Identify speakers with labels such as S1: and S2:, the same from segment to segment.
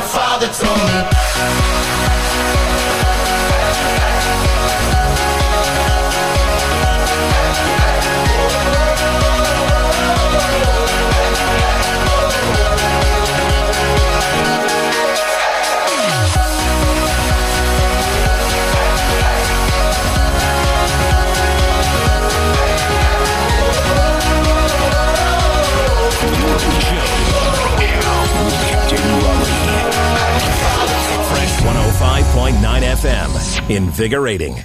S1: father told me.
S2: Fresh 105.9 FM. Invigorating.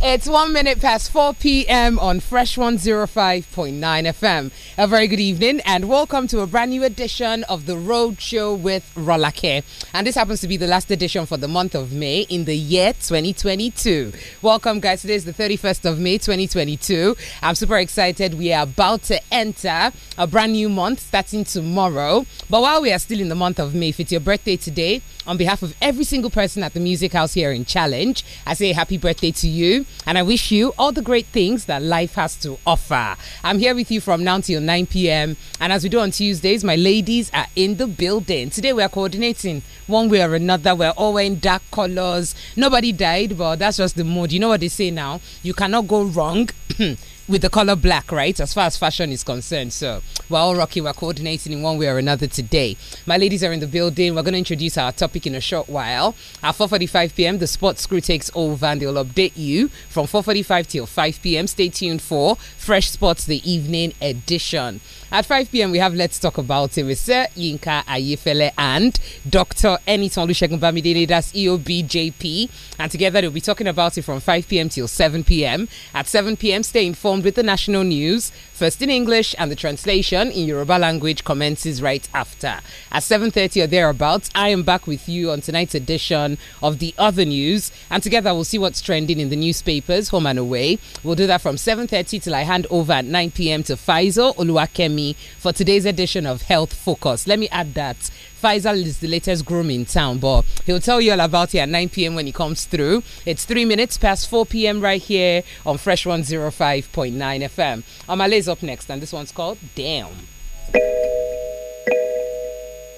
S3: It's one minute past 4 p.m. on Fresh 105.9 FM. A very good evening and welcome to a brand new edition of The Road Show with Rolake. And this happens to be the last edition for the month of May in the year 2022. Welcome, guys. Today is the 31st of May 2022. I'm super excited. We are about to enter a brand new month starting tomorrow. But while we are still in the month of May, if it's your birthday today, on behalf of every single person at the Music House here in Challenge, I say happy birthday to you and I wish you all the great things that life has to offer. I'm here with you from now till 9 p.m. And as we do on Tuesdays, my ladies are in the building. Today we are coordinating one way or another. We're all wearing dark colors. Nobody died, but that's just the mood. You know what they say now? You cannot go wrong. with the color black, right? As far as fashion is concerned. So we're all rocking, we're coordinating in one way or another today. My ladies are in the building. We're going to introduce our topic in a short while. At 4.45 p.m., the sports crew takes over and they'll update you from 4.45 till 5 p.m. Stay tuned for Fresh Sports The Evening Edition. At 5 p.m., we have Let's Talk About It with Sir Yinka Ayefele and Dr. Eniton Olusegun Bamidele, that's EOBJP. And together they'll be talking about it from 5 p.m. till 7 p.m. At 7 p.m., stay informed with the national news, first in English, and the translation in Yoruba language commences right after. At 7.30 or thereabouts, I am back with you on tonight's edition of The Other News. And together we'll see what's trending in the newspapers, home and away. We'll do that from 7.30 till I hand over at 9 p.m. to Faisal Oluwakemi for today's edition of Health Focus. Let me add that Faisal is the latest groom in town, but he'll tell you all about it at 9 p.m. when he comes through. It's three minutes past 4 p.m. right here on Fresh 105.9 FM. Amale is up next, and this one's called Damn.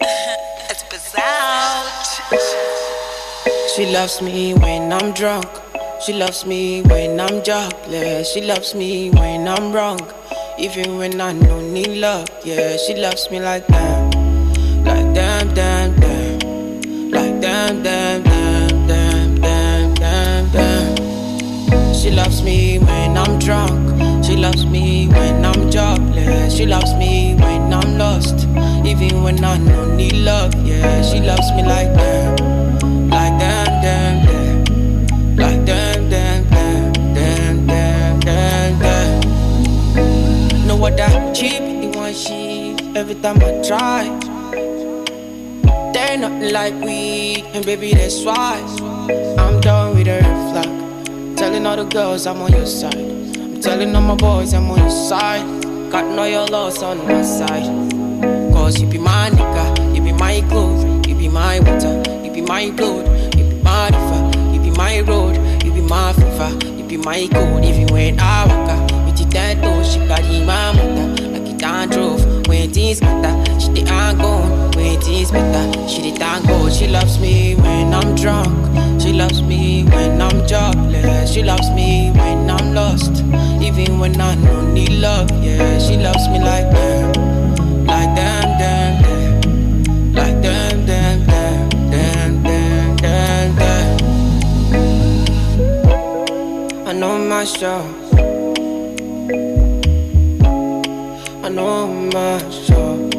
S4: It's bizarre.
S5: She loves me when I'm drunk. She loves me when I'm jobless. She loves me when I'm wrong. Even when I no need love, yeah. She loves me like that. Like damn, damn, damn. Like damn, damn, damn, damn, damn, damn, damn. She loves me when I'm drunk. She loves me when I'm jobless. She loves me when I'm lost. Even when I no need love, yeah. She loves me like that. Like damn, damn, damn. Like damn, damn, damn, damn, damn, damn, damn. No other cheap, the one she. Every time I try, they not like we, and baby that's why I'm done with her flag. Telling all the girls I'm on your side. I'm telling all my boys I'm on your side. Got no your loss on my side. Cause you be my nigga, you be my clothes, you be my water, you be my blood, you be my river, you be my road, you be my fever, you be my gold. Even when I walk out, with the tattoo, she carry my mother, like it down drove. When things matter, she the I'm gone. When things better, she the thank God. She loves me when I'm drunk, she loves me when I'm jobless, she loves me when I'm lost, even when I no need love. Yeah, she loves me like that, like damn, damn, damn. Like damn, damn, damn, damn, damn, damn, damn. I know myself. I know myself.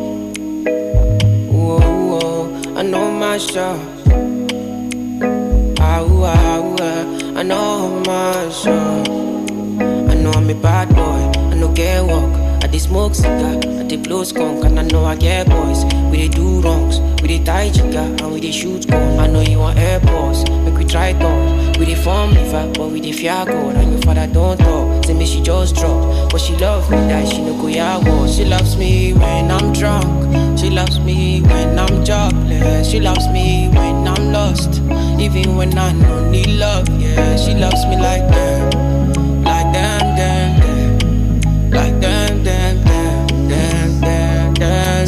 S5: Whoa, whoa. I know myself. Ah, ooh, ah, ooh, ah. I know myself. I know I'm a bad boy. I know get walk. I dey smoke cigar, I dey close conk, and I know I get boys. We dey do wrongs, we dey tie jigger, and we dey shoot gun. I know you want airports, make we try talk. We dey form liver, but we dey fear God. And your father don't talk, say me she just drop, but she love me that she no go ya war. She loves me when I'm drunk, she loves me when I'm jobless, she loves me when I'm lost, even when I no need love. Yeah, she loves me like that, like that, that, that. Like them, them, them, them, them, them, them.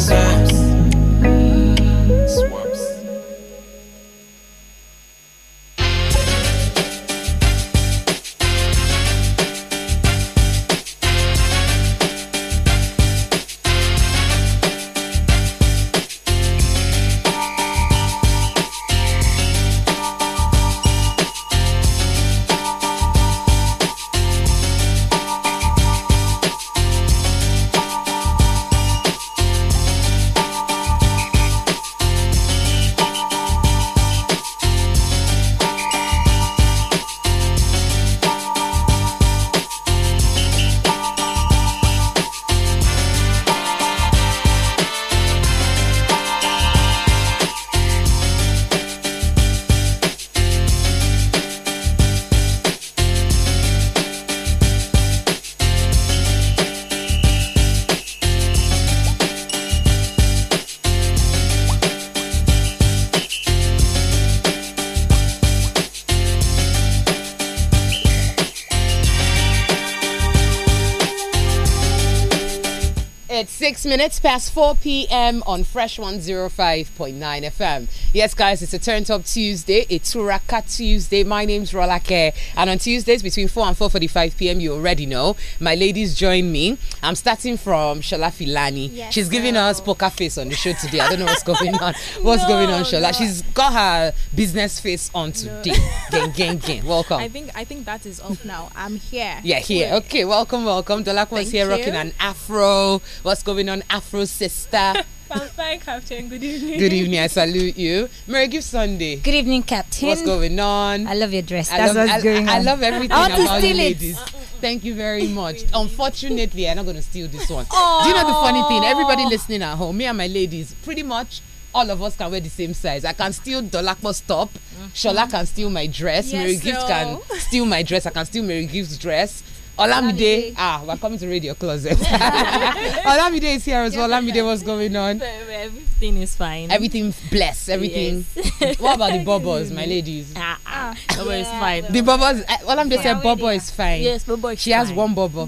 S3: It's six minutes past 4 p.m. on Fresh 105.9 FM. Yes, guys, it's a Turn Top Tuesday, a Turaka Tuesday. My name's Rolake, and on Tuesdays between 4 and 4.45 p.m., you already know, my ladies join me. I'm starting from Shola Filani.
S1: Yes,
S3: She's giving
S1: girl.
S3: us poker face on the show today. I don't know what's going on. What's
S1: No,
S3: going on, Shola?
S1: no.
S3: She's got her business face on today. Gang, gang, gang. Welcome.
S1: I think I think that is off now. I'm here.
S3: Oh, Yeah, here.
S1: Wait.
S3: Okay, welcome, welcome. Dolakwa's
S1: Thank
S3: here
S1: you.
S3: rocking an afro. What's going on, afro sister?
S6: I'm fine, Captain. Good evening.
S3: Good evening, I salute you. Mary Gift Sunday.
S7: Good evening, Captain.
S3: What's going on?
S7: I love your dress.
S3: I
S7: That's
S3: love-
S7: what's
S3: I-
S7: going
S3: I,
S7: on.
S3: love everything
S7: I want to
S3: about you
S7: steal it.
S3: ladies. Thank you very much. Unfortunately, I'm not going to steal this one. Do you know the funny thing? Everybody listening at home, me and my ladies, pretty much all of us can wear the same size. I can steal Dolakwa's top.
S7: Mm-hmm.
S3: Shola can steal my dress.
S1: Yes,
S3: Mary Gift
S1: so.
S3: can steal my dress. I can steal Mary Gift's dress. Olamide, ah, we're coming to radio closet. Olamide is here as well. Olamide, what's going on?
S6: Everything is fine.
S3: Everything blessed. Everything. What about the bubbles, my ladies?
S6: Ah, ah. Bobo is fine.
S3: The bubbles. eh, I- Olamide said bubble is fine.
S6: Yes, Bobo is
S3: She has
S6: fine.
S3: one bubble.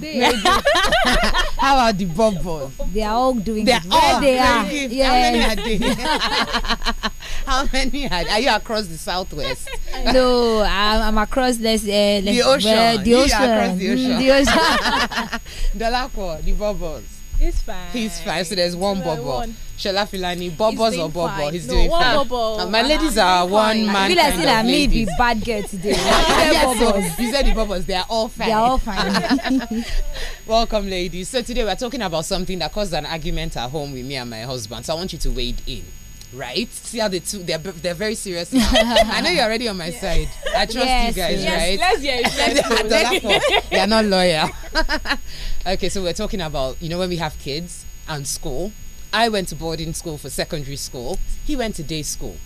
S3: How are the bubbles?
S7: They are all doing
S3: They are
S7: it.
S3: all
S7: Where they are.
S3: very good.
S7: Yes.
S3: How many are they? How many are, are you across the southwest?
S7: no, I'm, I'm across this. Uh,
S3: The ocean.
S7: Where, the
S3: You are
S7: ocean.
S3: across the
S7: Mm,
S3: ocean.
S7: the ocean.
S3: Dalakwa, the bubbles.
S6: It's fine.
S3: He's fine. So there's one
S6: So
S3: bubble.
S6: one.
S3: Shola Filani, bubbles
S6: doing
S3: or bubble?
S6: fine.
S3: He's
S6: No,
S3: doing
S6: one
S3: fine.
S6: bubble.
S3: Uh, my
S6: Uh-huh.
S7: Ah,
S3: ladies are one man.
S7: I feel like
S3: kind
S7: still
S3: of
S7: I'm me, the
S3: ladies.
S7: bad girl today.
S3: Yes, so
S7: Bubbles.
S3: you said the bubbles. They are all fine.
S7: They are all fine.
S3: Welcome, ladies. So today we're talking about something that caused an argument at home with me and my husband. So I want you to wade in. Right? See how the two they're b- they're very serious now. I know you're already on my side. I trust
S7: Yes,
S3: you guys,
S7: yes.
S3: right?
S6: Let's hear it. Let's
S3: At the last one, You're not loyal. okay, so we're talking about, you know, when we have kids and school. I went to boarding school for secondary school. He went to day school.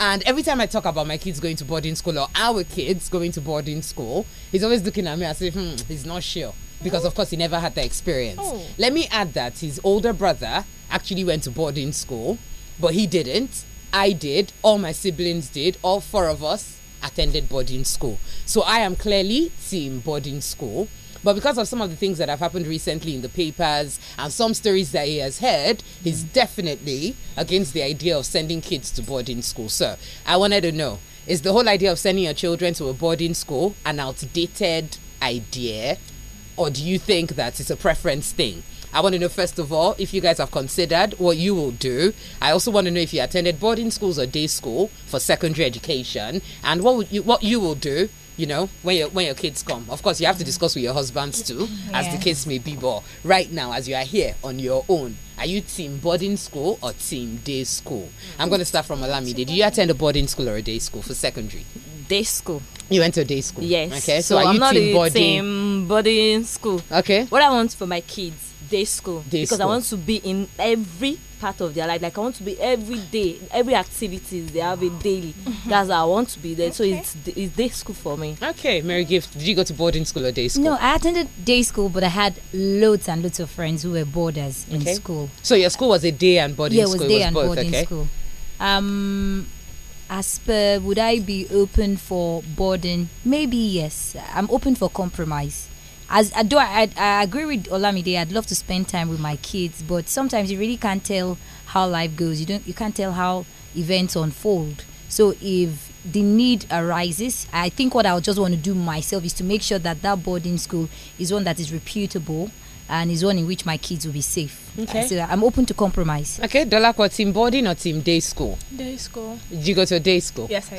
S3: And every time I talk about my kids going to boarding school or our kids going to boarding school, he's always looking at me as if hmm, he's not sure. Because, of course, he never had that experience.
S6: Oh.
S3: Let me add that his older brother actually went to boarding school, but he didn't. I did. All my siblings did. All four of us attended boarding school. So I am clearly team boarding school. But because of some of the things that have happened recently in the papers and some stories that he has heard, he's definitely against the idea of sending kids to boarding school. So I wanted to know is the whole idea of sending your children to a boarding school an outdated idea? or do you think that it's a preference thing? I want to know first of all if you guys have considered what you will do. I also want to know if you attended boarding schools or day school for secondary education, and what would you what you will do. You know when your when your kids come. Of course, you have to discuss with your husbands too, as the
S7: Yeah.
S3: case may be. But right now, as you are here on your own, are you team boarding school or team day school? I'm going to start from Alami. Did you attend a boarding school or a day school for secondary?
S6: Day school.
S3: You went to a day school.
S6: Yes.
S3: Okay. So, are
S6: I'm
S3: you
S6: not
S3: team
S6: in
S3: boarding?
S6: team boarding school.
S3: Okay.
S6: What I want for my kids,
S8: day school
S3: Day
S8: because I
S3: school.
S8: want to be in every part of their life. Like I want to be every day, every activities they have a daily.
S3: Mm-hmm.
S8: That's how I want to be there. So it's d- it's day school for me.
S3: Okay, Mary Gift, did you go to boarding school or day school?
S7: No, I attended day school, but I had loads and loads of friends who were boarders in
S3: Okay.
S7: school.
S3: So your school was a day and boarding
S7: yeah, it
S3: school.
S7: was day and
S3: both,
S7: boarding
S3: okay?
S7: school. Um, as per, would I be open for boarding? Maybe yes. I'm open for compromise. As I do, I, I agree with Olamide. I'd love to spend time with my kids, but sometimes you really can't tell how life goes. You don't. You can't tell how events unfold. So if the need arises, I think what I would just want to do myself is to make sure that that boarding school is one that is reputable and is one in which my kids will be safe.
S3: Okay.
S7: So I'm open to compromise.
S3: Okay, Dolakwa, team boarding or team day school?
S1: Day school.
S3: Did you go to a day school?
S1: Yes, I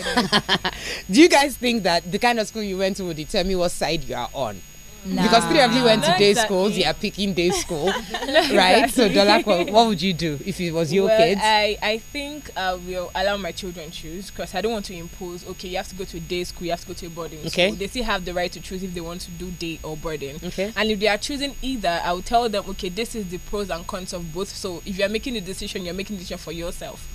S1: did.
S3: Do you guys think that the kind of school you went to will determine what side you are on?
S7: Nah.
S3: Because three of you went to
S1: Not
S3: day
S1: exactly.
S3: schools, you are picking day school, right? So, Dolakwa, what would you do if it was your
S1: well,
S3: kids?
S6: uh,
S1: I, I think I will allow my children choose because I don't want to impose, okay, you have to go to a day school, you have to go to a boarding
S3: Okay.
S1: school. They still have the right to choose if they want to do day or boarding.
S3: Okay.
S1: And if they are choosing either, I will tell them, okay, this is the pros and cons of both. So if you are making the decision, you're making the decision for yourself.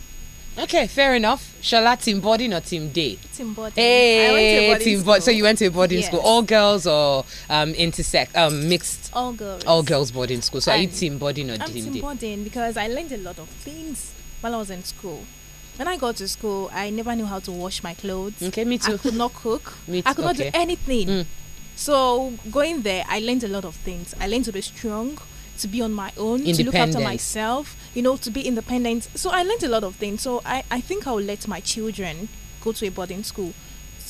S3: Okay, fair enough. Shala, team boarding or team day?
S6: Team boarding. I went to a
S3: Hey,
S6: boarding
S3: team board. So
S6: school.
S3: you went to a boarding school,
S6: Yes.
S3: all girls or um intersex, um mixed,
S6: all girls.
S3: all Oh, girls boarding school. So are you
S6: I'm-
S3: team boarding or
S6: I'm
S3: team
S6: team
S3: day?
S6: boarding because I learned a lot of things while I was in school. When I got to school, I never knew how to wash my clothes.
S3: Okay, me
S6: I
S3: too.
S6: could not cook.
S3: Me
S6: I
S3: too,
S6: could not do
S3: okay.
S6: anything.
S3: Mm.
S6: So going there, I learned a lot of things. I learned to be strong, to be on my own, to look after
S3: Independent.
S6: myself, you know, to be independent. So I learned a lot of things. So I, I think I'll let my children go to a boarding school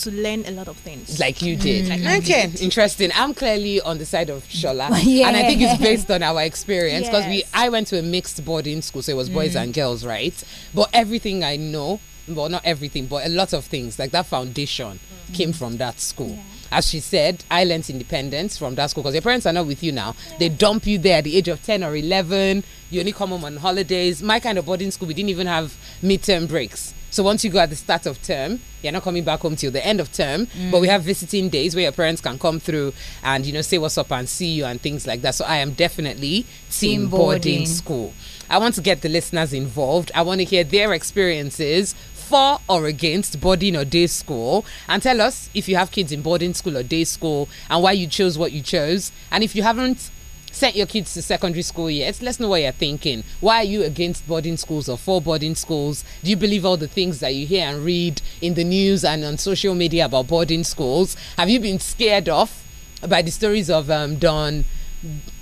S6: to learn a lot of things. Mm.
S3: like you did. okay, interesting. I'm clearly on the side of Shola,
S7: Yeah.
S3: and I think it's based on our experience because we.
S6: Yes.
S3: I went to a mixed boarding school, so it was boys and girls, right? But everything I know, well, not everything, but a lot of things like that foundation came from that school. As she said, I learned independence from that school because your parents are not with you now. They dump you there at the age of 10 or 11. You only come home on holidays. My kind of boarding school, we didn't even have midterm breaks. So once you go at the start of term, you're not coming back home till the end of term. Mm. But we have visiting days where your parents can come through and you know say what's up and see you and things like that. So I am definitely team,
S7: Team
S3: boarding
S7: boarding.
S3: school. I want to get the listeners involved. I want to hear their experiences for or against boarding or day school and tell us if you have kids in boarding school or day school and why you chose what you chose and if you haven't sent your kids to secondary school yet let's know what you're thinking why are you against boarding schools or for boarding schools do you believe all the things that you hear and read in the news and on social media about boarding schools have you been scared off by the stories of um, Don,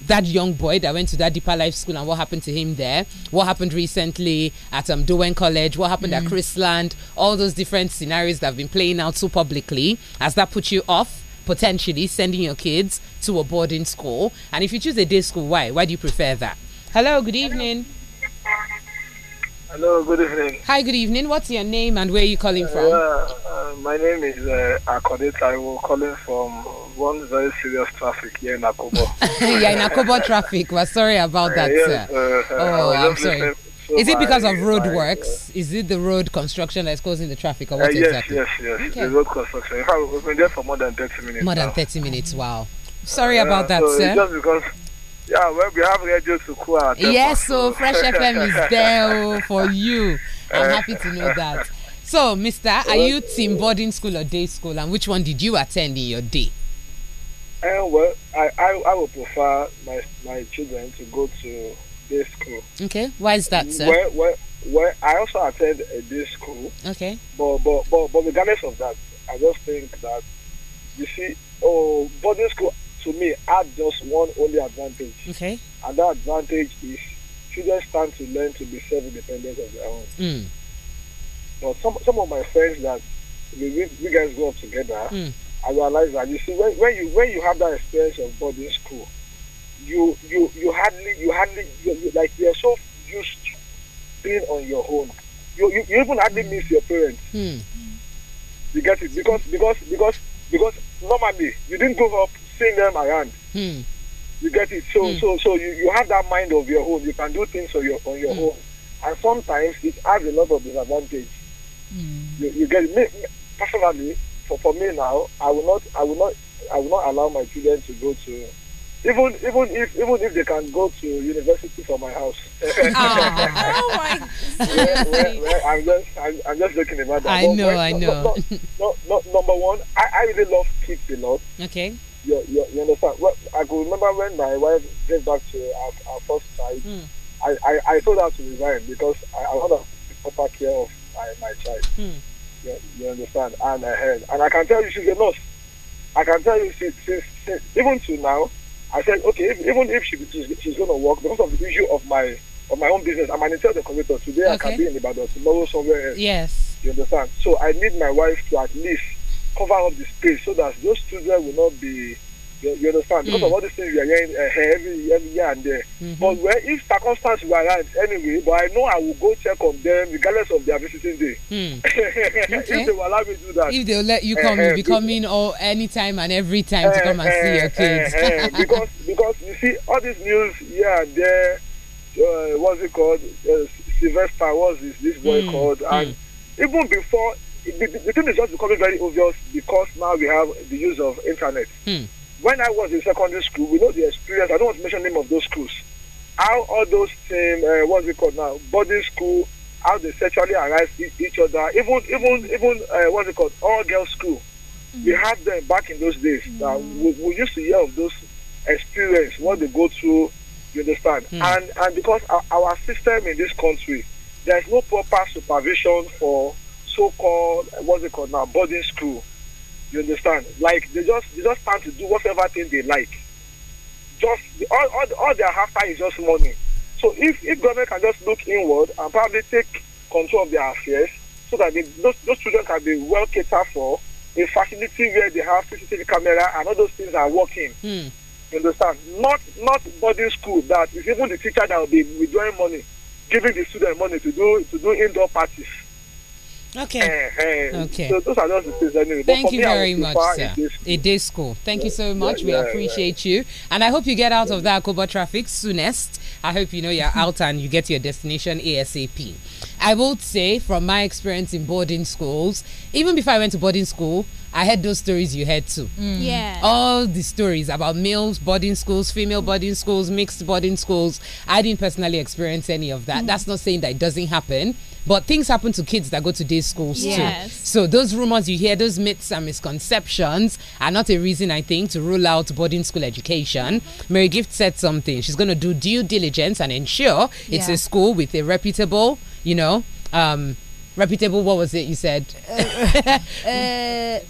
S3: that young boy that went to that deeper life school and what happened to him there, what happened recently at um, Dowen College, what happened at Chrisland, all those different scenarios that have been playing out so publicly, has that put you off? Potentially sending your kids to a boarding school, and if you choose a day school, why? Why do you prefer that? Hello, good evening.
S9: Hello, good evening.
S3: Hi, good evening. What's your name and where are you calling
S9: Uh,
S3: from?
S9: uh, my name is uh, Akodit. I will calling from one very serious traffic here in Akobo. Uh,
S3: You're in Akobo traffic. We're sorry about that,
S9: yes,
S3: sir.
S9: uh, uh, I
S3: Oh,
S9: was
S3: I'm
S9: just
S3: sorry.
S9: listening to
S3: Is it because
S9: my-
S3: of road
S9: my, uh,
S3: works? Is it the road construction that's causing the traffic, or
S9: Uh,
S3: what
S9: yes,
S3: exactly?
S9: yes, yes.
S3: Okay.
S9: The road construction. In fact, we've been there for more than 30 minutes.
S3: More than
S9: now.
S3: 30 minutes. Wow. Sorry
S9: Uh,
S3: about that,
S9: so it's
S3: sir.
S9: Just because, yeah, well, we have radio to cool our temper,
S3: Yes, so Fresh FM is there oh, for you.
S9: Eh.
S3: I'm happy to know that. So, Mister, are you team boarding school or day school, and which one did you attend in your day?
S9: And well, I, I, I would prefer my, my children to go to this school.
S3: Okay, why is that, sir?
S9: Where, where, where I also attend a day school.
S3: Okay,
S9: But, but, but, but regardless of that, I just think that, you see, oh, boarding school to me had just one only advantage.
S3: okay.
S9: And that advantage is children start to learn to be self independent of their own.
S3: Mm.
S9: But some, some of my friends that we, we, we guys grow up together,
S10: Hmm.
S3: Mm.
S9: I realize that, you see, when, when, you, when you have that experience of boarding school, you, you, you hardly, you hardly, you, you, like, you're so used to being on your own. You, you, you even hardly miss your parents.
S3: Hmm.
S9: You get it? Because because because because normally you didn't grow up seeing them around.
S3: Hmm.
S9: You get it? So
S3: Mm.
S9: so so you, you have that mind of your own. You can do things on your on your
S3: Hmm.
S9: own. And sometimes it has a lot of disadvantage. You, you get it? Me, me- personally, for, for me now, I will not I will not I will not allow my children to go to even even if even if they can go to university from my house.
S1: Oh my
S9: Well, well, I'm just I'm, I'm just joking about that.
S3: I
S9: But
S3: know,
S9: when-
S3: I
S9: no-
S3: know.
S9: No, no, no, no, number one, I, I really love kids a lot.
S3: Okay.
S9: You, you, you understand? Well, I could remember when my wife gave back to our, our first child. I, I, I told her to resign because I, I want to take proper care of my, my child. You, you understand? And I heard. And I can tell you she's a nurse. I can tell you since, since, since even to now, I said, okay, if, even if she, she's, she's going to work, because of the issue of my of my own business, I'm an interior decorator. Today I
S3: Okay.
S9: can be in Ibadan, tomorrow somewhere else.
S3: Yes.
S9: You understand? So I need my wife to at least cover up the space so that those children will not be. You, you
S3: Mm.
S9: understand? Because of all these things we are hearing uh, every, every year and there.
S3: Mm-hmm.
S9: But where, if circumstances were right anyway, but I know I will go check on them regardless of their visiting day.
S3: Hmm.
S9: if
S3: Okay.
S9: they will allow me to do that.
S3: If they'll let you come,
S9: Eh,
S3: you'll
S9: eh,
S3: be coming all anytime and every time to come and see your kids.
S9: Eh, eh, eh, because because you see all this news yeah there uh, what's it called uh, Sylvester what's this, this boy
S3: Hmm.
S9: called and even before the, the the thing is just becoming very obvious because now we have the use of internet.
S3: Mm.
S9: When I was in secondary school, we know the experience. I don't want to mention the name of those schools. How all those same uh, what's it called now boarding school, how they sexually harass e- each other. Even even even uh, what's it called all girls school we had them back in those days. Now we, we used to hear of those experience what they go through. You understand? And and because our, our system in this country, there is no proper supervision for so-called uh, what's it called now boarding school. You understand? Like they just they just start to do whatever thing they like. Just all all, all they are after is just money. So if if government can just look inward and probably take control of their affairs so that they, those those children can be well catered for a facility where they have CCTV camera and all those things are working.
S3: Hmm.
S9: You understand? Not not boarding school that is even the teacher that will be withdrawing money, giving the student money to do to do indoor parties.
S3: Okay.
S9: Eh, eh.
S3: Okay.
S9: So those are just the things anyway. But
S3: Thank
S9: for
S3: you
S9: me, I
S3: very
S9: would
S3: much,
S9: prefer
S3: sir.
S9: it is-
S3: A day school. Thank you so much.
S9: yeah,
S3: we
S9: yeah.
S3: appreciate you. And I hope you get out of that Akobo traffic soonest. I hope you know you're out and you get to your destination ASAP. I would say, from my experience in boarding schools, even before I went to boarding school, I heard those stories you heard too.
S1: Mm.
S3: Mm.
S1: Yeah.
S3: All the stories about males boarding schools, female boarding schools, mixed boarding schools. I didn't personally experience any of
S1: Mm.
S3: that. That's not saying that it doesn't happen, but things happen to kids that go to day schools
S1: Yes.
S3: too. So those rumors you hear, those myths and misconceptions are not a reason I think to rule out boarding school education. Mary Gift said something. She's going to do due diligence and ensure it's
S7: Yeah.
S3: a school with a reputable, you know, um reputable what was it you said?
S7: Uh,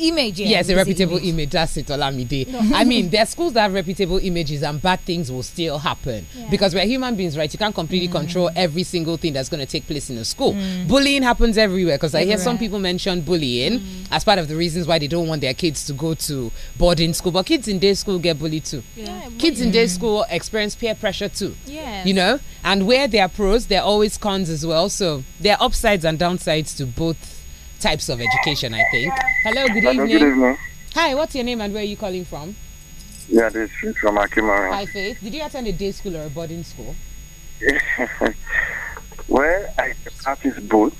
S7: image. yeah,
S3: yes, a
S7: it's an
S3: reputable image. That's it, Olamide. I mean, there are schools that have reputable images, and bad things will still happen because we're human beings, right? You can't completely control every single thing that's going to take place in a school. Bullying happens everywhere because I hear some people mention bullying as part of the reasons why they don't want their kids to go to boarding school, but kids in day school get bullied too.
S1: Yeah. Mm.
S3: Kids in day school experience peer pressure too
S1: Yes.
S3: you know and where there are pros there are always cons as well so there are upsides and downsides to both types of education i think hello good
S11: Hello,
S3: evening
S11: good evening.
S3: hi what's your name and where are you calling from
S11: Yeah, this is from Akimara.
S3: hi faith did you attend a day school or a boarding school
S11: Well, I practice both.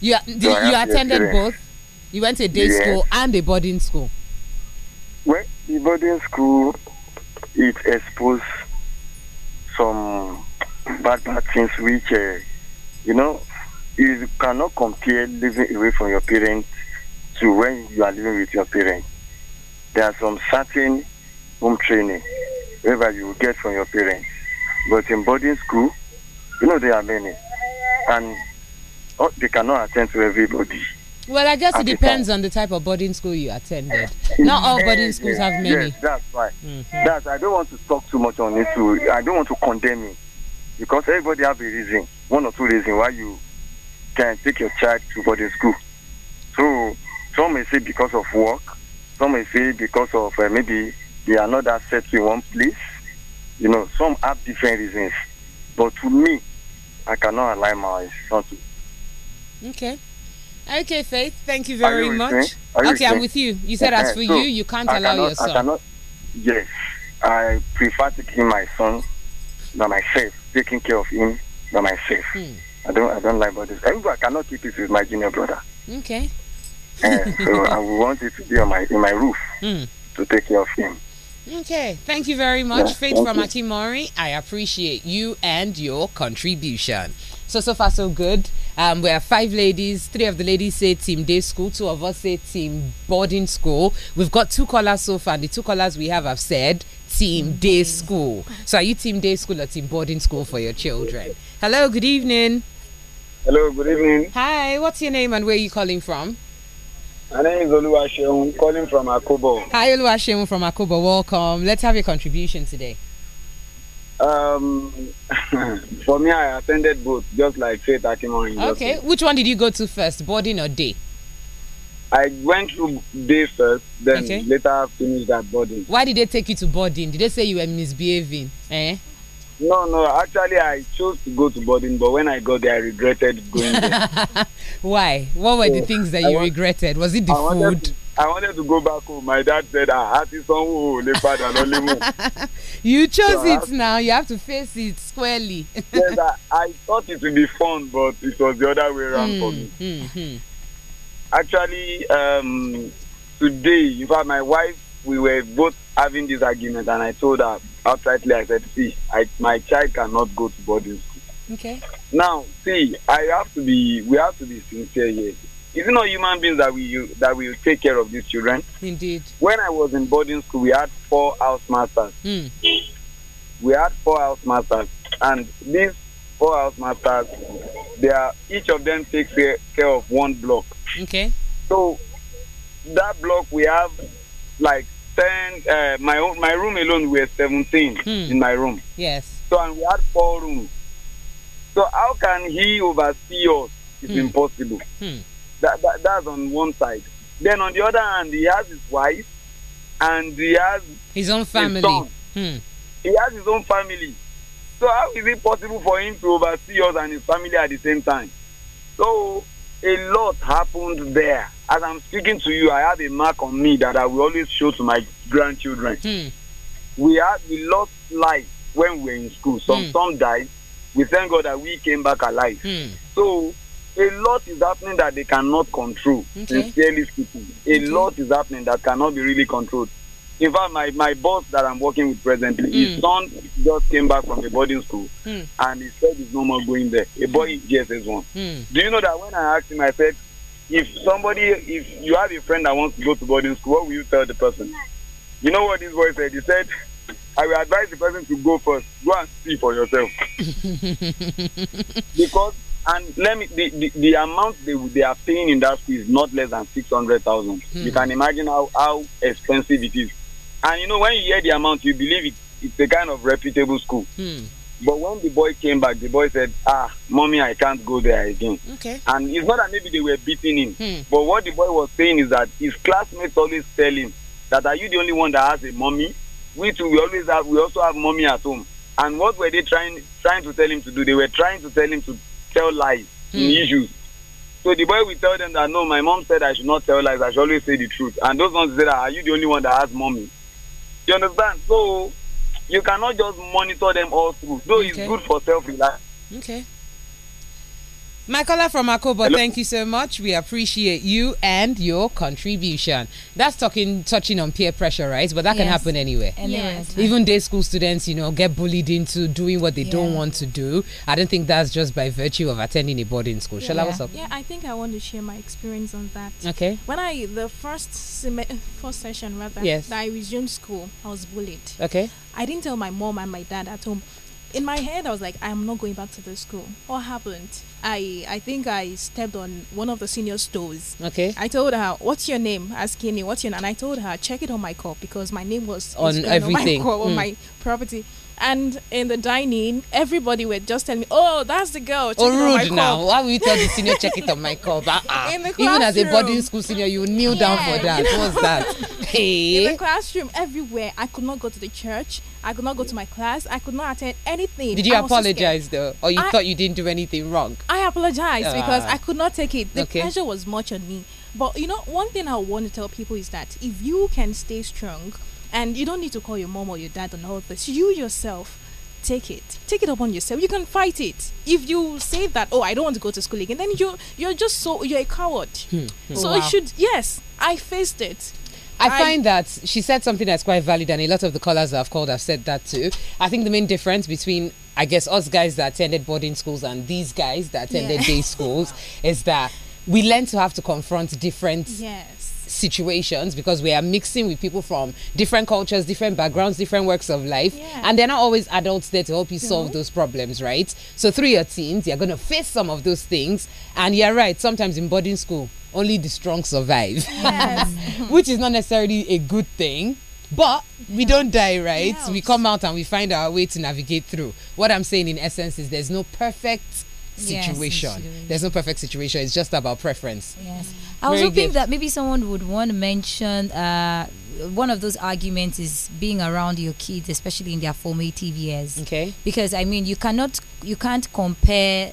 S3: you, did,
S11: I
S3: you
S11: have the
S3: attended both
S11: experience.
S3: you went to a day
S11: Yes.
S3: school and a boarding school
S11: Well, the boarding school, it exposed some bad, bad things which, uh, you know, you cannot compare living away from your parents to when you are living with your parents. There are some certain home training wherever you will get from your parents. But in boarding school, you know, there are many. And oh, they cannot attend to everybody.
S3: well i guess it
S11: At the
S3: depends on the type of boarding school you attended not all boarding
S11: Yes,
S3: schools
S11: yes,
S3: have many Mm-hmm.
S11: Yes, that's right. That's I don't want to talk too much on it. Too. I don't want to condemn it because everybody have a reason, one or two reasons why you can take your child to boarding school. So some may say because of work, some may say because of uh, maybe they are not that set in one place. You know, some have different reasons. But to me, I cannot allow my son to.
S3: okay okay faith thank you
S11: Are
S3: very
S11: you with
S3: much
S11: me? Are you
S3: okay i'm
S11: me?
S3: with you you said as
S11: Eh,
S3: for
S11: so
S3: you you can't
S11: I
S3: allow
S11: cannot-
S3: your son
S11: I cannot, yes, I prefer taking my son by myself, taking care of him by myself.
S3: Hmm.
S11: I don't, I don't like about this. Everybody I cannot keep it with my junior brother.
S3: okay
S11: Eh, so I would want it to be on my in my roof
S3: Hmm.
S11: to take care of him.
S3: Okay, thank you very much,
S12: Yeah,
S3: Faith
S12: thank
S3: from
S12: you.
S3: Atimori. I appreciate you and your contribution. So so far so good. Um, we have five ladies. Three of the ladies say team day school. Two of us say team boarding school. We've got two callers so far. And the two callers we have have said team day school. So are you team day school or team boarding school for your children? Hello, good evening.
S12: Hello, good evening.
S3: Hi, what's your name and where are you calling from?
S12: My name is Oluwaseun, calling from Akobo.
S3: Hi, Oluwashemu from Akobo. Welcome. Let's have your contribution today.
S12: Um, for me, I attended both, just like Faith Akimori.
S3: Okay, which one did you go to first, boarding or day?
S12: I went through day first, then
S3: Okay.
S12: later finished that boarding.
S3: Why did they take you to boarding? Did they say you were misbehaving? Eh?
S12: No, no, actually, I chose to go to boarding, but when I got there, I regretted going there.
S3: Why? What were the
S12: Oh,
S3: things that
S12: I
S3: you
S12: want-
S3: regretted? Was it the
S12: I wanted,
S3: food?
S12: to, I wanted to go back home. My dad said, ah, àti sanwó ò lè padà lọ́lé mọ́."
S3: You chose
S12: So I have
S3: it now. You have to face it squarely.
S12: yes, I, I thought it would be fun, but it was the other way around for me.
S3: Mm-hmm.
S12: Actually, um, today, in fact, my wife, we were both having this argument, and I told her outrightly, I said, see, I, my child cannot go to boarding school.
S3: Okay.
S12: Now, see, I have to be, we have to be sincere here. Is it not human beings that we u- that will take care of these children?
S3: Indeed.
S12: When I was in boarding school, we had four housemasters.
S3: Mm.
S12: we had four housemasters and these four housemasters they are each of them takes care, care of one block
S3: Okay.
S12: so that block we have like 10 uh, my own my room alone we are 17
S3: Hmm.
S12: in my room
S3: Yes.
S12: so and we had four rooms so how can he oversee us it's
S3: Hmm.
S12: impossible
S3: Hmm.
S12: that, that that's on one side then on the other hand he has his wife and he has
S3: His own family.
S12: son
S3: Hmm.
S12: he has his own family so how is it possible for him to oversee us and his family at the same time so a lot happened there as i'm speaking to you i have a mark on me that i will always show to my grandchildren
S3: Hmm.
S12: we had we lost life when we were in school some
S3: Hmm.
S12: some died we thank god that we came back alive
S3: Hmm.
S12: so a lot is happening that they cannot control
S3: Okay.
S12: sincerely speaking a lot is happening that cannot be really controlled in fact my my boss that i'm working with presently his son just came back from a boarding school
S3: Hmm.
S12: and he said he's no more going there a boy in gss one
S3: Hmm.
S12: do you know that when i asked him i said if somebody if you have a friend that wants to go to boarding school what will you tell the person you know what this boy said he said i will advise the person to go first go and see for yourself because and let me the, the, the amount they, they are paying in that school is not less than six hundred thousand
S3: Hmm.
S12: you can imagine how how expensive it is and you know when you hear the amount you believe it it's a kind of reputable school
S3: Hmm.
S12: but when the boy came back the boy said ah mommy i can't go there again
S3: Okay.
S12: and it's not that maybe they were beating him
S3: Hmm.
S12: but what the boy was saying is that his classmates always tell him that are you the only one that has a mommy we too we always have we also have mommy at home and what were they trying trying to tell him to do they were trying to tell him to tell lies in
S13: Hmm.
S12: issues so the boy will tell them that no my mom said i should not tell lies i should always say the truth and those ones say that are you the only one that has mommy you understand so you cannot just monitor them all through though
S3: Okay.
S12: it's good for self-reliance
S3: Okay. My caller from Akobo,
S12: Hello.
S3: thank you so much. We appreciate you and your contribution. That's talking touching on peer pressure, right? But that can
S7: Yes.
S3: happen anywhere.
S7: Anywhere. Yes.
S3: Even day school students, you know, get bullied into doing what they don't
S6: Yeah.
S3: want to do. I don't think that's just by virtue of attending a boarding school. Shall I what's up?
S6: Yeah, I think I want to share my experience on that.
S3: Okay.
S6: When I the first sem- first session rather
S3: Yes.
S6: that I resumed school, I was bullied.
S3: Okay.
S6: I didn't tell my mom and my dad at home. In my head, I was like, I'm not going back to the school. What happened? I I think I stepped on one of the senior's toes.
S3: Okay.
S6: I told her, "What's your name?" Asking me, "What's your name?" And I told her, "Check it on my cup because my name was
S3: On
S6: displayed
S3: everything.
S6: on my, cup, on
S3: Mm.
S6: my property." And in the dining, everybody were just telling me, "Oh, that's the girl." Check it on
S3: oh,
S6: my
S3: rude now.
S6: cup."
S3: Why will you tell the senior check it on my cup? Uh-uh.
S6: In the
S3: Even as a
S6: classroom.
S3: boarding school senior, you kneel down for
S6: Yeah,
S3: that.
S6: you know.
S3: What's that?
S6: in
S3: Hey.
S6: the classroom, everywhere. I could not go to the church. I could not go to my class. I could not attend anything.
S3: Did you
S6: I was so scared.
S3: apologize though, or you
S6: I-
S3: thought you didn't do anything wrong?
S6: I apologize because
S3: Ah.
S6: I could not take it. The
S3: Okay.
S6: pressure was much on me. But you know, one thing I want to tell people is that if you can stay strong and you don't need to call your mom or your dad on all this, you yourself take it. Take it upon yourself. You can fight it. If you say that, oh, I don't want to go to school again, then you you're just so you're a coward.
S3: Hmm, hmm.
S6: So
S3: Wow.
S6: it should yes, I faced it.
S3: I find that she said something that's quite valid, and a lot of the callers that I've called have said that too. I think the main difference between, I guess, us guys that attended boarding schools and these guys that attended
S6: Yeah.
S3: day schools is that we learn to have to confront different
S6: Yes.
S3: situations because we are mixing with people from different cultures, different backgrounds, different works of life, and they're not always adults there to help you solve those problems, right? So through your teens, you're gonna face some of those things, and you're right. Sometimes in boarding school, only the strong survive, which is not necessarily a good thing. But we don't die, right? We come out and we find our way to navigate through. What I'm saying in essence is there's no perfect
S7: Yes,
S3: situation.
S7: situation.
S3: there's no perfect situation. It's just about preference.
S7: Yes. I was
S3: Very
S7: hoping
S3: good.
S7: that maybe someone would want to mention uh, one of those arguments is being around your kids, especially in their formative years.
S3: Okay.
S7: Because I mean, you cannot, you can't compare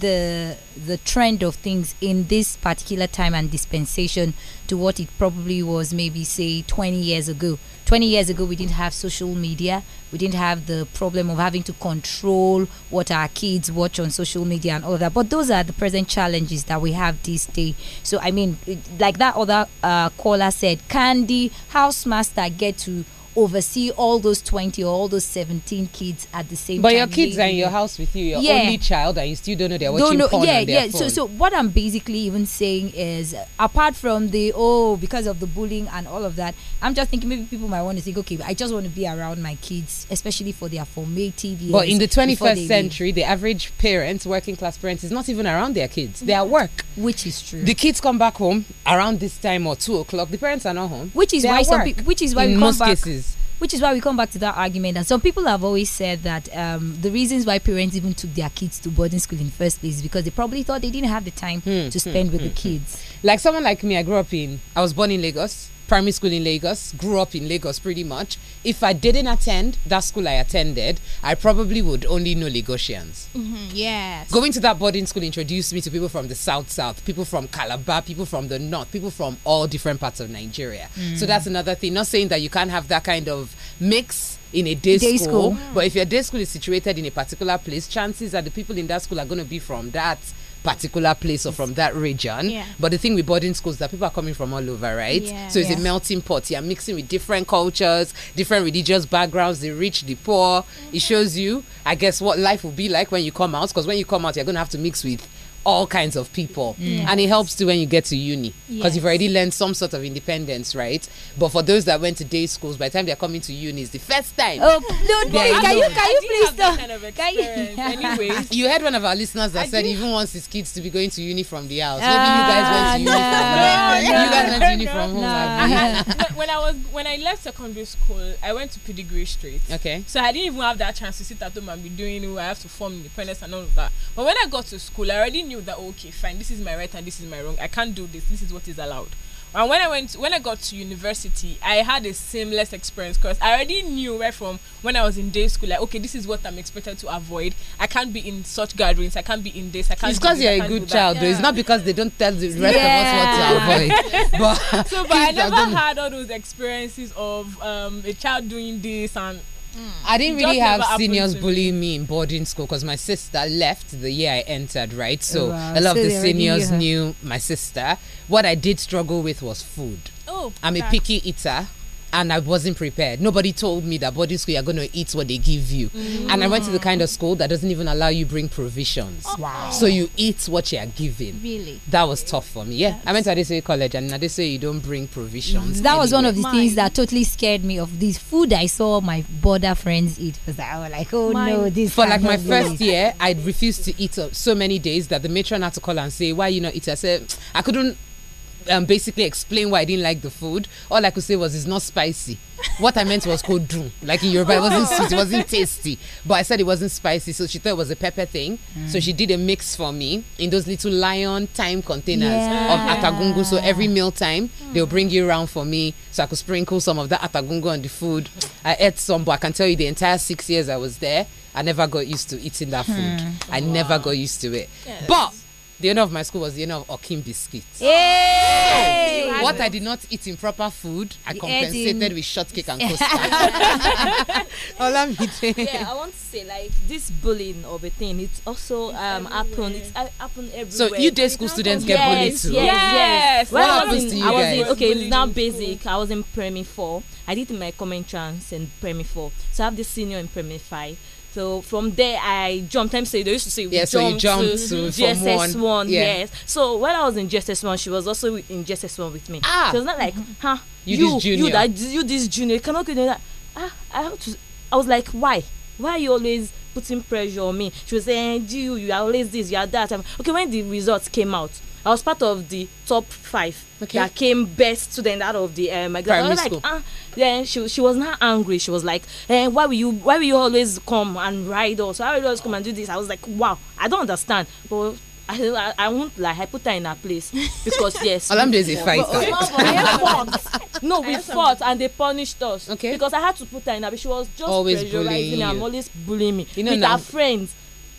S7: the the trend of things in this particular time and dispensation to what it probably was maybe say 20 years ago 20 years ago we didn't have social media we didn't have the problem of having to control what our kids watch on social media and all that but those are the present challenges that we have this day so i mean it- like that other uh, caller said can the housemaster get to oversee all those 20 or all those 17 kids at the same
S3: But
S7: time
S3: your kids are in
S7: Maybe.
S3: your house with you, your
S7: Yeah.
S3: only child, and you still don't know they're
S7: No,
S3: watching
S7: no,
S3: porn
S7: yeah,
S3: on their
S7: yeah. So,
S3: phone.
S7: so what I'm basically even saying is, uh, apart from the oh, because of the bullying and all of that, I'm just thinking maybe people might want to think, okay, I just want to be around my kids, especially for their formative years.
S3: but in the
S7: before
S3: 21st
S7: they leave.
S3: century, the average parent, working class parent, is not even around their kids. They are at work.
S7: Which is true.
S3: The kids come back home around this time or 2 o'clock. The parents are not home.
S7: which is
S3: They are
S7: why
S3: at
S7: some
S3: work
S7: people, which is why
S3: in
S7: we come
S3: most
S7: back,
S3: cases.
S7: which is why we come back to that argument. And some people have always said that um, the reasons why parents even took their kids to boarding school in the first place is because they probably thought they didn't have the time
S3: Hmm,
S7: to spend with the kids.
S3: Like someone like me, I grew up in, I was born in Lagos, primary school in Lagos, grew up in Lagos pretty much. If I didn't attend that school I attended, I probably would only know Lagosians.
S6: Mhm, Yes.
S3: Going to that boarding school introduced me to people from the south south, people from Calabar, people from the north, people from all different parts of Nigeria.
S13: Mm.
S3: So that's another thing. Not saying that you can't have that kind of mix in a day,
S7: Day
S3: school,
S7: school.
S3: but if your day school is situated in a particular place, chances are the people in that school are going to be from that particular place or from that region.
S7: Yeah.
S3: But the thing with boarding schools is that people are coming from all over, right?
S7: Yeah.
S3: So it's
S7: Yeah.
S3: a melting pot. You're mixing with different cultures, different religious backgrounds, the rich, the poor. It shows you, I guess, what life will be like when you come out. Because when you come out, you're going to have to mix with all kinds of people.
S13: Mm.
S3: And it helps too when you get to uni. Because
S13: Yes.
S3: you've already learned some sort of independence, right? But for those that went to day schools, by the time they're coming to uni, it's the first time.
S7: Oh,
S3: There
S7: no, please,
S3: is
S7: can
S3: no-
S7: you, can you please stop? Can you?
S3: you had one of our listeners that
S7: I
S3: said
S7: do-
S3: he even wants his kids to be going to uni from the house.
S7: Ah,
S3: Maybe you guys went to uni from home. you guys went to uni
S7: no, no, no, no,
S3: from home.
S7: no.
S1: I
S3: Abby.
S1: had, when- when I was when I left secondary school, I went to Pedigree Street.
S3: Okay.
S1: So I didn't even have that chance to sit at home and be doing it. I have to form independence and all of that. But when I got to school, I already knew that okay, fine, this is my right and this is my wrong. I can't do this. This is what is allowed. And when I went when I got to university, I had a seamless experience because I already knew right from when I was in day school, like okay, this is what I'm expected to avoid. I can't be in such gatherings. I can't be in this. I can't.
S3: It's
S1: do
S3: because
S1: this,
S3: you're
S1: I
S3: a
S1: can't do
S3: good
S1: that.
S3: child, though. It's
S1: Yeah.
S3: not because they don't tell the rest of us what to
S1: Yeah.
S3: avoid. But
S1: so but I
S3: kids are
S1: never
S3: gonna-
S1: had all those experiences of um, a child doing this and
S3: I didn't
S1: It just
S3: really have
S1: never happened
S3: seniors
S1: to me.
S3: bullying me in boarding school because my sister left the year I entered, right? So
S13: Wow.
S3: a lot
S13: So
S3: of the
S13: they already knew
S3: seniors
S13: her.
S3: knew my sister. What I did struggle with was food.
S1: Oh,
S3: I'm a
S1: that's-
S3: picky eater and I wasn't prepared. Nobody told me that boarding school you're going to eat what they give you. And I went to the kind of school that doesn't even allow you bring provisions.
S13: Wow.
S3: So you eat what you are given.
S6: Really?
S3: That was tough for me. Yeah. I went to Adesoye College and in Adesoye you don't bring provisions.
S7: That was one of the
S3: anywhere.
S7: things that totally scared me of this food I saw my border friends eat. Because I was like, oh no, this
S3: for like my
S7: cannot be.
S3: first year, I refused to eat uh, so many days that the matron had to call and say, "Why you not eat?" I said, "I couldn't." Um, basically explain why I didn't like the food. All I could say was it's not spicy. What I meant was kodru. Like in Yoruba, it wasn't
S13: Oh.
S3: sweet, it wasn't tasty. But I said it wasn't spicy, so she thought it was a pepper thing. So
S13: Mm.
S3: she did a mix for me in those little lion time containers
S13: Yeah.
S3: of atagungu. So every meal time, they'll bring you around for me. So I could sprinkle some of that atagungu on the food. I ate some, but I can tell you the entire six years I was there, I never got used to eating that food.
S13: Hmm.
S3: I never got used to it.
S13: Yes.
S3: But the owner of my school was the owner of Okim Biscuits.
S7: Hey!
S14: I
S3: what
S14: know.
S3: I did not eat in proper food, I
S14: You ate
S3: compensated
S14: in-
S3: with shortcake and custard. Olamide.
S8: yeah, I want to say like this bullying of a thing. It's also um happened. It's uh, happened everywhere.
S3: So you day school students get bullied
S8: yes,
S3: too.
S8: Yes,
S3: Yes.
S8: yes.
S3: What
S8: When I
S3: happens
S8: was
S3: to
S8: in,
S3: you
S8: I was
S3: guys?
S8: in, okay, it's now basic. I was in Premi 4. I did my common trans in Premi 4. So I have the senior in Premi 5. So from there, I jumped. Times they used to say we
S3: Yeah, so you
S8: jumped
S3: jumped to- from
S8: GSS
S3: one, yeah.
S8: Yes. So when I was in GSS one, she was also wi- in GSS one with me.
S3: Ah.
S8: She was not like, huh,
S3: You
S8: you,
S3: this
S8: you
S3: junior.
S8: that you this junior you cannot go doing that. Ah, I have to. I was like, why? Why are you always putting pressure on me? She was saying, do you, you are always this, you are that. I'm, okay, when the results came out, I was part of the top five
S3: Okay.
S8: that came best student out of the um, exam. I
S3: Primary
S8: was like,
S3: school.
S8: ah. Then she she was not angry. She was like, eh, why will you why will you always come and ride us? Why will you always come and do this? I was like, wow, I don't understand, but. I, I, I won't like I put her in her place because yes
S3: Olamide is a
S8: we fought.
S3: fighter.
S8: But- but- but we fought. no we fought and they punished us okay because I had to put her in her place she was just
S3: Always
S8: pressurizing
S3: bullying
S8: her
S3: you.
S8: and always bullying me
S3: You know
S8: with
S3: now-
S8: her friends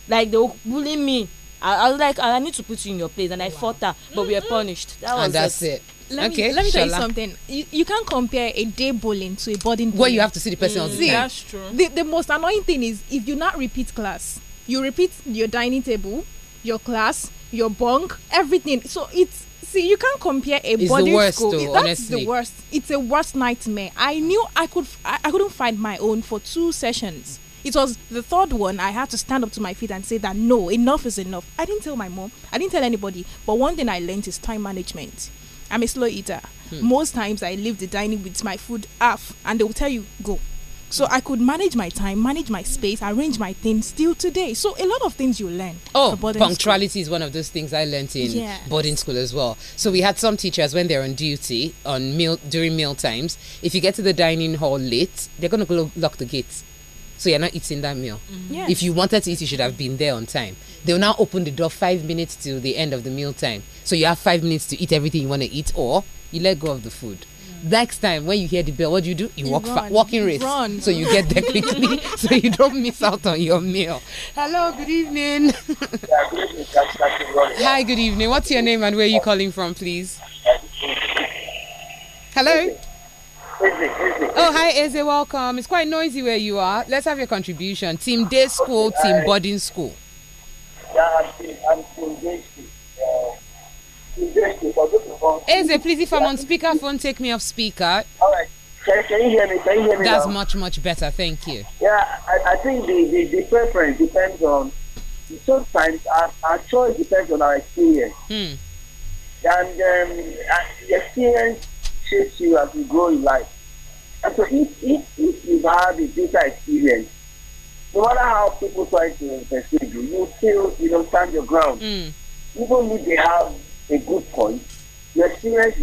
S8: like they were bullying me I, I was like I need to put you in your place and I fought her but we were punished that was
S3: Mm-hmm. and that's it.
S6: Let
S3: okay.
S6: me let me tell you
S3: Shola.
S6: something. You, you can't compare a day bowling to a boarding.
S3: Where
S6: bowling.
S3: you have to see the person on the
S6: See,
S3: time.
S15: true.
S6: The, the most annoying thing is if you not repeat class, you repeat your dining table, your class, your bunk, everything. So it's see you can't compare a
S3: It's the
S6: boarding
S3: worst
S6: school.
S3: though,
S6: It- That's
S3: honestly.
S6: the worst. It's a worst nightmare. I knew I could f- I, I couldn't find my own for two sessions. It was the third one I had to stand up to my feet and say that no, enough is enough. I didn't tell my mom, I didn't tell anybody. But one thing I learned is time management. I'm a slow eater. Most times I leave the dining with my food half and they will tell you go. So I could manage my time, manage my space, arrange my things still today. So a lot of things you learn.
S3: Oh,
S6: about
S3: punctuality is one of those things I learnt in
S6: Yes.
S3: boarding school as well. So we had some teachers when they're on duty on meal during meal times. If you get to the dining hall late, they're gonna go lock the gates, so you're not eating that meal.
S6: Mm-hmm. Yes.
S3: If you wanted to eat, you should have been there on time. They'll now open the door five minutes till the end of the meal time, so you have five minutes to eat everything you want to eat, or you let go of the food. Next time when you hear the bell, what do you do? You,
S6: You
S3: walk fa-
S6: run.
S3: walking race,
S6: Run.
S3: so you get there quickly, so you don't miss out on your meal. Hello, good evening. Hi, good evening. What's your name and where are you calling from, please? Hello? Oh, hi, Eze. Welcome. It's quite noisy where you are. Let's have your contribution. Team day school, team boarding school. Eze, please, if I'm on speakerphone, take me off speaker.
S16: All right. Can, can you hear me? Can you hear me?
S3: That's
S16: now?
S3: much, much better. Thank you.
S16: Yeah, I, I think the, the, the preference depends on sometimes our, our choice depends on our experience.
S3: Hmm.
S16: And um, uh, the experience shapes you as you grow in life. And so if, if, if you've had a bitter experience, no matter how people try to persuade you, you still you know stand your ground.
S3: Mm.
S16: Even if they have a good point, your experience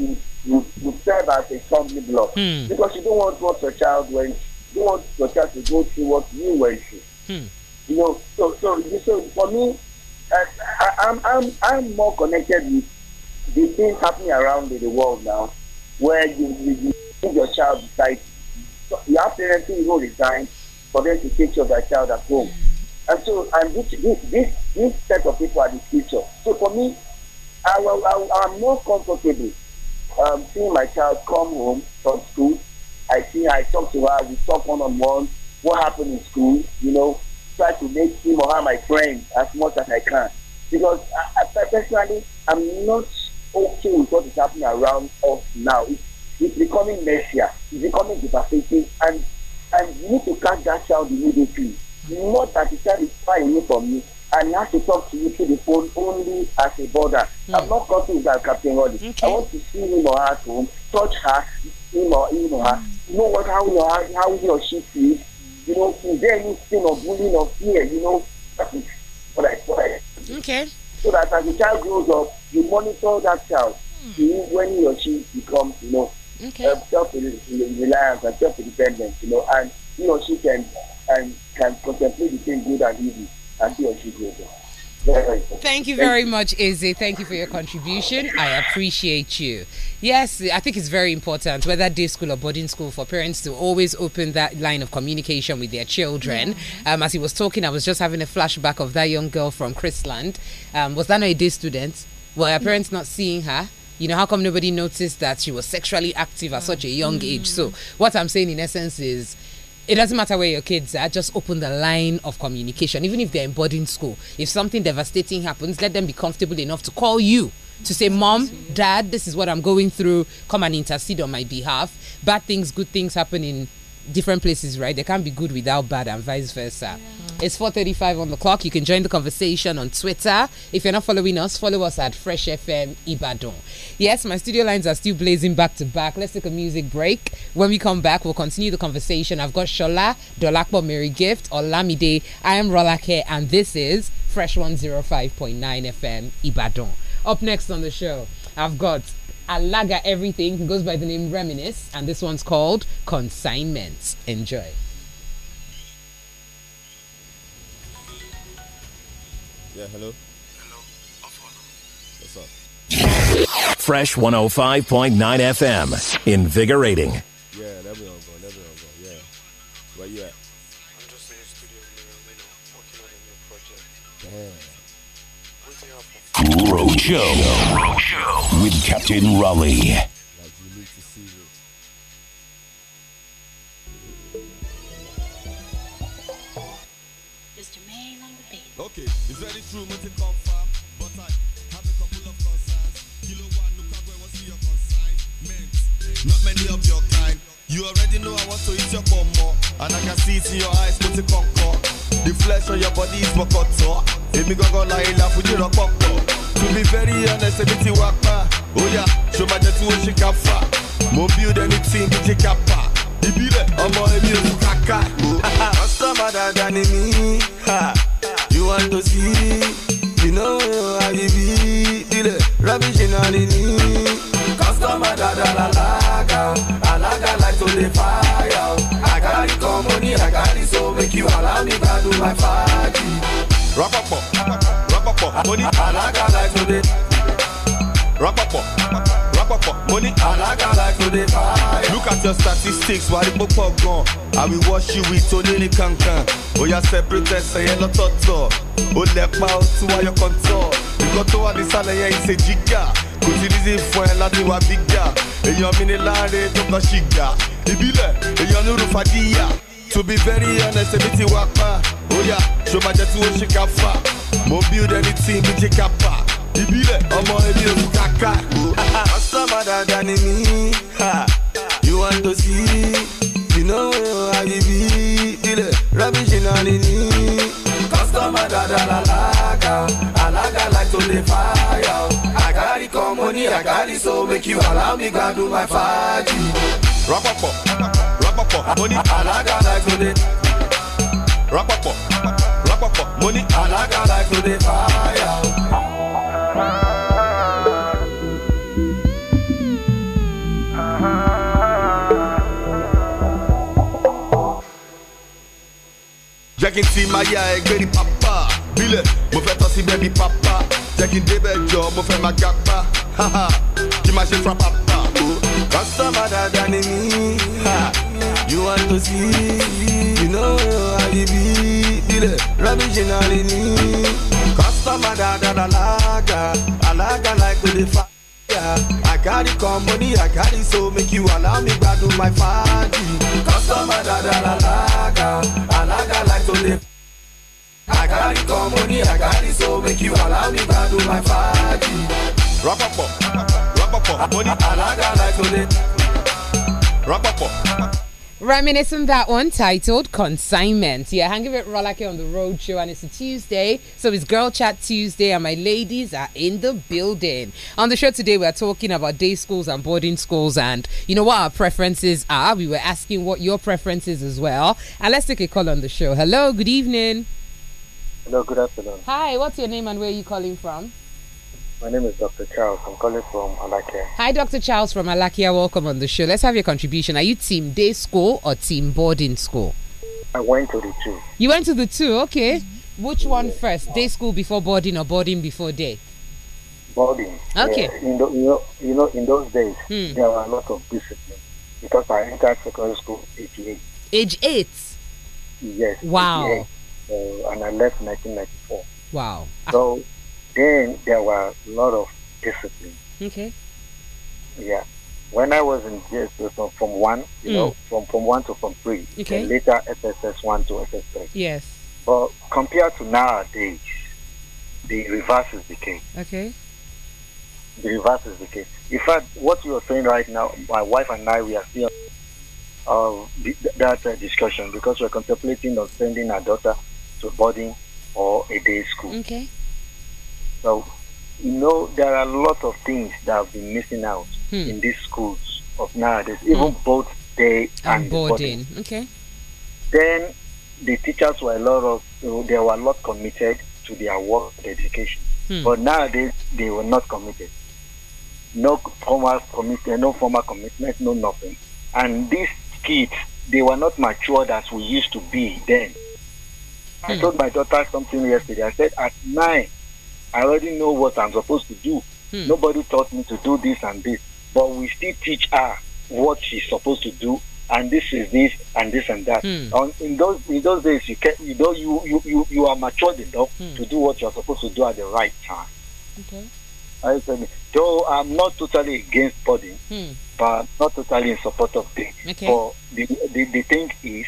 S16: will, will, will serve as a stumbling block
S3: Hmm.
S16: because you don't want what your child went you don't want your child to go through what you went through
S3: Hmm.
S16: you know so so you- so for me uh, I, i'm i'm i'm more connected with the things happening around in the world now where you you you give your child decide so you have parents who know the time for them to take care of their child at home and so and this this this, this set of people are the future so for me i will i will i'm more comfortable um, seeing my child come home from school. I see her, I talk to her, we talk one on one, what happened in school, you know, try to make him or her my friend as much as I can. Because I, I personally, I'm not okay with what is happening around us now. It's, it's becoming messier, it's becoming devastating, and, and you need to catch that child immediately. Not that the child is far away from you and he has to talk to you through the phone only as a border. I'm not talking about Captain Roddy. I want to see him or her at home, touch her, him or him or her, know what how he or her, how he or she feels. You know, is there any thing of bullying or fear? You know, that is what I what I
S3: Okay.
S16: so that as the child grows up, you monitor that child to when he or she becomes, you know,
S3: Hmm. Okay.
S16: uh, self-reliant and self-independent, you know, and he or she can and can contemplate the same good and evil as he or she grows up. Very, very important.
S3: Thank you very much, Izzy. Thank you for your contribution. I appreciate you. Yes, I think it's very important, whether day school or boarding school, for parents to always open that line of communication with their children. Um, as he was talking, I was just having a flashback of that young girl from Chrisland. Um, was that not a day student? Were her parents not seeing her? You know, how come nobody noticed that she was sexually active at such a young age? So, what I'm saying in essence is, it doesn't matter where your kids are, just open the line of communication. Even if they're in boarding school, if something devastating happens, let them be comfortable enough to call you to say, Mom, Dad, this is what I'm going through. Come and intercede on my behalf. Bad things, good things happen in different places, right? They can't be good without bad and vice versa. It's 4.35 on the clock. You can join the conversation on Twitter. If you're not following us, follow us at Fresh FM Ibadan. Yes, my studio lines are still blazing back to back. Let's take a music break. When we come back, we'll continue the conversation. I've got Shola, Dolakbo Mary Gift, Olamide. I am Rolake, and this is Fresh 105.9 FM Ibadan. Up next on the show, I've got Alaga Everything, who goes by the name Reminisce, and this one's called Consignments. Enjoy.
S17: Yeah, hello. What's up?
S18: Fresh 105.9 FM. Invigorating.
S17: Yeah, that be on going. That be on going. Yeah. Where you at?
S19: I'm just in the studio, you know, working on a new project. What do you have for
S18: Roadshow. Roadshow. With Captain Raleigh.
S20: Mr. Mail on the beat.
S17: Okay, it's very true, but it come from. But I have a couple of concerns. Kilo one, look at where was your consignment. Not many of your kind. You already know I want to eat your pomo. And I can see it in your eyes, but it come cut. The flesh on your body is mokoto. Emi gangan la ila fuji rọpọpọ. To be very honest, ebi ti wá pa. Oya, ṣo ma jẹ tí o ṣe ká fà? Mo build anything bí ṣe ká pa. Ìbílẹ̀ ọmọ èmi ò fún kàkà. Ọ̀sọ́mọ dada ni mí. ha. You want to see? You know how you be. Dílé rubbish iná ni ní. Customer dada la lága. Alága like to dey fire. I carry come money, I carry so make you allow me to do my party. Rọpọpọ, rọpọpọ, mo ní. Alága like to dey. Rọpọpọ, rọpọpọ, mo ní. Alága like to dey fire. Look at your statistics, wàá rí púpọ̀ gan. I will wash you with onírin kankan. Oya Oh, separate ẹsẹ̀ yẹn lọ́tọ̀ọ̀tọ̀. Ó lẹ pa ó tún wáyọ̀ kọ́ńtọ̀. Nǹkan tó wà nísàlẹ̀ yẹn ìṣe jígà. Kò sí rízì fún ẹ láti wá bígà. Èèyàn mi ni láàrin tó kàn ṣì gà. Ìbílẹ̀ èèyàn nírú fàdíyà. To be very honest, èmi ti wá pa. Oya ṣo máa jẹ tí ó ṣe ká fà. Mo build anything bí jẹ́ ká pa. Ìbílẹ̀ ọmọ èmi ò kú kàkà. Ọ̀sán dáadáa ni mí. ha. You want to see? You know how you be. Dile, rubbish in all in Customer da da la laga. Alaga like to the fire. I carry come money, I carry so make you allow me go do my party. Rapapọ, rapapọ, money. Alaga like to the. Rapapọ, rapapọ, money. Alaga like to the fire. jẹ́ kí n ti máa yá ẹgbẹ́ ní pápá bílẹ̀ mo fẹ́ tọ́ síbẹ̀ bí pápá jẹ́ kí n débẹ̀ jọ mo fẹ́ máa gapá haha, kí n máa ṣe fra pápá. kọ́sọ́mà dáadáa ni mí ha, you want to see you know how you be bílẹ̀ rẹ́bíjì náà ni ní. kọ́sọ́mà dáadáa làlágà àlágà like to dey fa. I carry come money, I carry so make you allow me gbadun my party. Customer da da la laga, alaga like to live. I carry come money, I carry so make you allow me gbadun my party. Rapapọ, rapapọ, money. Alaga like to live. Rapapọ.
S3: Reminiscing that one titled Consignment. Yeah, hanging with Rolake on the road show, and it's a Tuesday, so it's Girl Chat Tuesday, and my ladies are in the building. On the show today, we are talking about day schools and boarding schools, and you know what our preferences are. We were asking what your preferences as well, and let's take a call on the show. Hello, good evening.
S21: Hello, good afternoon.
S3: Hi, what's your name and where are you calling from?
S21: My name is Dr. Charles. I'm calling from Alake.
S3: Hi, Dr. Charles from Alakia. Welcome on the show. Let's have your contribution. Are you team day school or team boarding school?
S21: I went to the two.
S3: You went to the two, okay. Which one first? Day school before boarding or boarding before day?
S21: Boarding.
S3: Okay.
S21: Yeah, in tho- you, know, you know, in those days,
S3: Hmm.
S21: there were a lot of discipline because I entered secondary school 88.
S3: Age eight.
S21: Yes.
S3: Wow.
S21: 88. So, and I left 1994.
S3: Wow. Ah.
S21: So then there were a lot of discipline.
S3: Okay.
S21: Yeah. When I was in JSS from, from one, you
S3: Mm.
S21: know, from, from one to from three.
S3: Okay.
S21: And later FSS one to FSS.
S3: Yes.
S21: But compared to nowadays, the reverse is the case.
S3: Okay.
S21: The reverse is the case. In fact, what you are saying right now, my wife and I, we are still of the, that uh, discussion because we are contemplating on sending our daughter to boarding or a day school.
S3: Okay.
S21: So, you know, there are a lot of things that have been missing out
S3: Hmm.
S21: in these schools of nowadays, even both day Mm. and,
S3: And
S21: boarding.
S3: boarding. Okay.
S21: Then the teachers were a lot of, they were a lot committed to their work, their education.
S3: Hmm.
S21: But nowadays, they were not committed. No formal commitment, no formal commitment, no nothing. And these kids, they were not matured as we used to be then.
S3: Hmm.
S21: I told my daughter something yesterday. I said, at nine, I already know what I'm supposed to do.
S3: Hmm.
S21: Nobody taught me to do this and this, but we still teach her what she's supposed to do, and this is this and this and that.
S3: Hmm.
S21: On, in those in those days, you can you know you you you, you are matured enough
S3: Hmm.
S21: to do what you're supposed to do at the right time.
S3: Okay.
S21: I said, though I'm not totally against body,
S3: Hmm.
S21: but not totally in support of things.
S3: Okay.
S21: But the, the, the thing is,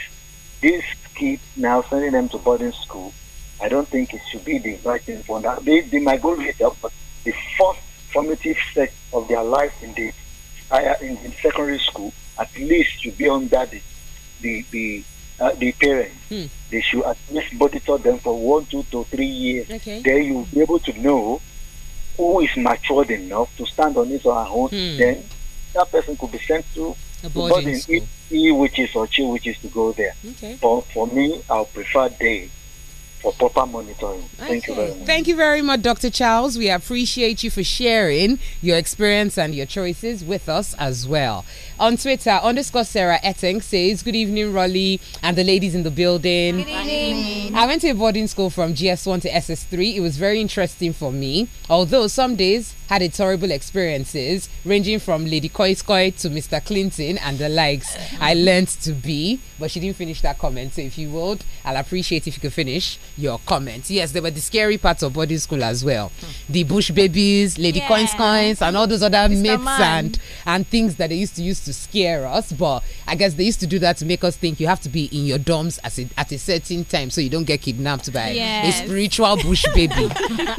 S21: these kids now sending them to boarding school, I don't think it should be the right thing for them. They, they might go later, but the first formative step of their life in the higher in, in secondary school, at least should be under the the the, uh, the parents.
S3: Hmm.
S21: They should at least monitor them for one, two to three years.
S3: Okay.
S21: Then you'll be able to know who is matured enough to stand on his or her own,
S3: Hmm.
S21: then that person could be sent to
S3: A
S21: to
S3: boarding school.
S21: if he wishes or she wishes to go there.
S3: Okay.
S21: But for me, I'll prefer day for proper monitoring. Thank you very much.
S3: Thank you very much, Dr. Charles. We appreciate you for sharing your experience and your choices with us as well. On Twitter, underscore Sarah Etting says, Good evening, Rolly, and the ladies in the building. Good evening. I went to a boarding school from GS1 to SS3. It was very interesting for me, although some days had its horrible experiences, ranging from Lady Koiskoi to Mr. Clinton and the likes. I learned to be, but she didn't finish that comment. So if you would, I'll appreciate if you could finish your comment. Yes, there were the scary parts of boarding school as well. The bush babies, Lady
S6: Hmm. Yeah.
S3: Coins Coins, and all those other myths
S6: Man.
S3: and and things that they used to use to scare us. But I guess they used to do that to make us think you have to be in your dorms at a, at a certain time so you don't get kidnapped by
S6: Yes.
S3: a spiritual bush baby.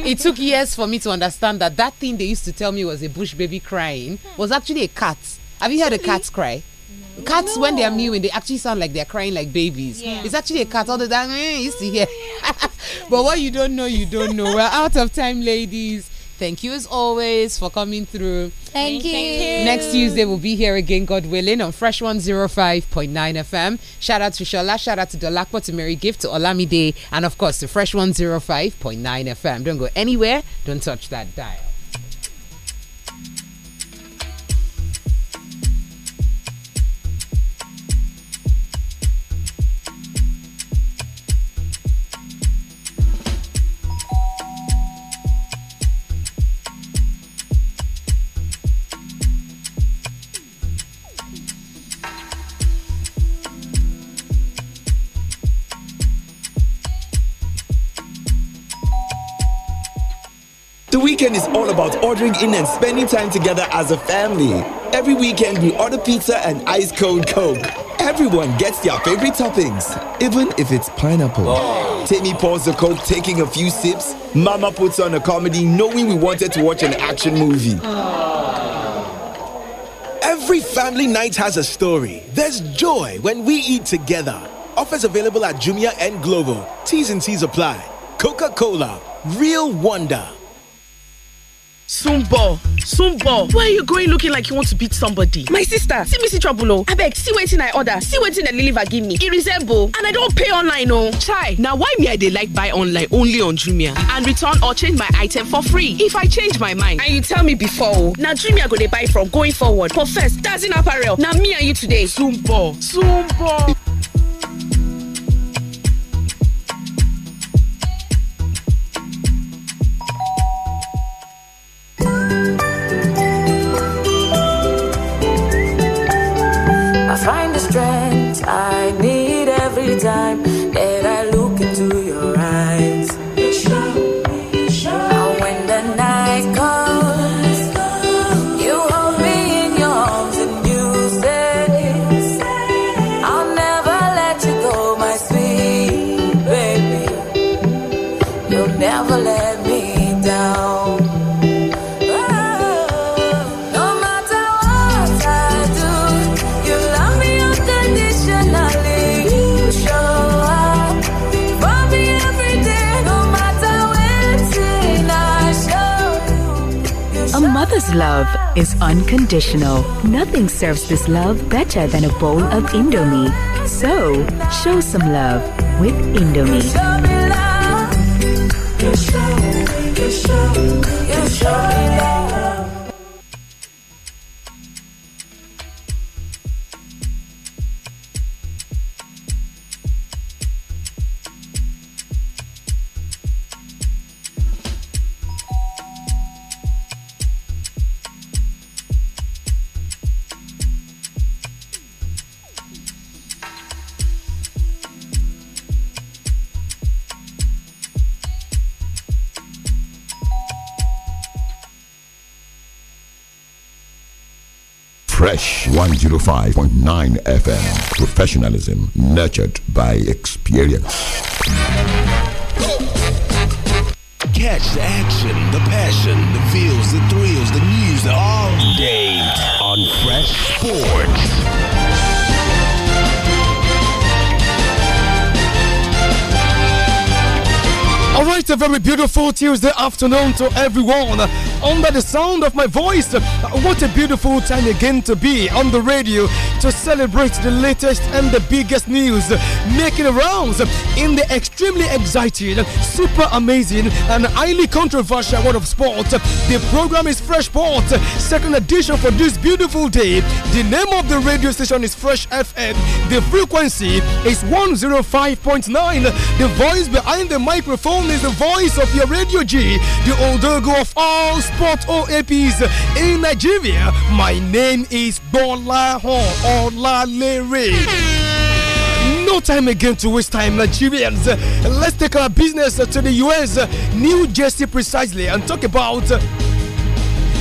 S3: it took years for me to understand that that thing they used to tell me was a bush baby crying was actually a cat. Have you heard a cat cry? Cats, when they are mewing, they actually sound like they're crying like babies.
S6: Yeah.
S3: It's actually a cat all the time. eh, You used to hear. but what you don't know, you don't know. We're out of time, ladies. Thank you as always for coming through.
S1: Thank you.
S3: Next Tuesday, we'll be here again, God willing, on Fresh 105.9 FM. Shout out to Shola, shout out to Dolakwa, to Mary Gift, to Olamide, and of course to Fresh 105.9 FM. Don't go anywhere, don't touch that dial.
S22: The weekend is all about ordering in and spending time together as a family. Every weekend, we order pizza and ice cold Coke. Everyone gets their favorite toppings, even if it's pineapple. Timmy pours the Coke, taking a few sips. Mama puts on a comedy, knowing we wanted to watch an action movie.
S13: Every family night has a story. There's joy when we eat together. Offers available at Jumia and Glovo. T's and T's apply. Coca Cola, real wonder.
S14: Sumbo, Sumbo, where are you going looking like you want to beat somebody? My sister, see me see trouble oh. Abeg, see wetin I order, see wetin dem deliver give me. E resemble and I don pay online oh. Chai, na why me I dey like buy online only on Jumia and return or change my item for free if I change my mind. And you tell me before oh, na Jumia go dey buy from going forward. But first, Dazin apparel, na me and you today. Sumbo, Sumbo.
S10: I find the strength I need every time that I look into your eyes. And when the night comes, you hold me never let me down. No matter what I do, you love me unconditionally. You show up for me every day, no matter when sin I show.
S20: A mother's love is unconditional. Nothing serves this love better than a bowl of Indomie. So, show some love with Indomie.
S10: You show me, you show me, you show me love.
S23: Fresh 105.9 FM. Professionalism nurtured by experience.
S24: Catch the action, the passion, the feels, the thrills, the news the all day on Fresh Sports.
S25: All right, a very beautiful Tuesday afternoon to everyone uh, under the sound of my voice. Uh, What a beautiful time again to be on the radio to celebrate the latest and the biggest news uh, making rounds uh, in the extremely exciting, uh, super amazing, and highly controversial world of sport. Uh, The program is Fresh Sport, uh, second edition for this beautiful day. The name of the radio station is Fresh FM. The frequency is 105.9. The voice behind the microphone is the voice of your Radio G, the Odogo of all sport OAPs in Nigeria. My name is Bola Hon Olalere. No time again to waste time, Nigerians. Uh, Let's take our business uh, to the US, uh, New Jersey precisely, and talk about. uh,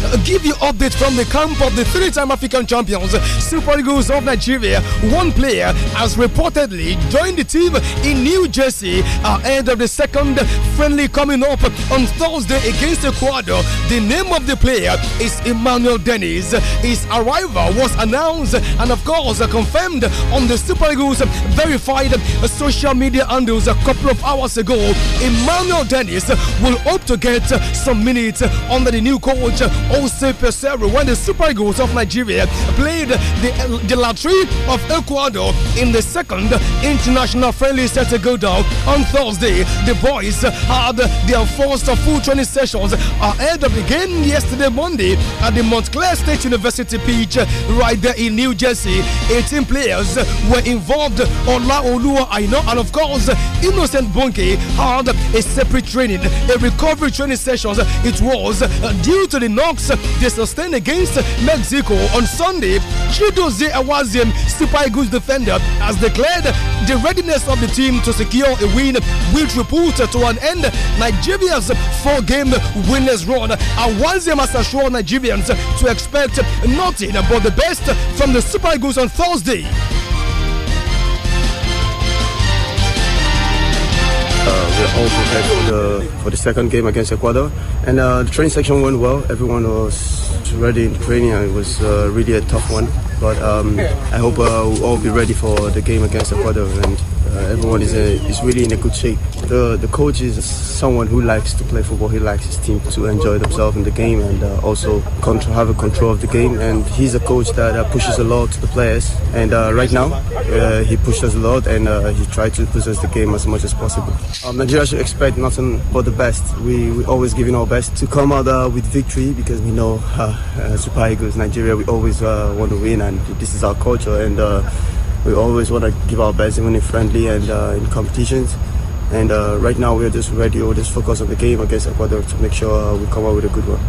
S25: uh, give you update from the camp of the three-time African champions, uh, Super Eagles of Nigeria. One player has reportedly joined the team in New Jersey ahead of the second friendly coming up on Thursday against Ecuador. The name of the player is Emmanuel Dennis. His arrival was announced and, of course, uh, confirmed on the Super Eagles verified uh, social media handles a couple of hours ago. Emmanuel Dennis will hope to get uh, some minutes uh, under the new coach uh, Jose Pesero when the Super Eagles of Nigeria played the, the lottery of Ecuador in the second international friendly set to go down on Thursday. The boys had their first full training sessions ahead of the game yesterday Monday at the Montclair State University pitch right there in New Jersey. 18 players were involved on La Olua Aino and of course Innocent Bonke had a separate training, a recovery training sessions. It was uh, due to the knocks they sustained against Mexico on Sunday. Chidozie Awazim, Super Eagles defender, has declared the readiness of the team to secure a win, which will put to an end Nigeria's four-game winless run. Awazim has assured Nigerians to expect nothing but the best from the Super Eagles on Thursday.
S26: Uh, we're all prepared for the, for the second game against Ecuador, and uh, the training section went well. Everyone was ready in training. and It was uh, really a tough one, but um, I hope uh, we'll all be ready for the game against Ecuador. And uh, everyone is uh is really in a good shape. The the coach is someone who likes to play football. He likes his team to enjoy themselves in the game and uh, also control, have a control of the game. And he's a coach that uh, pushes a lot to the players. And uh, right now, uh, he pushed us a lot and uh, he tried to possess the game as much as possible. Um, Nigeria should expect nothing but the best. We we always giving our best to come out uh, with victory because we know uh, uh, Super Eagles Nigeria. We always uh, want to win, and this is our culture. And uh, we always want to give our best even in friendly and uh, in competitions. And uh, right now we're just ready. We're just focused on the game against Ecuador to make sure uh, we come out with a good one.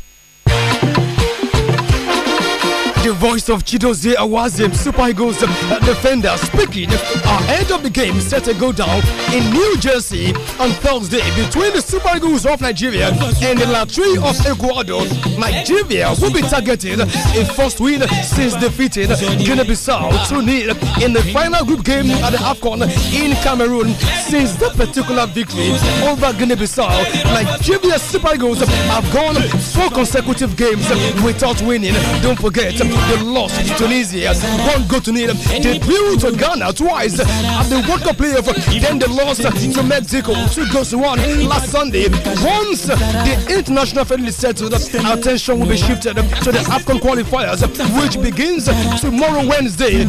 S25: The voice of Chidozie Awazim, Super Eagles uh, defender, speaking End of the game set to go down in New Jersey on Thursday between the Super Eagles of Nigeria and the Latrie of Ecuador. Nigeria will be targeted a first win since defeating Guinea-Bissau 2-0 in the final group game at the AFCON in Cameroon. Since that particular victory over Guinea-Bissau, Nigeria Super Eagles have gone four consecutive games without winning. Don't forget, they lost to Tunisia, one goal to nil. They blew to Ghana twice at the World Cup playoff. Then they lost to Mexico, two goals to one last Sunday. Once the international friendly settled, attention will be shifted to the AFCON qualifiers, which begins tomorrow Wednesday.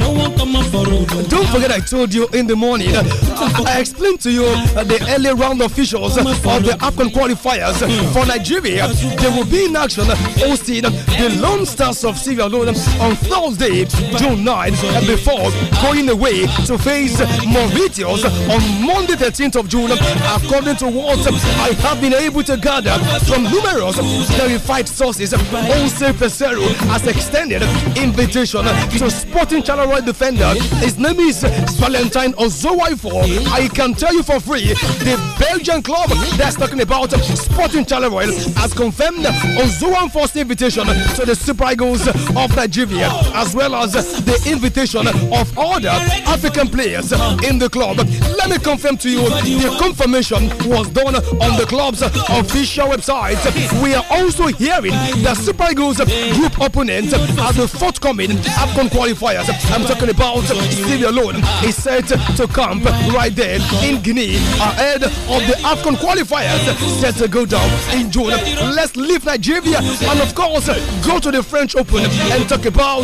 S25: Don't forget, I told you in the morning, I explained to you the early round officials of the AFCON qualifiers for Nigeria. They will be in action uh, hosting the Lone Stars of Sierra Leone uh, on Thursday, June 9th, before going away to face Mauritius on Monday, 13th of June. According to what I have been able to gather from numerous verified sources, Jose Pesero has extended invitation to Sporting Chalaroy defender. His name is Valentine Ozowaifo. I can tell you for free, the Belgian club that's talking about uh, Sporting Chalaroy has confirmed uh, Ozowainfo's invitation to the Super Eagles of Nigeria, as well as the invitation of other African players in the club. Let me confirm to you, the confirmation was done on the club's official website. We are also hearing that Super Eagles group opponents are the forthcoming AFCON qualifiers. I'm talking about Stevie Alone. He's set to camp right there in Guinea ahead of the AFCON qualifiers set to go down in June. Let's leave Nigeria and, of course, go to the French Open and talk about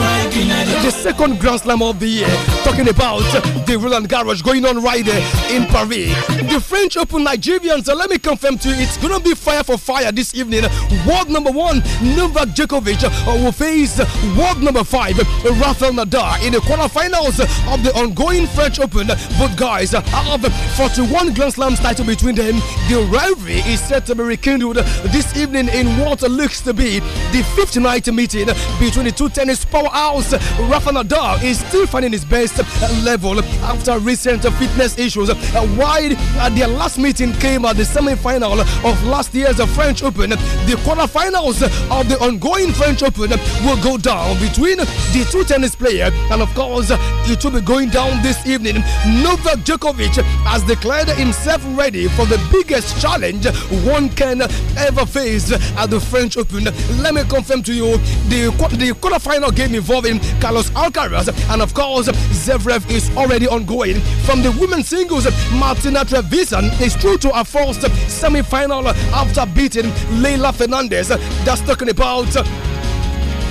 S25: the second Grand Slam of the year, talking about the Roland Garros going on right there in Paris. The French Open Nigerians, uh, let me confirm to you, it's going to be fire for fire this evening. World number one, Novak Djokovic, uh, will face world number five, Rafael Nadal, in the quarterfinals of the ongoing French Open. Both guys uh, have 41 Grand Slams title between them. The rivalry is set to be rekindled this evening in what looks to be the 59th meeting between the two tennis his powerhouse. Rafa Nadal is still finding his best level after recent fitness issues. While at their last meeting came at the semi-final of last year's French Open, the quarterfinals of the ongoing French Open will go down between the two tennis players, and of course, it will be going down this evening. Novak Djokovic has declared himself ready for the biggest challenge one can ever face at the French Open. Let me confirm to you the the quarterfinal final game involving Carlos Alcaraz and of course Zverev is already ongoing. From the women's singles, Martina Trevisan is through to her first semi-final after beating Leila Fernandez. That's talking about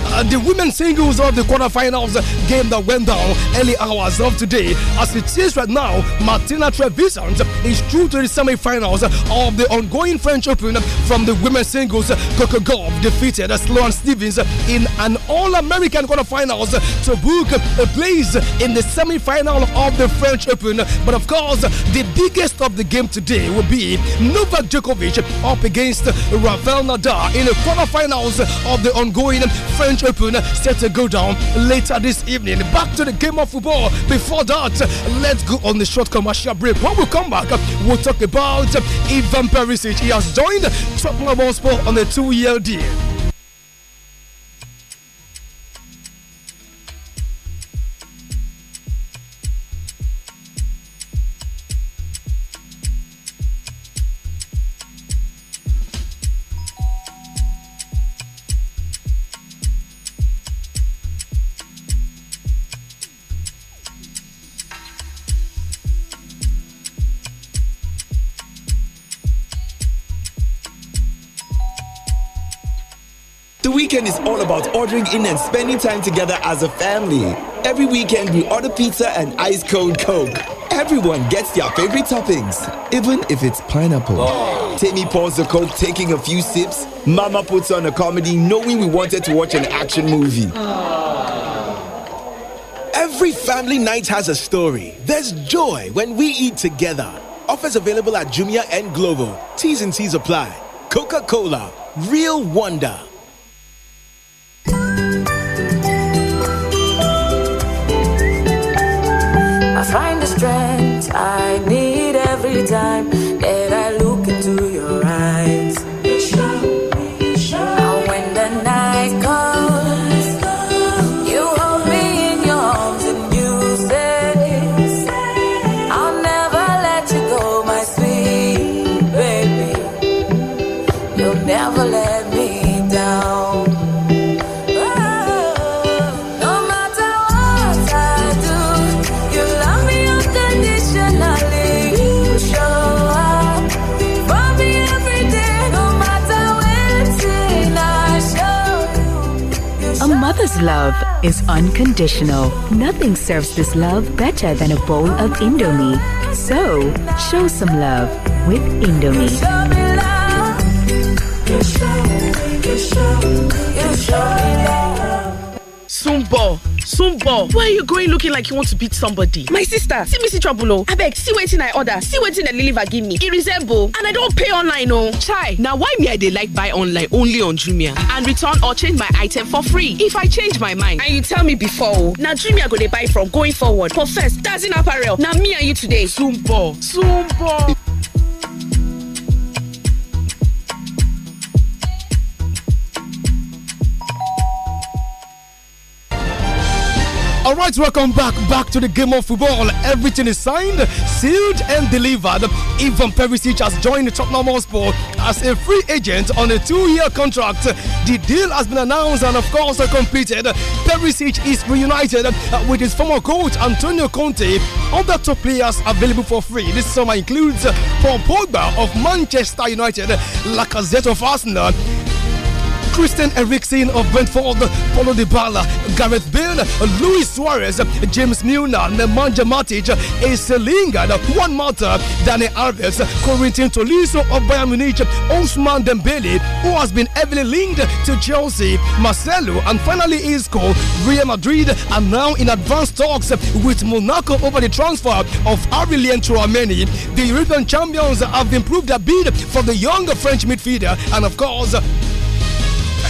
S25: uh, the women's singles of the quarterfinals game that went down early hours of today. As it is right now, Martina Trevisan is through to the semi-finals of the ongoing French Open from the women's singles. Coco Golf defeated Sloan Stevens in an All-American quarterfinals to book a place in the semi-final of the French Open. But of course, the biggest of the game today will be Novak Djokovic up against Rafael Nadal in the quarterfinals of the ongoing French Open set to go down later this evening. Back to the game of football. Before that, let's go on the short commercial break. When we come back, we'll talk about Ivan Perisic. He has joined Tottenham Hotspur on a two-year deal.
S22: The weekend is all about ordering in and spending time together as a family. Every weekend, we order pizza and ice cold Coke. Everyone gets their favorite toppings, even if it's pineapple. Timmy pours the Coke, taking a few sips. Mama puts on a comedy, knowing we wanted to watch an action movie.
S27: Every family night has a story. There's joy when we eat together. Offers available at Jumia and Glovo. T's and T's apply. Coca Cola, real wonder.
S10: strength I need every time that I look into your eyes. And when the night comes, you hold me in your arms and you say, I'll never let you go, my sweet baby. You'll never let me down. Oh. No matter what I do, you love me unconditionally. You show up for me every day, no matter when sin I show.
S20: A mother's love is unconditional. Nothing serves this love better than a bowl of Indomie. So, show some love with Indomie.
S10: You show me, you show me, you show me love.
S14: Sumbo, Sumbo, where are you going looking like you want to beat somebody? My sister, see me see trouble oh. Abeg, see waiting I order, see waiting that Liliva give me. It resemble, and I don't pay online oh. Chai, now why me I dey like buy online only on Jumia and return or change my item for free if I change my mind. And you tell me before oh, now Jumia go dey buy from going forward. For first, that's in apparel. Now me and you today. Sumbo, Sumbo.
S25: All right, welcome back back to the game of football. Everything is signed, sealed, and delivered. Ivan Perisic has joined Tottenham Hotspur as a free agent on a two-year contract. The deal has been announced and, of course, completed. Perisic is reunited uh, with his former coach Antonio Conte. Other top players available for free this summer includes uh, Paul Pogba of Manchester United, Lacazette of Arsenal. Christian Eriksen of Brentford, Paulo Dybala, Gareth Bale, Luis Suarez, James Milner, Nemanja Matic, Ace Lingard, Juan Mata, Danny Alves, Corentin Tolisso of Bayern Munich, Osman Dembele, who has been heavily linked to Chelsea, Marcelo, and finally Isco, Real Madrid are now in advanced talks with Monaco over the transfer of Aurelien Chouameni. The European champions have improved their bid for the young French midfielder, and of course,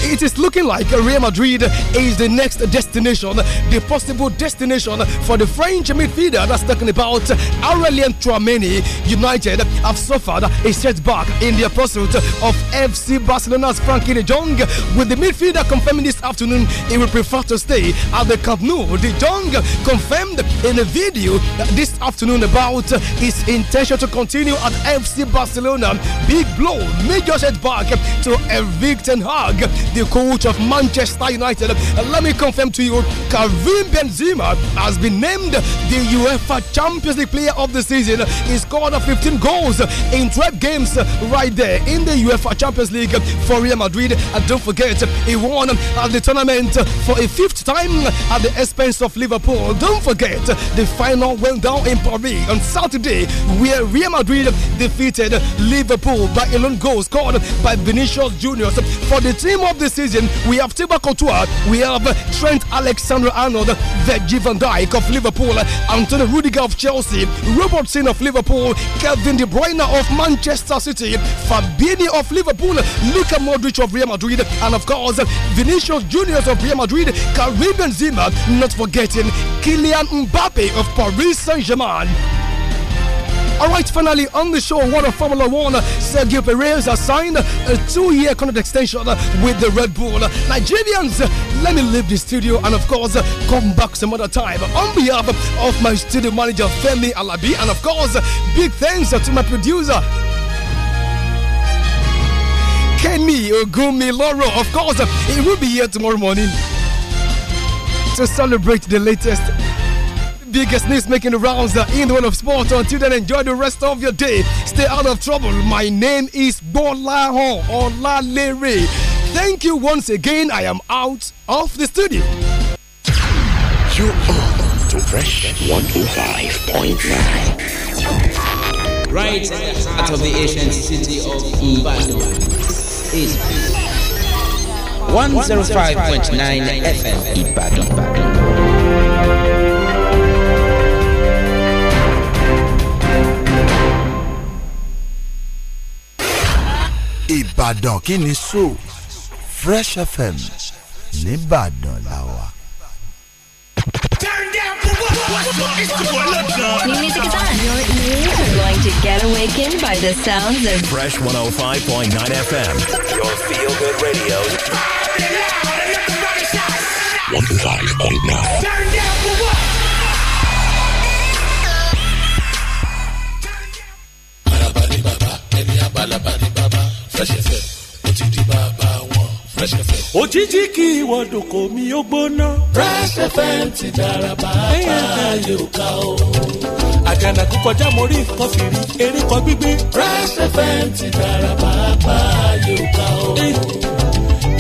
S25: it is looking like Real Madrid is the next destination, the possible destination for the French midfielder that's talking about Aurelien Tchouameni. United have suffered a setback in their pursuit of FC Barcelona's Frankie de Jong, with the midfielder confirming this afternoon he will prefer to stay at the Camp Nou. De Jong confirmed in a video this afternoon about his intention to continue at FC Barcelona. Big blow, major setback to Erik Ten Hag, the coach of Manchester United. Let me confirm to you, Karim Benzema has been named the UEFA Champions League Player of the Season. He scored 15 goals in 12 games right there in the UEFA Champions League for Real Madrid. And don't forget, he won at the tournament for a fifth time at the expense of Liverpool. Don't forget, the final went down in Paris on Saturday, where Real Madrid defeated Liverpool by a lone goal scored by Vinicius Junior. For the team of the season, we have Thibaut Courtois, we have Trent Alexander-Arnold, Virgil van Dijk of Liverpool, Antonio Rudiger of Chelsea, Robertson of Liverpool, Kevin De Bruyne of Manchester City, Fabinho of Liverpool, Luka Modric of Real Madrid, and of course Vinicius Juniors of Real Madrid, Karim Benzema, not forgetting Kylian Mbappe of Paris Saint-Germain. All right, finally on the show, one of Formula One, Sergio Perez has signed a two-year contract extension with the Red Bull. Nigerians, let me leave the studio and of course come back some other time. On behalf of my studio manager Femi Alabi, and of course, big thanks to my producer Kenny Ogumi Loro. Of course, he will be here tomorrow morning to celebrate the latest biggest news making the rounds uh, in the world of sport. Until then, enjoy the rest of your day. Stay out of trouble. My name is Bola Hon Olalere. Thank you once again. I am out of the studio.
S24: You're on to Fresh 105.9.
S4: Right out of the ancient city of Ibadan is 105.9 FM Ibadan.
S5: Ìbàdàn kí ni so Fresh FM nìbàdàn làwà.
S10: Turn down for what?
S22: New music is on. Your ears are going to get awakened by the sounds of
S18: Fresh 105.9 FM. Your feel good radio. 105.9.
S19: òjijì kí ìwọ́dùn kò mí ó gbóná.
S13: Fresh FM ti dára bàbá yóò ká o.
S19: àjànà kú kọjá mo rí nǹkan fìrí erin kan gbígbé.
S13: Fresh FM ti dára bàbá yóò ká o.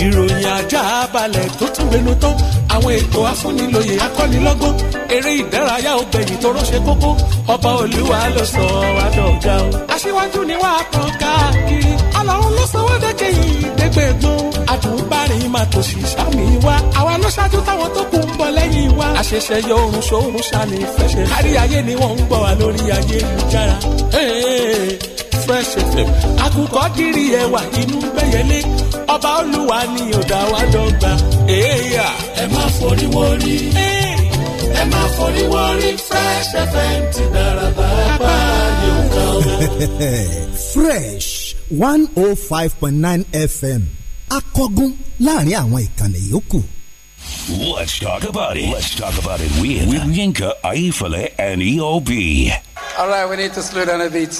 S19: ìròyìn ajá balẹ̀ tó tún gbénu tán àwọn ètò afúnilòyè akọ́nilọ́gbọ́n eré ìdárayá obìnrin tó rọ́ṣẹ́ kókó ọba olúwa ló sọ wá dọ̀gá o. aṣíwájú ni wàá tàn káàkiri ọlọ́run ló sọ wọ́n dẹ́kẹ́ yìí dẹ́gbẹ̀gbọ́n àtúbárìn máa tò sí sámi wa àwa ló ṣáájú táwọn tó kù ń bọ̀ lẹ́yìn wa. àṣẹṣẹ yọ oorun ṣoorun ṣàní fẹsẹ̀ kárí ayé ni wọ́n ń gbọ́ wa lórí ayélujára. Hey, Fresh FM akukọ diri ẹwà inú gbẹyẹlé ọba olúwa ni ó dá wa dọ́gba. èèyà
S13: ẹ má forí wọrí ẹ má forí wọrí Fresh FM ti dára bàbá yóò kọ́ ọ.
S28: fresh one oh five point nine fm akọgun láàrin àwọn ìkànnì yòókù.
S18: Let's talk about it. Let's talk about it with, with Yinka, Aifale, and
S2: E
S18: EOB.
S2: All right, we need to slow down a bit.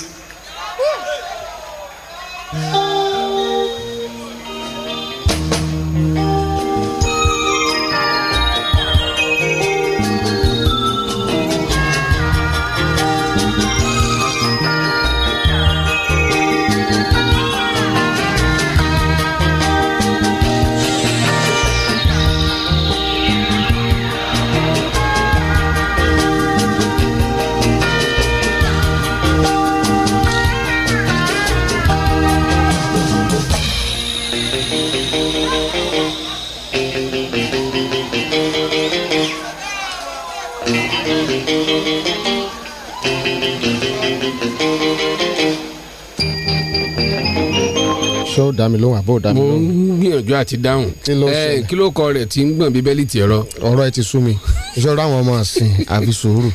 S29: ṣó dami lóhùn àbó dami
S30: mo
S29: lóhùn.
S30: ń gbìyànjú àti dáhùn
S29: Kí ló
S30: Eh,
S29: ṣẹlẹ̀?
S30: kí ló kọ rẹ̀ tí ń gbọ̀n bíbélì tì ẹ̀rọ.
S29: ọ̀rọ̀ ẹ ti sú mi iṣẹ́ ọ̀rọ̀ àwọn ọmọ àsìn àfi sùúrù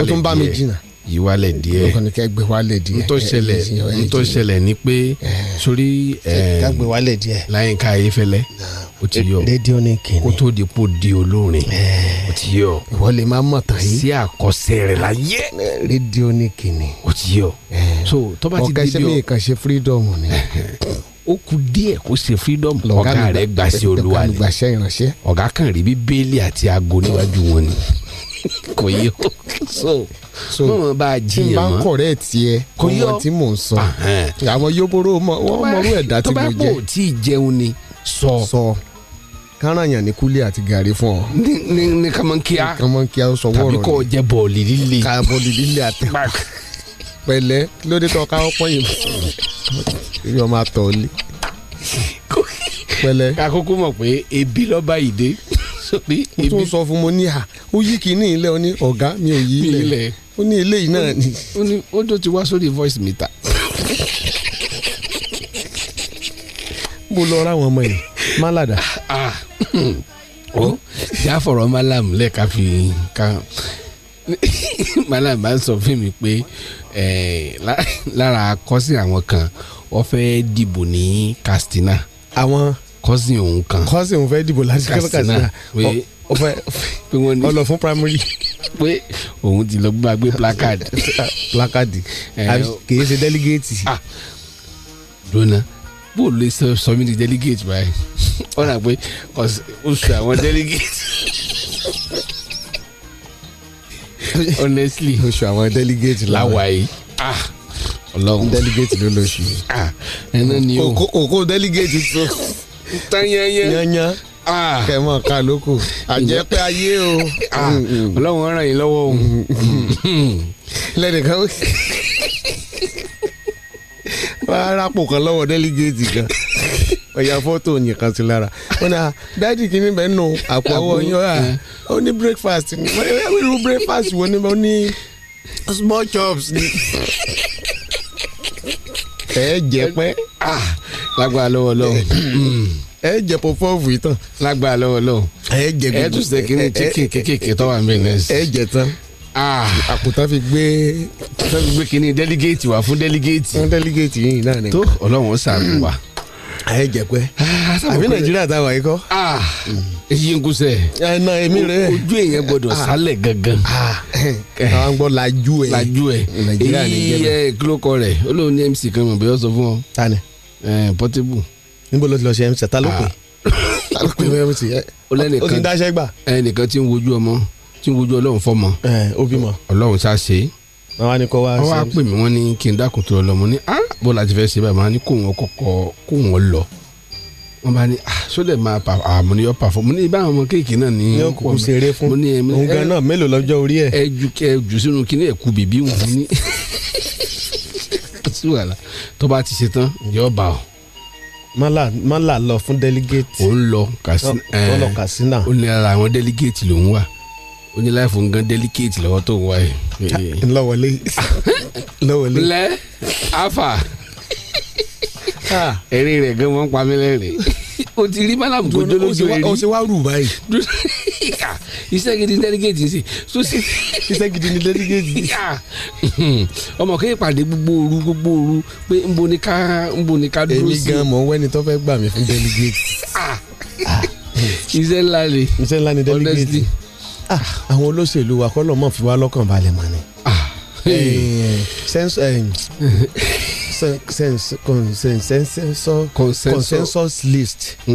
S29: ó tún bá mi jìnnà.
S30: ìwálẹ̀ díẹ̀
S29: ọkàn ní kẹ́ gbé wálé díẹ̀.
S30: n tó ṣẹlẹ̀
S29: eh,
S30: n tó ṣẹlẹ̀ ni pé sórí eh,
S29: ká gbé wálé díẹ̀.
S30: láyínká ayéfẹ́lẹ́ ó ti yọ
S29: rédíò ní kìnìún.
S30: kó tó di pò di olórin
S29: Eh.
S30: ó ti yọ
S29: ìwọ lè má mọ̀ tán yìí.
S30: sí àkọsẹ̀ rẹ̀ láyé
S29: rédíò ní kìnìún.
S30: ó ti yọ so tó bá ti
S29: ọ̀gá
S30: di
S29: iṣẹ́
S30: bí
S29: mi kàn ṣe freedom ni.
S30: ó kù díẹ̀ kó ṣe freedom ọ̀gá rẹ̀ gbà sí olúwa ni
S29: gbàṣẹ ìránṣẹ́.
S30: ọ̀gá kan rí bíbélì àti aago níwájú wọn ni kò yé o so mọ̀ mọ́ bá a
S29: tí
S30: jiyàn
S29: n bá ń
S30: mọ́.
S29: kọ̀rẹ́ tiẹ̀
S30: Kò
S29: kó
S30: yọ.
S29: mọ tí mò ń sọ
S30: Ahẹ́n.
S29: àwọn yóboro mọ wọn mọrú ẹ̀dá tí
S30: tó
S29: mo
S30: bá
S29: jẹ́
S30: pò tí ì jẹun ni sọ
S29: sọ kárànyàn ní kúlẹ̀ àti gàrí fún ọ.
S30: ní ní ní kàmọ́nkíá
S29: kàmọ́nkíá ó sọ wọ́ọ̀rọ̀
S30: tàbí kọ́ ọ jẹ bọ̀ọ̀lì líle
S29: káàbọ̀lì líle àti pẹ̀lẹ́ kí ló dé tọ́ káwọ́ pọ̀ yìí èmi ọmọ àtọ̀ lé pẹ̀lẹ́
S30: kakoko mọ̀ pé ebi lọ́ba yìí dé sórí
S29: mo
S30: ebi
S29: tún sọ fún mo ní à ó yí kínní ilẹ̀ ó ní ọ̀gá mi ò yí
S30: Mi
S29: ilẹ̀
S30: ilẹ̀.
S29: ó ní ilé yìí náà ni
S30: ó ní ó tó ti wá sórí voice meter
S29: mo lọ ra àwọn ọmọ yìí málàdà
S30: ah ó já fọ̀rọ̀ malam lẹ́ka fi ka malam bá ń sọ fún mi pé eh, lá- lára kọ́sìn àwọn kan wọ́n fẹ́ dìbò ní Katsina
S29: àwọn
S30: kọ́sìn òun kan
S29: kọ́sì òun fẹ́ dìbò láti
S30: Katsina,
S29: kásínà
S30: pé-
S29: ó fẹ́
S30: pé wọ́n ní
S29: ọlọ fún primary
S30: pé òun ti lọ gbàgbé placard
S29: placard
S30: Eh,
S29: àbí
S30: o-
S29: kì í ṣe delegate
S30: Ah, dona bó o lè sọ sọ mí di delegate báyìí ó rà pé ọ̀s- oṣù àwọn delegate honestly
S29: oṣù àwọn delegate ló wà.
S30: láwa yìí ah ọlọ́run
S29: delegate ló lóṣù
S30: ah ẹnu ni o
S29: Kò- kò kò delegate tó
S30: tanyanya
S29: yanyan
S30: ah
S29: kẹmọ ká lóko àjẹpẹ ayé o
S30: ah
S29: Mm-hmm.
S30: ọlọ́run ó ràn yín lọ́wọ́ o Mm-hmm.
S29: lẹ́nìkan wàá rápò kan lọ́wọ́ delegate kan ọ̀yà fọ́tò nìkan sí lára ó ní "Ah, à dáàdì kìíní bẹ́ẹ̀ nù àpò ọwọ́ yín ó à, ó ní breakfast ni Mo ní, "Ẹ, irú breakfast wo ni ó ní small chops ni ẹ jẹ pẹ́
S30: ah lágbára lọ́wọ́ lọ́wọ́
S29: ẹ jẹ pọ́fọ́ọ̀fù yìí tán
S30: lágbára lọ́wọ́ lọ́wọ́
S29: ẹ jẹ
S30: ẹ tún ṣe kí ni
S29: ẹ- ẹ-
S30: chicken kékèké tó wà mí nẹ́ẹ̀sì
S29: ẹ jẹ tán
S30: Ah.
S29: àkùtà fi gbé
S30: tó fi gbé kínní delegate wá fún delegate.
S29: fún delegate yìí náà ni.
S30: tó ọlọ́run ó ṣàánú wa. Ah,
S29: ayé jẹpẹ àbí
S30: pé-
S29: nàìjíríà táwa yìí kọ.
S30: Ah, èyí ń kúsẹ̀.
S29: ẹnà èmi rẹ.
S30: ojú èèyàn gbọdọ̀ sálẹ̀ gangan.
S29: Ah,
S30: Eh.
S29: àwọn gbọ́ lajú ẹ.
S30: lajú ẹ
S29: nàìjíríà ni
S30: èyí
S29: jẹ́
S30: ẹ kílókọ rẹ olóhùn ní mc kan mọ̀ bí wọ́n sọ fún ọ.
S29: tani.
S30: ẹ portable. Ah,
S29: níbo ló ti lọ ṣe mc ta ló pè. ta ló pè mc ẹ.
S30: olẹ́nìkan
S29: ó ti ń dáṣẹ́ gbà.
S30: ẹnìkan tí ń wojú ọmọ tí ń wojú ọlọ́run fọmọ.
S29: ẹ Eh, ó bímọ.
S30: ọlọ́run ṣá ṣe é.
S29: wọ́n wá ní kó wá.
S30: wọ́n wá
S29: ṣe-
S30: pè mí wọ́n ní kí n dákun tó lọ mọ́ ní ah bọ́ọ̀lù àti fẹ́ ṣe báyìí máa ní kó wọn kọ̀kọ́ kó wọn lọ. wọ́n bá ní ah sódẹ̀ máa pa àmọ́ ní yọ pàfọ́ mo ní ibà àwọn ọmọ kéèké náà ní.
S29: ní òkùnkùn ṣeré fún.
S30: Hmm, mo ní eh, ẹ mo ní
S29: òun gan
S30: ẹ
S29: náà mélòó lọ́jọ́ orí ẹ̀.
S30: ẹ ju kẹ jù sínú kíní ẹ ku bèbí wọn ní. sí wàhálà tó bá ti ṣe tán yọ bá ọ.
S29: mọ́là mọ́là lọ fún delegate.
S30: ó ń lọ Katsina
S29: ó lọ Katsina.
S30: ó ní ara àwọn delegate lòún wà ó ní láìfò ń gan delegate lọ́wọ́ tó ń wá
S29: Ah,
S30: yìí.
S29: lọ́wọ́lé lọ́wọ́lé.
S30: lẹ́ afa
S29: Ah.
S30: eré rẹ̀ gan wọ́n pa mí lẹ́rìn. o ti rí malam tó
S29: Gbọ́dọ̀, ó
S30: jólójú
S29: ṣe wá-
S30: rí.
S29: ó ṣe wá rù báyìí.
S30: iṣẹ́ gidi ní delegate ṣe.
S29: iṣẹ́ gidi ní delegate.
S30: ọmọ kí ìpàdé gbogbo ooru gbogbo ooru pé nbo ni ká nbo ni ká dúró
S29: èmi
S30: sí.
S29: gan mọ̀ wẹ́ni tó fẹ́ gbà mí fún delegate.
S30: iṣẹ́ ńlá ni
S29: iṣẹ́ ńlá ni delegate.
S30: honestly.
S29: Ah, àwọn olóṣèlú wa kọ́ lọ́mọ́ fi wá lọ́kàn balẹ̀ mọ́ ni.
S30: Ah,
S29: Eh, sense- eh, sen- sense- con- sen- sen- sensor- consensus list. Eh,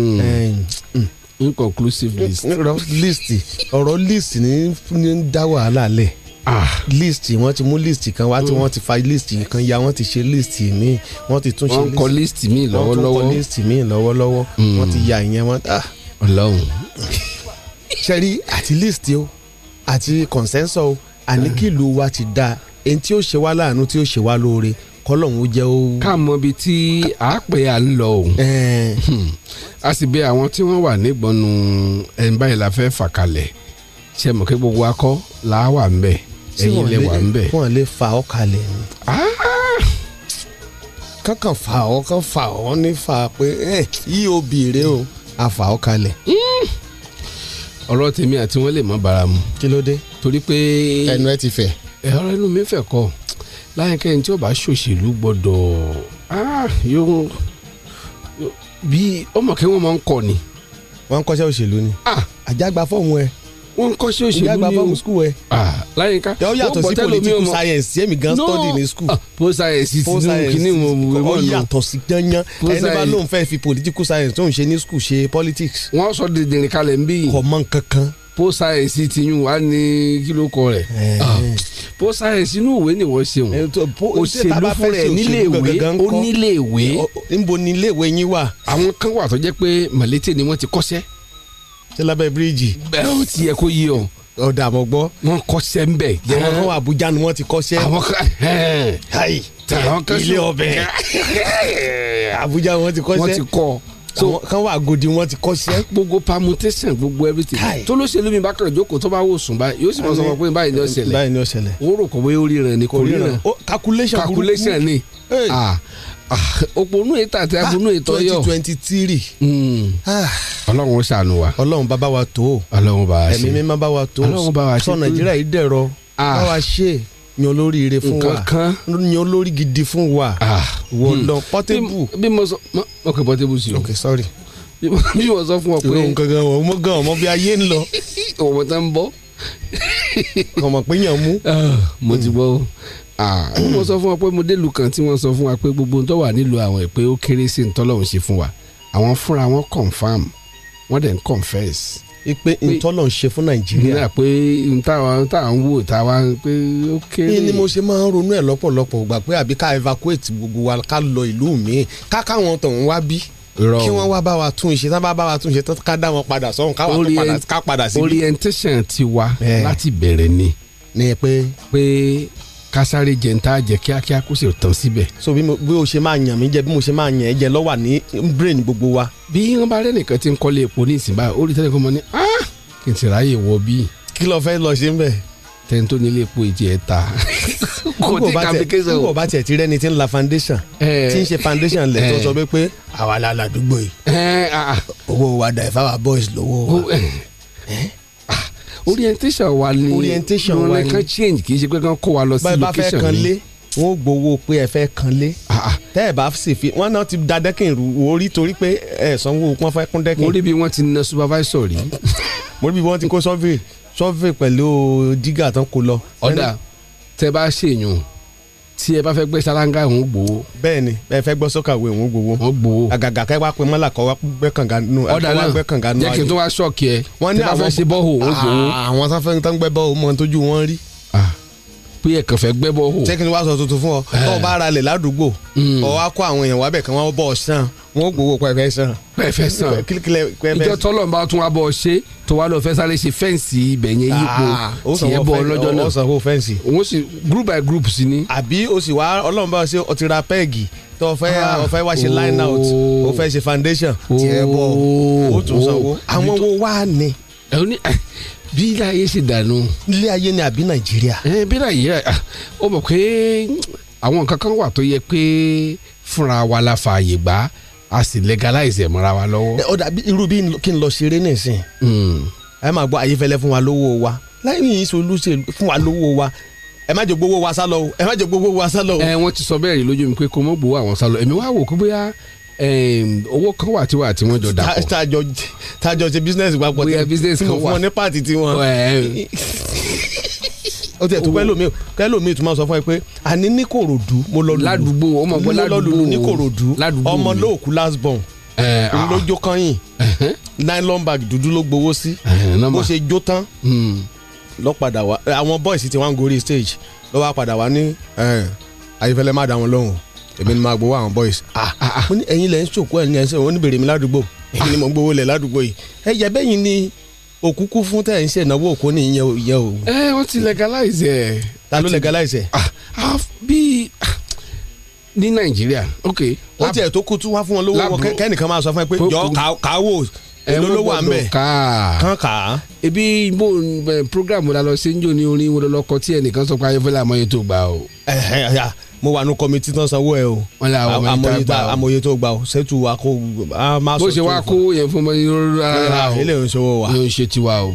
S30: Hmm. inconclusive list.
S29: ọ̀rọ̀ list ọ̀rọ̀ list ní ní ń dá wàhálà lẹ̀
S30: Ah.
S29: list wọ́n ti mú list kan wá tí
S30: Hmm.
S29: wọ́n ti fa list kan ya wọ́n ti ṣe list míì wọ́n ti tún ṣe
S30: Wọ́n kọ list míì
S29: wọ́n tún
S30: lọ́wọ́lọ́wọ́.
S29: kọ list míì lọ́wọ́lọ́wọ́ wọ́n ti ya ìyẹn wọ́n ah
S30: ọlọ́run
S29: sẹ́rí àti list o àti consensus o àní kí ìlú wa ti da ẹni tí ó ṣe wá láàánú tí ó ṣe wá lóore kọ́lọ́hún ó jẹ́ ó.
S30: ká mọ ibi tí a pè à ń lọ o. Hmm. a sì bẹ àwọn tí wọ́n wà nígbọnú ẹn báyìí la fẹ́ fà kalẹ̀ ṣe mọ̀ kí gbogbo akọ là á wà ń bẹ̀ ẹ̀yin lè wà ń Ah! bẹ̀.
S29: wọ́n lè fa ọ́ kalẹ̀ ni. kankan fa ọ́ kan fa ọ́ ní fa pé "Eh, yí o bèrè o a fa ọ́ kalẹ̀.
S30: ọ̀rọ̀ tèmi àti wọn lè mọ bara mu.
S29: kí ló dé.
S30: torí pé.
S29: ẹnu ẹ ti fẹ.
S30: ẹ ọ̀rọ̀ inú mi fẹ̀ kọ́ láyìnká ẹni tí ó bá ṣòṣèlú gbọ́dọ̀ ah, yóò yóò- bí ọmọ kí wọ́n máa ń kọ ni. Ah,
S29: wọ́n ń kọ́ṣẹ́ òṣèlú ni. àjàgbá fọ́ọ̀mù ẹ.
S30: wọ́n ń kọ́ṣẹ́ òṣèlú
S29: àjàgbá
S30: ni o.
S29: fọ́ọ̀mù skul ẹ.
S30: Ah, láyìnká
S29: Ó yàtọ̀
S30: wọ́n
S29: sí
S30: gbọ́tẹ́ lómi
S29: political
S30: ọmọ.
S29: science tí èmi gan
S30: No.
S29: study ní school.
S30: Ah, post science ti
S29: Post
S30: nù
S29: science
S30: kíní mo
S29: kọ́,
S30: mọ̀
S29: ó yàtọ̀ sí yanyan
S30: Post
S29: ẹni bá
S30: science.
S29: lóun fẹ́ fi political science tóun ṣe ní school ṣe politics.
S30: wọ́n sọ dìndìnrín kalẹ̀ ń bí yìí.
S29: kọ̀mọ́ kankan.
S30: post science ti yún wa ní kí ló kọ rẹ̀.
S29: Eh,
S30: Ah, post science inú ìwé ni wọ́n ṣe wọn. òṣèlú fún rẹ̀ nílé ìwé ó nílé ìwé.
S29: níbo ni ilé ìwé yín wà.
S30: àwọn kan wà tó jẹ́ pé màlété ni wọ́n ti kọ́ṣẹ́.
S29: ṣé lábẹ́ bíríìjì.
S30: bẹ́ẹ̀ ó ti yẹ kó yé ọ.
S29: ọ̀dà àmọ́ gbọ́.
S30: wọ́n kọ́ṣẹ́ ń bẹ̀.
S29: àwọn kan wà Abuja ni wọ́n ti kọ́ṣẹ́.
S30: àwọn kan ẹ̀ẹ́n.
S29: Ayi,
S30: tàwọn kan
S29: ilé
S30: sùn-
S29: ọbẹ̀. Abuja wọ́n ti kọ́ṣẹ́.
S30: wọ́n ti kọ́
S29: Àwọn kan wà Agodi wọ́n ti kọ́ṣẹ́.
S30: gbogbo permutation gbogbo everything tó ló ṣe lómi bákan ìjókòó tó bá wò sùn báyìí yóò sì mọ sọ pé báyìí ni ó ṣẹlẹ̀
S29: báyìí ni ó ṣẹlẹ̀.
S30: ó rò kó bóyá ó ríran ni kò ríran
S29: Ó, calculation burúkú.
S30: calculation ni
S29: Hey. Ah,
S30: Ah, ah, òpònú ètò àti àbúnú ètò yọ Hmm.
S29: twenty three.
S30: ọlọ́run ó ṣàánú wa
S29: ọlọ́run bá bá wa tó o.
S30: ọlọ́run bá a ṣe
S29: ẹ̀mí mímọ́ bá wa tó
S30: Ọlọ́run bá wa ṣe
S29: sọ nàìjíríà yìí dẹ̀rọ
S30: Ah.
S29: bá wa ṣe yan olóríire fún wa
S30: Nǹkan kan. Ah, hmm.
S29: yan olórí gidi fún wa wọ lọ pọtébù.
S30: bí mo sọ mo- ok portable sí o
S29: ok sorry.
S30: bí mo- bí mo sọ fún ọ
S29: ìwé
S30: pé
S29: nǹkan gan ọmọ gan ọmọ bí ayé ń lọ
S30: ọmọ tá ń bọ́
S29: ọmọ pé yàn mú.
S30: mo ti gbọ́ o Ah, bí mo sọ fún ọ pé mo délùú kan tí wọ́n sọ fún wa pé gbogbo ohun tó wà nílùú àwọn ẹ̀ pé ó kéré sí ntọ́lọ́run ṣe fún wa àwọn fúnra wọn confam wọ́n dẹ̀ ń confess
S29: ipe ntọ́lọ̀ ń ṣe fún nàìjíríà.
S30: nígbà pé n táwọn táwọn wò táwọn pé ó kéré
S29: yìí ni mo ṣe máa ń ronú ẹ̀ lọ́pọ̀lọpọ̀ gbà pé àbí ká evacuate gbogbo wa ká lọ ìlú mi ká káwọn tọ̀hún wá bí
S30: Irọ́ o.
S29: kí wọ́n wá bá wa tún ṣe tá bá bá wa tún ṣe tán ká dá wọn padà sọ́hún ká wà tún padà- ká padà síbi.
S30: orientation ti wa
S29: Eh.
S30: láti bẹ̀rẹ̀ ni
S29: ní pé
S30: pé kásáré jẹ ń tá jẹ kíákíá kó sì tán síbẹ̀
S29: so bí mo bí o ṣe máa yàn mí jẹ bí mo ṣe máa yàn ẹ jẹ lọ wà ní brain gbogbo wa.
S30: bí wọ́n bá rẹ́nìkan ti ń kọ́lé epo ní ìsìn báyìí ó rí tẹ́lẹ̀ kó mọ ní "Ah, kí n sì ráyè wọ bíi
S29: kí lo fẹ́ lọ ṣe ń bẹ̀.
S30: tẹ́ni tó nílé epo ìjì ẹ̀ ta kò
S29: Bí
S30: tí
S29: kò bá tiẹ̀-
S30: kàmíkéṣọ̀
S29: bí kò bá tiẹ̀ ti rẹ́ni tí ń la foundation
S30: Eh.
S29: tí ń ṣe foundation lẹ̀ tó
S30: Eh.
S29: sọ pé pé àwa la ládùúgbò yìí
S30: ẹ̀ ah, ah.
S29: owó wa dà ìfáwà boys lówó wa.
S30: Ó, eh, orientation wa ni
S29: Orientation
S30: wọn
S29: wa
S30: ní
S29: ni.
S30: kan change kì í ṣe pé kan kó wa lọ sí
S29: báyìí bá fẹ́
S30: location Ah,
S29: kan lé
S30: mi.
S29: wọn ò gbowó pé ẹ fẹ́ kan lé tẹ́ ẹ bá sì fi wọn náà ti da dẹ́kìn rú orí torí pé ẹ sanwó wọn fẹ́ kún dẹ́kìn.
S30: mo rí bí wọ́n ti na supervisor rí.
S29: mo rí bí wọ́n ti kó sọ́fì sọ́fì pẹ̀lú dígà tán kó lọ.
S30: ọ̀dà tẹ bá ṣèyàn tí ẹ bá fẹ́ gbé ṣáláńgá òun gbowó.
S29: bẹ́ẹ̀ni ẹ fẹ́ gbọ́ sọ́kàwé òun gbowó.
S30: wọ́n gbowó.
S29: àgàgà kẹ́ wá pé mọ́là kọ́ wá gbẹ́ kànga nù.
S30: ọ̀dà
S29: kọ́ wá
S30: náà
S29: gbẹ́ kànga nù
S30: jẹ́ kí n
S29: ayé.
S30: tún wá ṣọ́ọ̀kì ẹ
S29: wọ́n ní
S30: tẹ bá
S29: àwọn
S30: fẹ́ ṣe bọ́ọ̀hù òun gbowó.
S29: Ah, àwọn tó fẹ́ tán gbẹ́ bọ́ọ̀hù mọ́ tójú wọn rí.
S30: Ah, pé ẹ kàn fẹ́ gbẹ́ Eh. bọ́ọ̀hù.
S29: jẹ́ kí n wá sọ tuntun fún ọ tó o bá ra lẹ̀ ládùúgbò
S30: Hmm.
S29: ọ wá kó àwọn èèyàn wábẹ̀ kan wọ́n bọ̀ ọ sàn wọ́n ó gbowó pẹ́ẹ́fẹ́ sàn. Ah,
S30: pẹ̀fẹ́ sàn ìjọ tọ́lọ̀ ń bá tún wá bọ̀ ṣe tó wá lọ fẹ́ sáré ṣe fẹ́ǹsì ibẹ̀ yẹn yípo
S29: Ah,
S30: tiẹ̀ bọ̀ lọ́jọ́ náà.
S29: ó sanwó fẹ́ǹsì.
S30: òun sì group by group sí ni.
S29: àbí o sì wá ọlọ́run bá ọ ṣe o ti ra pẹ́ẹ̀gì tó o fẹ́
S30: Ah. Oh.
S29: o fẹ́ wá ṣe line out o fẹ́ ṣe foundation tiẹ̀ bọ̀ o tún sanwó. àwọn wo wá ni.
S30: ẹ ó ní ẹ, bí ilé ayé ṣe dànù.
S29: ilé ayé ni àbí nàìjíríà.
S30: ẹ bí nàìjíríà ah, ó mọ̀ pé àwọn nǹkan kan wà tó yẹ pé fúnra wa la fààyè gbà a sì legalize ẹ̀ mọ́ra wa lọ́wọ́.
S29: Ẹ, ọ̀dà bí- irú bí n- kí n lọ ṣeré nísìn
S30: hmm.
S29: ẹ máa gbọ́ ayífẹ́lẹ́ fún wa lówó wa láì ní ìṣolúṣe fún wa lówó wa ẹ má jẹ́ gbowó wa sá lọ o ẹ má jẹ́ gbowó wa sá lọ o.
S30: ẹ Eh, wọ́n ti sọ bẹ́ẹ̀ rí lójú mi pé kó mọ́ gbowó àwọn sálọ èmi wá wò kó bóyá em, owó kan wà tí wà tí wọ́n jọ dàpọ̀.
S29: tájọ tájọ ṣe business papọ̀
S30: Bóyá business
S29: tí mo
S30: kan
S29: fún
S30: wà.
S29: ọ ní pàtì tí wọn.
S30: Ẹ,
S29: o tiẹ̀ tó kẹ́lòmíì kẹ́lòmíì tún máa sọ fún ẹ pé àní ní kòròdú mo lọ lùlù
S30: Ládùúgbò, ó mọ̀ pé
S29: Mo lọ lùlù
S30: ládùúgbò.
S29: ní kòròdú
S30: Ládùúgbò
S29: ọmọ
S30: mi.
S29: lóòkú last born
S30: ah.
S29: ńlójó kan yìí nylon bag dúdú ló gbowó sí bó ṣe jó tán
S30: hmm.
S29: lọ padà wá ẹ, àwọn boys ti wá ń gorí stage lọ wá padà wá ní ẹ, ayífẹ́lẹ́ má dá wọn lóhùn èmi ni máa gbowó àwọn boys ah mo ní ẹ̀yin lẹ ń ṣòkó ẹ̀yin lẹ ń ṣe wọn ní bèrè mi ládùúgbò èmi ni mo ń gbowó lẹ̀ ládùúgbò yìí ẹ jẹ́ bẹ́yìn ni òkúkú fún tẹ̀ ń ṣe ìnáwó òkú ni ìyẹn ò- ìyẹn ò
S30: ẹ Eh, wọ́n ti legalize ẹ̀.
S29: ta ló legalize ẹ̀.
S30: Ah, bí ní nàìjíríà ok.
S29: ó tiẹ̀ tó kú tún wá fún wọn lówó wọn
S30: Lábúrò.
S29: kẹ́- kẹ́nìkan máa sọ fún ẹ pé jọ ká- káwó èló ló wà ń bẹ̀.
S30: kán
S29: kà á.
S30: ebi ibo eh, program wo la lọ ṣe ń jò ní orin wo lọlọkọ tí ẹnìkan sọ pé ayọ̀fẹ́lẹ́ àmọ́yé tó gbà o.
S29: Ẹ̀hẹ̀, àyà, mo wà ní kọ́mítì tán sanwó ẹ o
S30: Wọ́n lé àwọn ọmọ yìí tó gbà o.
S29: amòye tó gbà o ṣètù wa kó a máa
S30: bó
S29: sọ
S30: ṣe
S29: tó
S30: wá
S29: fún-
S30: kó yẹn fún mi rárá o
S29: ilé ò ń ṣòwò wa.
S30: yóò ṣe tiwa o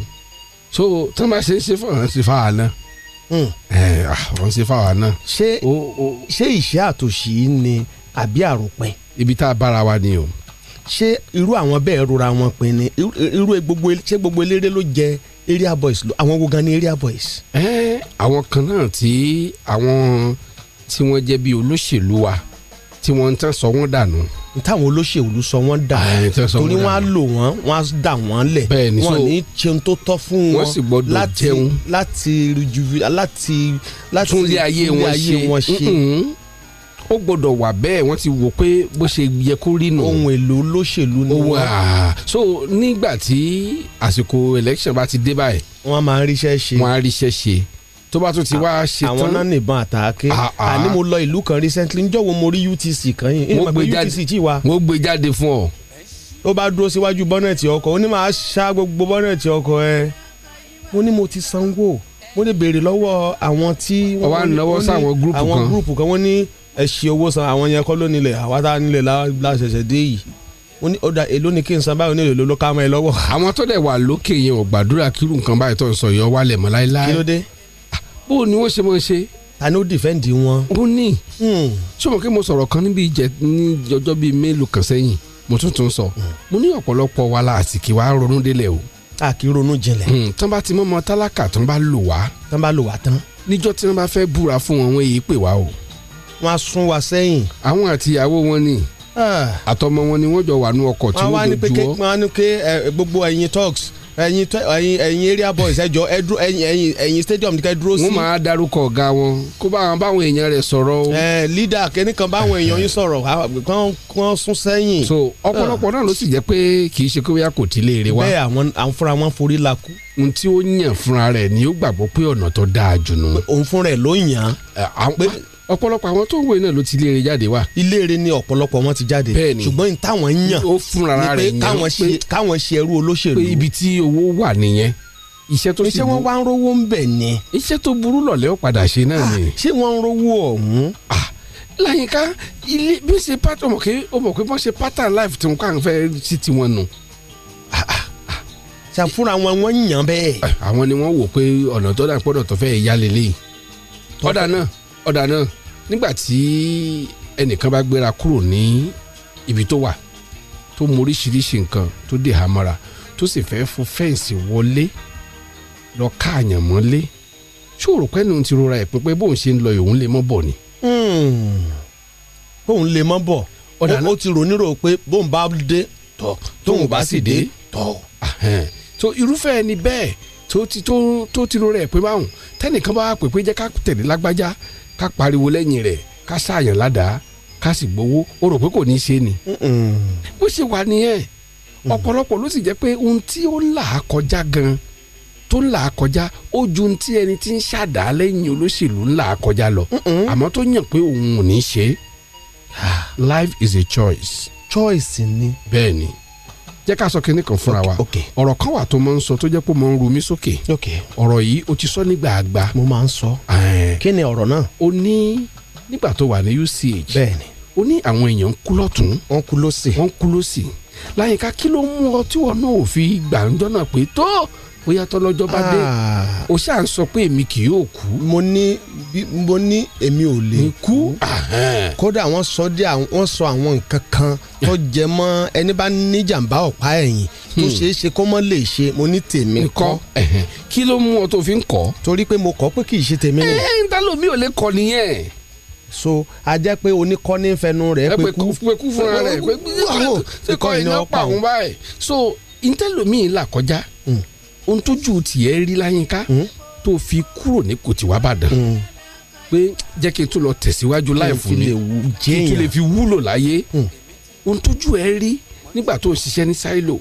S30: so tán bá ṣe ń ṣe fún àwọn ṣe fáwọn náà Hmm.
S29: Hmm.
S30: ẹ àwọn Eh, ah, ṣe fáwọn náà.
S29: ṣé ṣé ìṣẹ́ àtòṣì ni àbí àròpin.
S30: ibi tá a bára wa ni o.
S29: ṣé irú àwọn bẹ́ẹ̀ rora wọn pin ni irú irú gbogbo ṣé gbogbo eléré ló jẹ area boys ló- àwọn wo gan ni area boys.
S30: ẹ àwọn kan náà tí àwọn tí wọ́n jẹ́ bí olóṣèlú wa tí wọ́n ń tán sọ wọ́n dànù.
S29: táwọn olóṣèlú sọ wọ́n dà torí
S30: torí
S29: wọ́n á lò wọ́n wọ́n á dà wọ́n lẹ̀
S30: Bẹ́ẹ̀ ni,
S29: wọ́n
S30: so-
S29: ní ṣeun tó tọ́ fún wọn
S30: Wọ́n sì gbọ́dọ̀
S29: láti-
S30: jẹun.
S29: láti rejuve- láti láti
S30: tún ilé ayé
S29: tún ilé
S30: wọn ṣe
S29: wọn ṣe.
S30: Mm-mm. ó gbọ́dọ̀ wà bẹ́ẹ̀ wọ́n ti wò pé bó ṣe yẹ kó rí nù.
S29: ohun èlò olóṣèlú ni
S30: owó
S29: wọ́n.
S30: àá so nígbà tí àsìkò election bá ti dé báyìí.
S29: wọ́n máa ń ríṣẹ́ ṣe.
S30: wọ́n á ríṣẹ́ ṣe tó bá tún ti wá ṣe tán.
S29: àwọn náà nìbọn àtàkè
S30: Ah,
S29: àní mo lọ ìlú kan recently njọ́ wo mo rí UTC kan yìí
S30: Wọ́n
S29: ìmọ̀
S30: gbé
S29: pé
S30: jáde-
S29: UTC tí wà.
S30: wọ́n gbé jáde fún ọ.
S29: ó bá dúró síwájú bọ́nẹ̀tì ọkọ̀ ó ní máa ṣá gbogbo bọ́nẹ̀tì ọkọ̀ ẹ mo ní mo ti sanwó mo ní béèrè lọ́wọ́ àwọn tí
S30: Ó wá ń lọ́wọ́
S29: wọ́n ní-
S30: sáwọn gúrùpù
S29: àwọn
S30: kan.
S29: gúrùpù kan wọ́n ní ẹ ṣe owó san àwọn yẹn kọ́ ló nílẹ̀ àwa tá a nílẹ̀ lá- la ṣẹ̀ṣẹ̀ dé yìí ó ní ọ̀dà èló ni kí n san báyìí ó ní èló ló ká mọ́ ẹ lọ́wọ́.
S30: àwọn tó dẹ̀ wà lókè yẹn ò gbàdúrà kírun nǹkan báyìí tó ń sọ yọ wálẹ̀ mọ́ láéláé.
S29: kí ló dé.
S30: bó o ní wọ́n ṣe mọ́ ṣe.
S29: ta ni ó dìfẹ́ǹdì wọn. Hmm.
S30: ó ní.
S29: ṣé
S30: mo kí mo sọ̀rọ̀ kan níbi ìjẹ ní ọjọ́ bíi mélòó kan sẹ́yìn mo tún tún sọ.
S29: Hmm.
S30: mo ní ọ̀pọ̀lọpọ̀ wa la àti kí wa ronú délẹ̀ o. Hmm.
S29: a kì í ronú jinlẹ̀.
S30: tán bá ti mọ́mọ́ tálákà tán bá lò wá.
S29: tán bá lò wá tán.
S30: níjọ́ tí wọ́n bá fẹ́ búra fún wọn wọ́n èyí pè wá o.
S29: wọ́n á sún wa sẹ́yìn. Ah.
S30: àwọn àti ìyàwó wọn ni àtọmọ wọn ni wọ́n jọ wà nú ọkọ̀ tí
S29: wọ́n wá ní
S30: wọ́n
S29: pé
S30: dojú
S29: ké-
S30: ọ.
S29: wọ́n wá ní pé ẹ, gbogbo ẹ̀yin talks ẹ̀yin tọ- ẹ̀yin ẹ̀yin area boys ẹjọ ẹdú ẹ̀yin ẹ̀yin ẹ̀yin stadium ní ká ẹ dúró sí.
S30: wọ́n máa darúkọ ọ̀gá wọn kó bá àwọn báwọn èèyàn rẹ̀ sọ̀rọ̀ o.
S29: ẹ leader kẹ́nìkan báwọn èèyàn yín sọ̀rọ̀ kán kán sún sẹ́yìn.
S30: so ọ̀pọ̀lọpọ̀ náà ló sì jẹ́ pé kì í ṣe kó bóyá kò tí lè rè wá.
S29: bẹ́ẹ̀ àwọn àwọn fúnra wọn forí la kú.
S30: ohun tí ó yàn fúnra rẹ̀ ni ó gbàgbọ́ pé ọ̀nà tó dáa jù nù.
S29: òun fúnra ẹ̀ ló yàn
S30: án. ọ̀pọ̀lọpọ̀ àwọn tó ń wòye náà ló ti léèrè jáde wá.
S29: iléèrè ni ọ̀pọ̀lọpọ̀ wọn ti jáde.
S30: bẹ́ẹ̀ni
S29: ṣùgbọ́n ní táwọn yàn
S30: ó fúnra
S29: ni
S30: rẹ̀
S29: pé
S30: yàn
S29: káwọn ṣe káwọn ṣe ẹrú olóṣèlú.
S30: pé ibi tí owó wà nìyẹn iṣẹ́ tó sì
S29: iṣẹ́ wọn
S30: bu-
S29: wá ń rówó ń bẹ̀ ni. Ah,
S30: iṣẹ́ tó burú lọ̀lẹ́ ó padà ṣe náà ni.
S29: ṣé wọ́n ń rówó ọ̀hún.
S30: láyìnká ilé bí ó ṣe pátá
S29: Ah,
S30: ọmọ pé ọmọ pé wọ́n ṣe pátá life tí wọ́n kàn fẹ́ sí tiwọn nù.
S29: ṣàfúnra wọn wọ́n yàn bẹ́ẹ̀.
S30: Ah, àwọn ni wọ́n wò pé ọ̀nà tó dà pọ̀dọ̀ tó fẹ́ yá lélẹ̀ ọ̀dà náà ọ̀dà náà nígbà tí ẹnìkan bá gbéra kúrò ní ibi tó wà tó mú oríṣiríṣi nǹkan tó dè há mọ́ra tó sì fẹ́ fún fẹ́ǹsì wọlé lọ káàyàn mọ́lé ṣòro pẹ́ẹ́nu ti rora ẹ̀ pé pé bóun ṣe ń lọ òun lè mọ́ bọ̀ ni.
S29: Hmm. bóun lè mọ́ bọ̀ ó ó ti rò nírò pé bóun bá dé tọ̀ tóun bá sì dé tọ̀.
S30: Ẹhẹn. so irúfẹ́ ẹni bẹ́ẹ̀ tó ti tó tó ti rora ẹ̀ pé báwọn tẹ́nìkan bá wà pé pé jẹ́ ká tẹ̀lé lágbájá ká pariwo lẹ́yìn rẹ̀ ká sáàyàn ládàá ká sì gbowó ó rò pé kò ní í ṣe ni bó ṣe wà nìyẹn ọ̀pọ̀lọpọ̀ ló sì jẹ́ pé ohun tí ó là á kọjá gan tó ń là á kọjá ó ju ohun tí ẹni tí ń ṣàdá lẹ́yìn olóṣèlú ń là á kọjá lọ àmọ́ tó yàn pé òun ò ní í ṣe é. life is a choice.
S29: Ah. choice ni.
S30: bẹ́ẹ̀ ni jẹ́ ká sọ kinní kan fúnra wa ọ̀rọ̀ kan wà tó máa ń sọ tó jẹ́ pé ó máa ń ru mí sókè ọ̀rọ̀ yìí ó ti sọ nígbà àgbà.
S29: mo máa ń sọ. kí ni ọ̀rọ̀ náà.
S30: ó ní nígbà tó wà ní UCH
S29: bẹ́ẹ̀ni
S30: ó ní àwọn èèyàn ń kú lọ́tún
S29: wọ́n kú lọ́sì
S30: wọ́n kú lọ́sì láyìnká kí ló mú ọ tí wọn náà ò fi gbàǹjọ́ náà pé tó bóyá tọ́lọ́jọ́ bá dé
S29: Ah.
S30: o ṣáà ń sọ pé èmi kì yóò kú.
S29: mo ní bí- mo ní èmi ò lè kú kódà wọ́n sọ dé àwọn- wọ́n sọ àwọn nǹkan kan tó jẹ mọ́ ẹni bá ní jàǹbá ọ̀pá ẹ̀yìn tó
S30: Hmm.
S29: ṣeé ṣe kó mọ́ lè ṣe mo ní tèmi kọ́
S30: Ńkọ́? Ẹ̀hẹ̀n. kí ló mú ọ tó fi ń kọ́.
S29: torí pé mo kọ́ pé kì í ṣe tèmi
S30: ẹ
S29: nù
S30: ẹ ta ló mi ò lè kọ nìyẹn.
S29: so a jẹ́ pé oníkọ́ ní fẹnu rẹ̀
S30: ẹ pé kú pé kú fúnra rẹ pé
S29: Wáwo,
S30: pé kọ́ iná pa òun báyìí. so ntẹ́lómìn là kọjá
S29: Hmm.
S30: ohun tójú tiẹ̀ rí láyínká tó fi kúrò ní kòtìwá bàdàn pé jẹ́ kí n tún lọ tẹ̀síwájú láì fún mi
S29: fi Hmm. lè wú
S30: kí n tún
S29: jẹ́yàn.
S30: lè fi wúlò láyé
S29: Hmm.
S30: ohun tójú ẹ rí nígbà tó ń ṣiṣẹ́ ní sáìlò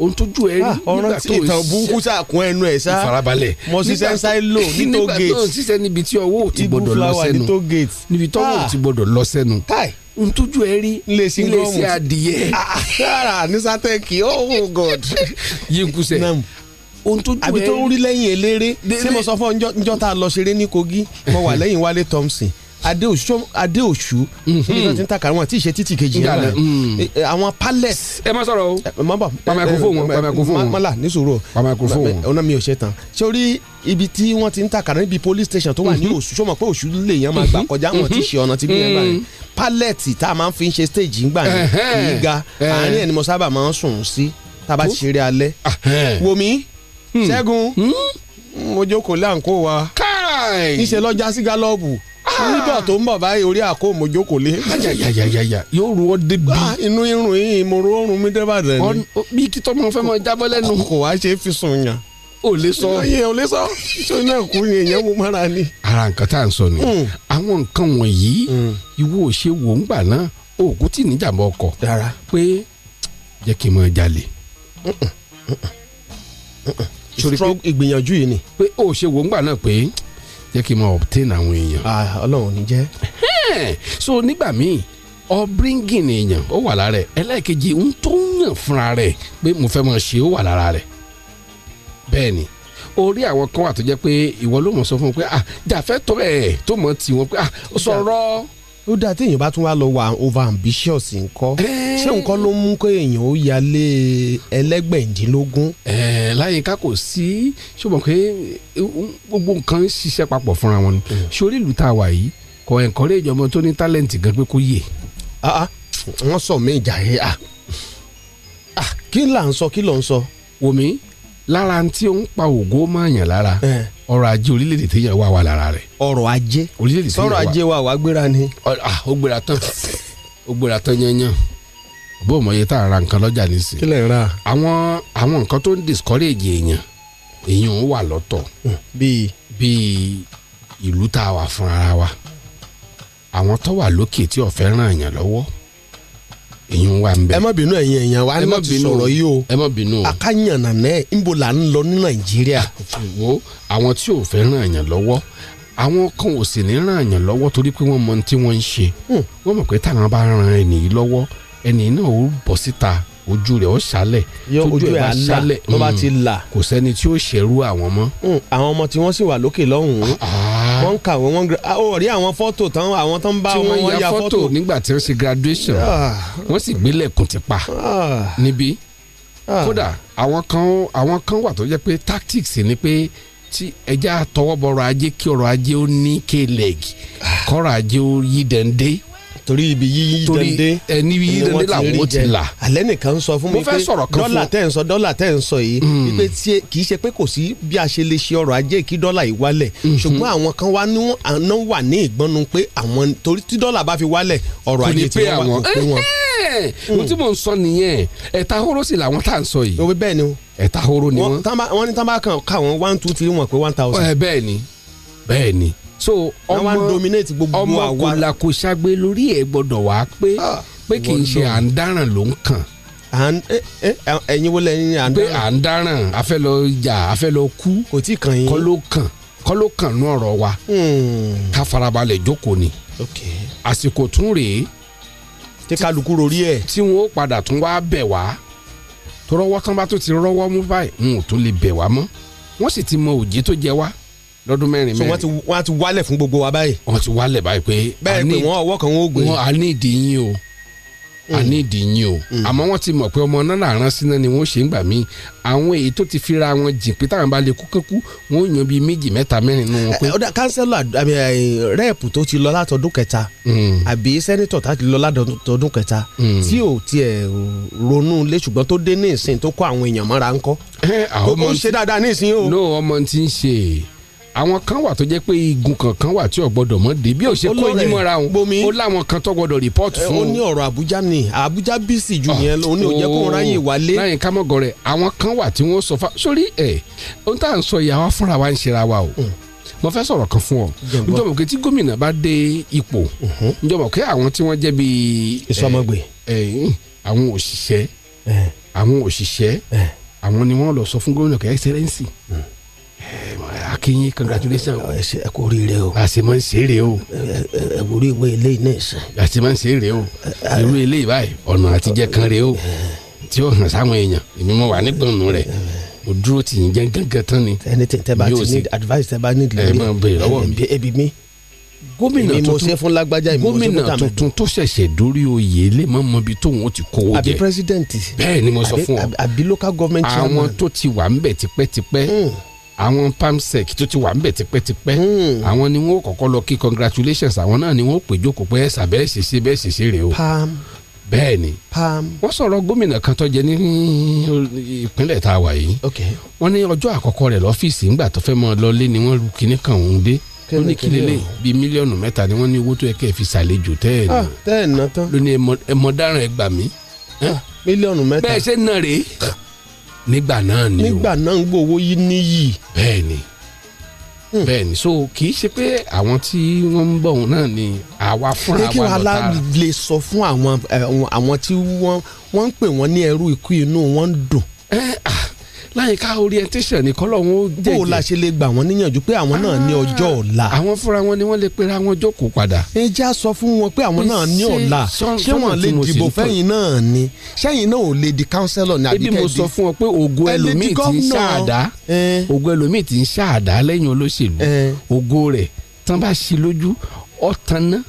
S30: ohun tójú ẹ rí
S29: Hmm. Ah, ọ̀rọ̀
S30: nígbà
S29: tí
S30: tó ń
S29: ìtàn burúkú sàkún ẹnu ẹ̀ sá
S30: ìfarabalẹ̀
S29: mo ṣiṣẹ́ ń
S30: Nígbà-
S29: sáré lò ní tó
S30: nígbà tó ń
S29: gate
S30: ṣiṣẹ́ níbi tí ọwọ́ ò ti
S29: Ibu
S30: gbọdọ̀ lọ
S29: flower ní
S30: sẹ́nu
S29: toll gate.
S30: níbi tọ́wọ́ ò
S29: Ah.
S30: ti gbọdọ̀ lọ sẹ́nu
S29: káì
S30: ohun tójú ẹ rí
S29: ilé sí
S30: ilé sí adìyẹ
S29: rárá ní sátẹ́kì oh god
S30: yínkúsẹ̀ ohun tójú ẹ
S29: àbí tó ń rí lẹ́yìn eléré
S30: Dé-
S29: ṣé mo sọ fún ọ njọ́- njọ́ tá a lọ ṣeré ní kogi mo wà lẹ́yìn wálé thompson adéòṣù adéòṣù
S30: Mhm.
S29: níbi tó ti ń takàrí wọn tí ì ṣe títì kejì yẹn
S30: Ìgbàlẹ̀,
S29: báyìí.
S30: Mm.
S29: Eh, eh, àwọn Eh, palace.
S30: ẹ má sọ̀rọ̀ o
S29: mọ́bà
S30: Pa microphone wọn, pa microphone wọn.
S29: mọ́là Eh, ní sùúrù o
S30: Pa microphone wọn.
S29: ọ̀nà mi ò ṣe tán sórí ibi tí wọ́n ti ń takàrí níbi police station tó wà ní òṣù sọ́mọ pé òṣù lè yan máa gbà kọjá wọn ti ṣe ọ̀nà ti gbé yẹn báyìí palette tá a máa ń fi ń ṣe stage ń gbà yẹn kì í ga
S30: Ẹhẹ́.
S29: àárín ẹ̀ ni mo sábà máa ń sùn sí tá a bá ti ṣeré alẹ́ wòmí ṣẹ́gun Hmm, mo jókòó láǹkó wa
S30: káì
S29: níṣẹ́ lọ́jà sí gálọ́ọ̀bù nígbà tó ń bọ̀ báyìí orí àkó mo jókòó lé.
S30: ayayayaya yóò ru ọ débi
S29: Ah, inú irun yìí mo ro oorun mi débàdàn ni
S30: Ọ- bí kí tọ́mọ fẹ́ máa jábọ́ lẹ́nu
S29: kò wá ṣe é fi sùn yàn.
S30: ò lè sọ
S29: ìyẹn ò lè sọ ṣé náà kú ni èèyàn mú mọ́ra ni.
S30: ara nǹkan tá à ń sọ ni
S29: Mm.
S30: àwọn nǹkan wọ̀nyí ìwọ ò ṣe wò ń gbà náà oògùn tí níjàmbá ọkọ̀
S29: dára
S30: pé jẹ́ kí n máa jalè
S29: sori pé ìgbìyànjú yìí ni.
S30: pé o ò ṣe wò ń gbà náà pé jẹ́ kí n máa obtain àwọn èèyàn.
S29: Ah, ọlọ́run ò ní jẹ́.
S30: Ẹ́ẹ̀, so nígbà míì ọbíríngìn èèyàn ó wà lára ẹ̀ ẹlẹ́ẹ̀kejì ń tó ń yàn fúnra rẹ̀ pé mo fẹ́ máa ṣe ó wà lára rẹ̀ bẹ́ẹ̀ ni orí àwọn kan wà tó jẹ́ pé ìwọ ló mọ̀ sọ fún un pé ah jàfẹ́ tó ẹ̀ tó mọ̀ tì wọ́n pé ah sọ̀rọ̀
S29: ó dáa tí èèyàn bá tún wá lọ wà over ambitious nǹkan ṣé nǹkan ló mú kó èèyàn ó yálé ẹlẹ́gbẹ̀ndínlógún.
S30: ẹ̀ẹ́ láyìnká Eh, kò sí ṣùgbọ́n pé eh, um, gbogbo nǹkan ń ṣiṣẹ́ papọ̀ fúnra wọn ni
S29: Hmm.
S30: sórí ìlú tá a wà yìí kò ẹ̀ńkọ́rẹ́ ìjọba tó ní tálẹ̀ǹtì gan pé kó yè.
S29: Ah, ah, wọ́n sọ mí ìjà yẹn à kí là ń sọ kí ló ń sọ.
S30: wòmí lára tí ó ń pa ògo máa yàn lára ọrọ̀ ajé orílẹ̀-èdè téèyàn wà wà lára rẹ̀
S29: Eh. ọrọ̀ ajé
S30: orílẹ̀-èdè téèyàn
S29: sọ̀rọ̀
S30: wà
S29: ajé wa wàá gbéra ni.
S30: Ọ- ah, ó gbéra tán ó gbéra tán yanyan bó o mọ̀ iye tá a ra nǹkan lọ́jà nísìnyí
S29: kí lè ra.
S30: àwọn àwọn nǹkan tó ń discourage èèyàn èèyàn ó wà lọ́tọ̀
S29: Hmm. bíi
S30: bíi ìlú tá a wà fún ara wa àwọn tó wà lókè tí ọ̀fẹ́ ràn èèyàn lọ́wọ́ èèyàn wà ń bẹ.
S29: ẹ má bínú ẹ̀yin èèyàn wa ni
S30: Ẹ má
S29: wọ́n ti
S30: bínú
S29: sọ̀rọ̀ yìí o
S30: ẹ má bínú o
S29: akányànnà náà níbo là ń lọ ní nàìjíríà.
S30: wo àwọn tí ò fẹ́ ràn èèyàn lọ́wọ́ àwọn kan ò sì ní ràn èèyàn lọ́wọ́ torí pé wọ́n mọ ohun tí wọ́n ń ṣe
S29: Hmm.
S30: wọ́n mọ̀ pé táwọn bá ran ẹnì yìí lọ́wọ́ ẹnì yìí náà ó bọ̀ síta ojú rẹ̀ ó ṣálẹ̀
S29: yọ
S30: tójú
S29: ojú
S30: ẹ̀
S29: ẹ̀
S30: bá
S29: àlà
S30: ṣálẹ̀
S29: tó bá
S30: mm,
S29: ti là.
S30: kò sẹ́ni tí ó ṣerú àwọn mọ́ Ah,
S29: Mm, àwọn ọmọ tí wọ́n sì wà lókè lọ́hùn-ún wọ́n ń kàwé wọ́n ń gra ah, ó rí àwọn fọ́tò tán àwọn tán ń bá
S30: tí
S29: wọn
S30: wọ́n ya fọ́tò nígbà tí wọ́n ṣe graduation
S29: Ah.
S30: wọ́n sì gbélé ẹ̀kùn ti pa níbí kódà àwọn kan àwọn kan wà tó jẹ́ pé tactics ni pé tí ẹja tọwọ́ bọ̀rọ̀ ajé kí ọrọ̀ ajé ó ní k-leg kọ́rọ̀ ajé ó yí dẹ́ndé.
S29: Ah. torí ibi yíyí dẹ́ndé
S30: torí ẹni yíyí
S29: ni wọ́n
S30: dẹ́ndé
S29: ti
S30: làwọn
S29: rí
S30: ó ti
S29: jẹ.
S30: là.
S29: alẹ́ nìkan ń sọ fún
S30: Mo
S29: mi
S30: fẹ́ sọ̀rọ̀ kan fún- Hmm.
S29: dọ́là tẹ́ ń sọ dọ́là tẹ́ ń sọ yìí wípé tí- kì í ṣe pé kò sí bí a ṣe lè ṣe ọrọ̀ ajé kí dọ́là yìí wálẹ̀
S30: Hmm.
S29: ṣùgbọ́n àwọn kan wá ní àná wà ní ìgbọ́nu pé àwọn torí tí dọ́là bá fi wálẹ̀ ọrọ̀
S30: kò
S29: ajé
S30: ní
S29: tí
S30: pé
S29: wọ́n
S30: àwọn
S29: wà kò pé wọn. Hmm.
S30: ohun tí mò ń sọ nìyẹn ẹ̀ta horo sì làwọn tá à ń sọ yìí.
S29: òwe bẹ́ẹ̀ ni o.
S30: ẹ̀ta horo ni wọ́n.
S29: wọ́n ní tán bá kàn ká wọn one two three wọn pé one thousand.
S30: ẹ bẹ́ẹ̀ ni bẹ́ẹ̀ ni. so
S29: Wọ́n wá ń dominate gbogbo
S30: ọmọ
S29: àwa.
S30: kòlà kò ṣàgbé lórí ẹ̀ gbọ́dọ̀ wá pé
S29: Ah,
S30: pé kì í ṣe à ń dáràn ló ń kàn.
S29: ẹ̀yin wo lẹ́yìn à ń dáràn.
S30: pé à ń dáràn a fẹ́ lọ jà a fẹ́ lọ kú.
S29: kò tí kàn yín. Hmm.
S30: kọ́ ló kàn kọ́ ló kàn nú ọ̀rọ̀ wa. ká farabalẹ̀ jókòó ni. àsìkò tún rèé.
S29: tí kálukú rorí ẹ̀.
S30: tí wọn ó padà tún wá bẹ̀ wá tó rọwọ́ tán bá tó ti rọwọ́ mú báyìí n ò tún lè bẹ̀ wá mọ́ wọ́n sì ti mọ òjì tó jẹ wá lọ́dún mẹ́rin
S29: so wọ́n
S30: mẹ́rin.
S29: ti wọ́n ti wálẹ̀ fún gbogbo wa báyìí.
S30: wọ́n ti wálẹ̀ báyìí pé
S29: bẹ́ẹ̀ pé wọ́n ọwọ́ kan ó gbé. Mm.
S30: wọ́n a ní ìdí yín o a ní ìdí yín o àmọ́ wọ́n ti mọ̀ pé ọmọ náà làrán síná ni wọ́n ṣe ń gbà mí àwọn èyí tó ti fira wọn jìn pé táwọn bá lè kú kankú wọ́n ò yan bíi méjì mẹ́ta mẹ́rin nínú wọn pé.
S29: ọ̀dà kánsẹ́lọ̀ rẹ́ẹ̀pù tó ti lọ látọdún kẹta
S30: Hmm.
S29: àbí sẹ́nitọ̀ tá ti lọ látọdún kẹta
S30: Mm.
S29: tí ò tiẹ̀ ronú lé ṣùgbọ́n tó dé ní ìsìn tó kó àwọn èèyàn mọ́ra ńkọ́.
S30: àwọn Ah, ọmọ
S29: ó ṣe dáadáa ní ìsìn o.
S30: no ọmọ ti ń ṣe àwọn kan wà tó jẹ́ pé igun kankan wà tí ò gbọ́dọ̀ mọ́ dé bí ò ṣe
S29: Ó
S30: kó
S29: lọ́rẹ̀,
S30: yín mọ́ra òun
S29: Bomi.
S30: ó láwọn kan tó gbọ́dọ̀ rìpọ́ọ̀tù
S29: Eh,
S30: fún Ah,
S29: ó ní ọ̀rọ̀ Àbújá ni Àbújá bíìsì jù yẹn lọ ó ní ó jẹ́ kó ráyè wálé.
S30: oh, láyìn ká mọ̀gàn rẹ̀ àwọn kan wà tí wọ́n sọ fa sórí ẹ̀ ohun tá à ń sọ ìyá wa fúnra wa ń ṣera wa o
S29: Mm.
S30: mo fẹ́ sọ̀rọ̀ kan fún ọ
S29: Jẹ̀ngbọ́.
S30: njọ́mọ̀ pé tí gómìnà bá dé ipò njọ́mọ̀ pé àwọn tí wọ́n jẹ́ bíi.
S29: Mm-hmm. Ìsọmọgbè.
S30: ẹ, ẹ, àwọn òṣìṣẹ́ àwọn òṣìṣẹ́
S29: Eh.
S30: àwọn ni wọ́n lọ sọ fún gómìnà kẹ́ Eh, ẹ́sẹ̀rẹ́nsì akínyìn congratulations.
S29: Hmm. Eh, ẹ kò rí rẹ o. Eh,
S30: àṣẹ máa ń ṣe é rè o.
S29: ẹ Eh, wò rí ìwé eléyìí náà sàn.
S30: àti máa ń ṣe é rèé o irú eléyìí báyìí ọ̀nà àtijẹ́ kan rèé o
S29: Eh,
S30: tí ó hàn sáwọn èèyàn èmi mo wà nígbọ̀nù rẹ̀ mo dúró tì yín gángan tán ni.
S29: anything Eh, tẹ́ bá
S30: Yóò
S29: ti
S30: sì-
S29: need advice tẹ́ bá need Eh,
S30: Ẹ máa béèrè lọ́wọ́ mi.
S29: ẹbí mi.
S30: gómìnà
S29: èmi mo
S30: tuntun-
S29: ṣe fún lágbájá èmi mo ṣe fún
S30: gómìnà
S29: tàmẹ̀dò.
S30: tuntun tó ṣẹ̀ṣẹ̀ dórí oyè lè má mọ ibi tóun ó ti kówó jẹ
S29: àbí president.
S30: bẹ́ẹ̀ ni mo sọ
S29: Àbí-
S30: fún ọ
S29: àbí- àbí local government
S30: àwọn
S29: chairman. Hmm.
S30: tó ti wà ńbẹ̀ tipẹ́tipẹ́ àwọn pamsec tó ti wà ńbẹ̀ tipẹ́tipẹ́
S29: Hmm.
S30: àwọn ni wọn ó kọ́kọ́ lọ kí congratulations àwọn náà ni wọn ó pè jókòó pé ẹ̀sà bẹ́ẹ̀ ṣe ṣe bẹ́ẹ̀ ṣe ṣe rèé o
S29: pam
S30: bẹ́ẹ̀ ni
S29: pam.
S30: wọ́n sọ̀rọ̀ gómìnà kan tó jẹ ní ìpínlẹ̀ tá a wà yìí wọ́n ní ọjọ́ àkọ́kọ́ rẹ̀ lọ́fíìsì ńgbà tó fẹ́ mọ́ ọ lọlé ni wọ́n ru kinní kan òun dé ó ní kí
S29: kíni
S30: lélẹ̀ bíi mílíọ̀nù mẹ́ta ni wọ́n ní owó tó yẹ kẹ́ ẹ fi ṣàlejò tẹ́ ẹ̀ nù
S29: ah tẹ́ ẹ̀ ná tán. Ah,
S30: ló ní ẹmọ- ẹmọ dáràn ẹ gbà mí
S29: mílíọ̀nù mẹ́ta. Ah.
S30: bẹ́ẹ̀ ṣe ń ná rèé nígbà náà ni o
S29: nígbà náà ń gbowó yìí níyì. Hmm.
S30: bẹ́ẹ̀ ni bẹ́ẹ̀ ni so kì í ṣe pé àwọn tí wọ́n ń bọ̀ òun náà ni àwa fúnra
S29: pé kí
S30: wa
S29: wàhálà
S30: lọ́ta
S29: lè sọ fún àwọn ẹ, àwọn- àwọn tí wọ́n wọ́n ń pè wọ́n ní ẹrú ikú inú wọn ń dùn.
S30: Eh, ah, láyìíká orientation ni kọ́lọ́ wọn ó jẹ́jẹ́
S29: bó o la ṣe lè gbà wọ́n níyànjú pé àwọn náà ní ọjọ́ ọ̀la.
S30: Ah, àwọn fúnra wọn ni wọ́n lè pera wọn jókòó padà.
S29: ẹ já sọ fún wọn pé àwọn
S30: Pé
S29: náà ní
S30: ṣé-
S29: ọ̀la
S30: sọ-
S29: ṣé
S30: sọ́nà
S29: wọ́n lè
S30: tí mo sì
S29: dìbò
S30: ń tọ̀
S29: fẹ́yìn náà ni ṣẹ́yìn náà ò lè di kánsẹ́lọ̀ ní
S30: ebi
S29: àbíkẹ́
S30: mo sọ fún ọ pé ògo ẹlòmíì ti ń ṣáàdá ògo ẹlòmíì ti ń ṣáàdá lẹ́yìn olóṣèlú ògo rẹ̀ tán bá ṣe lójú ọ̀tanná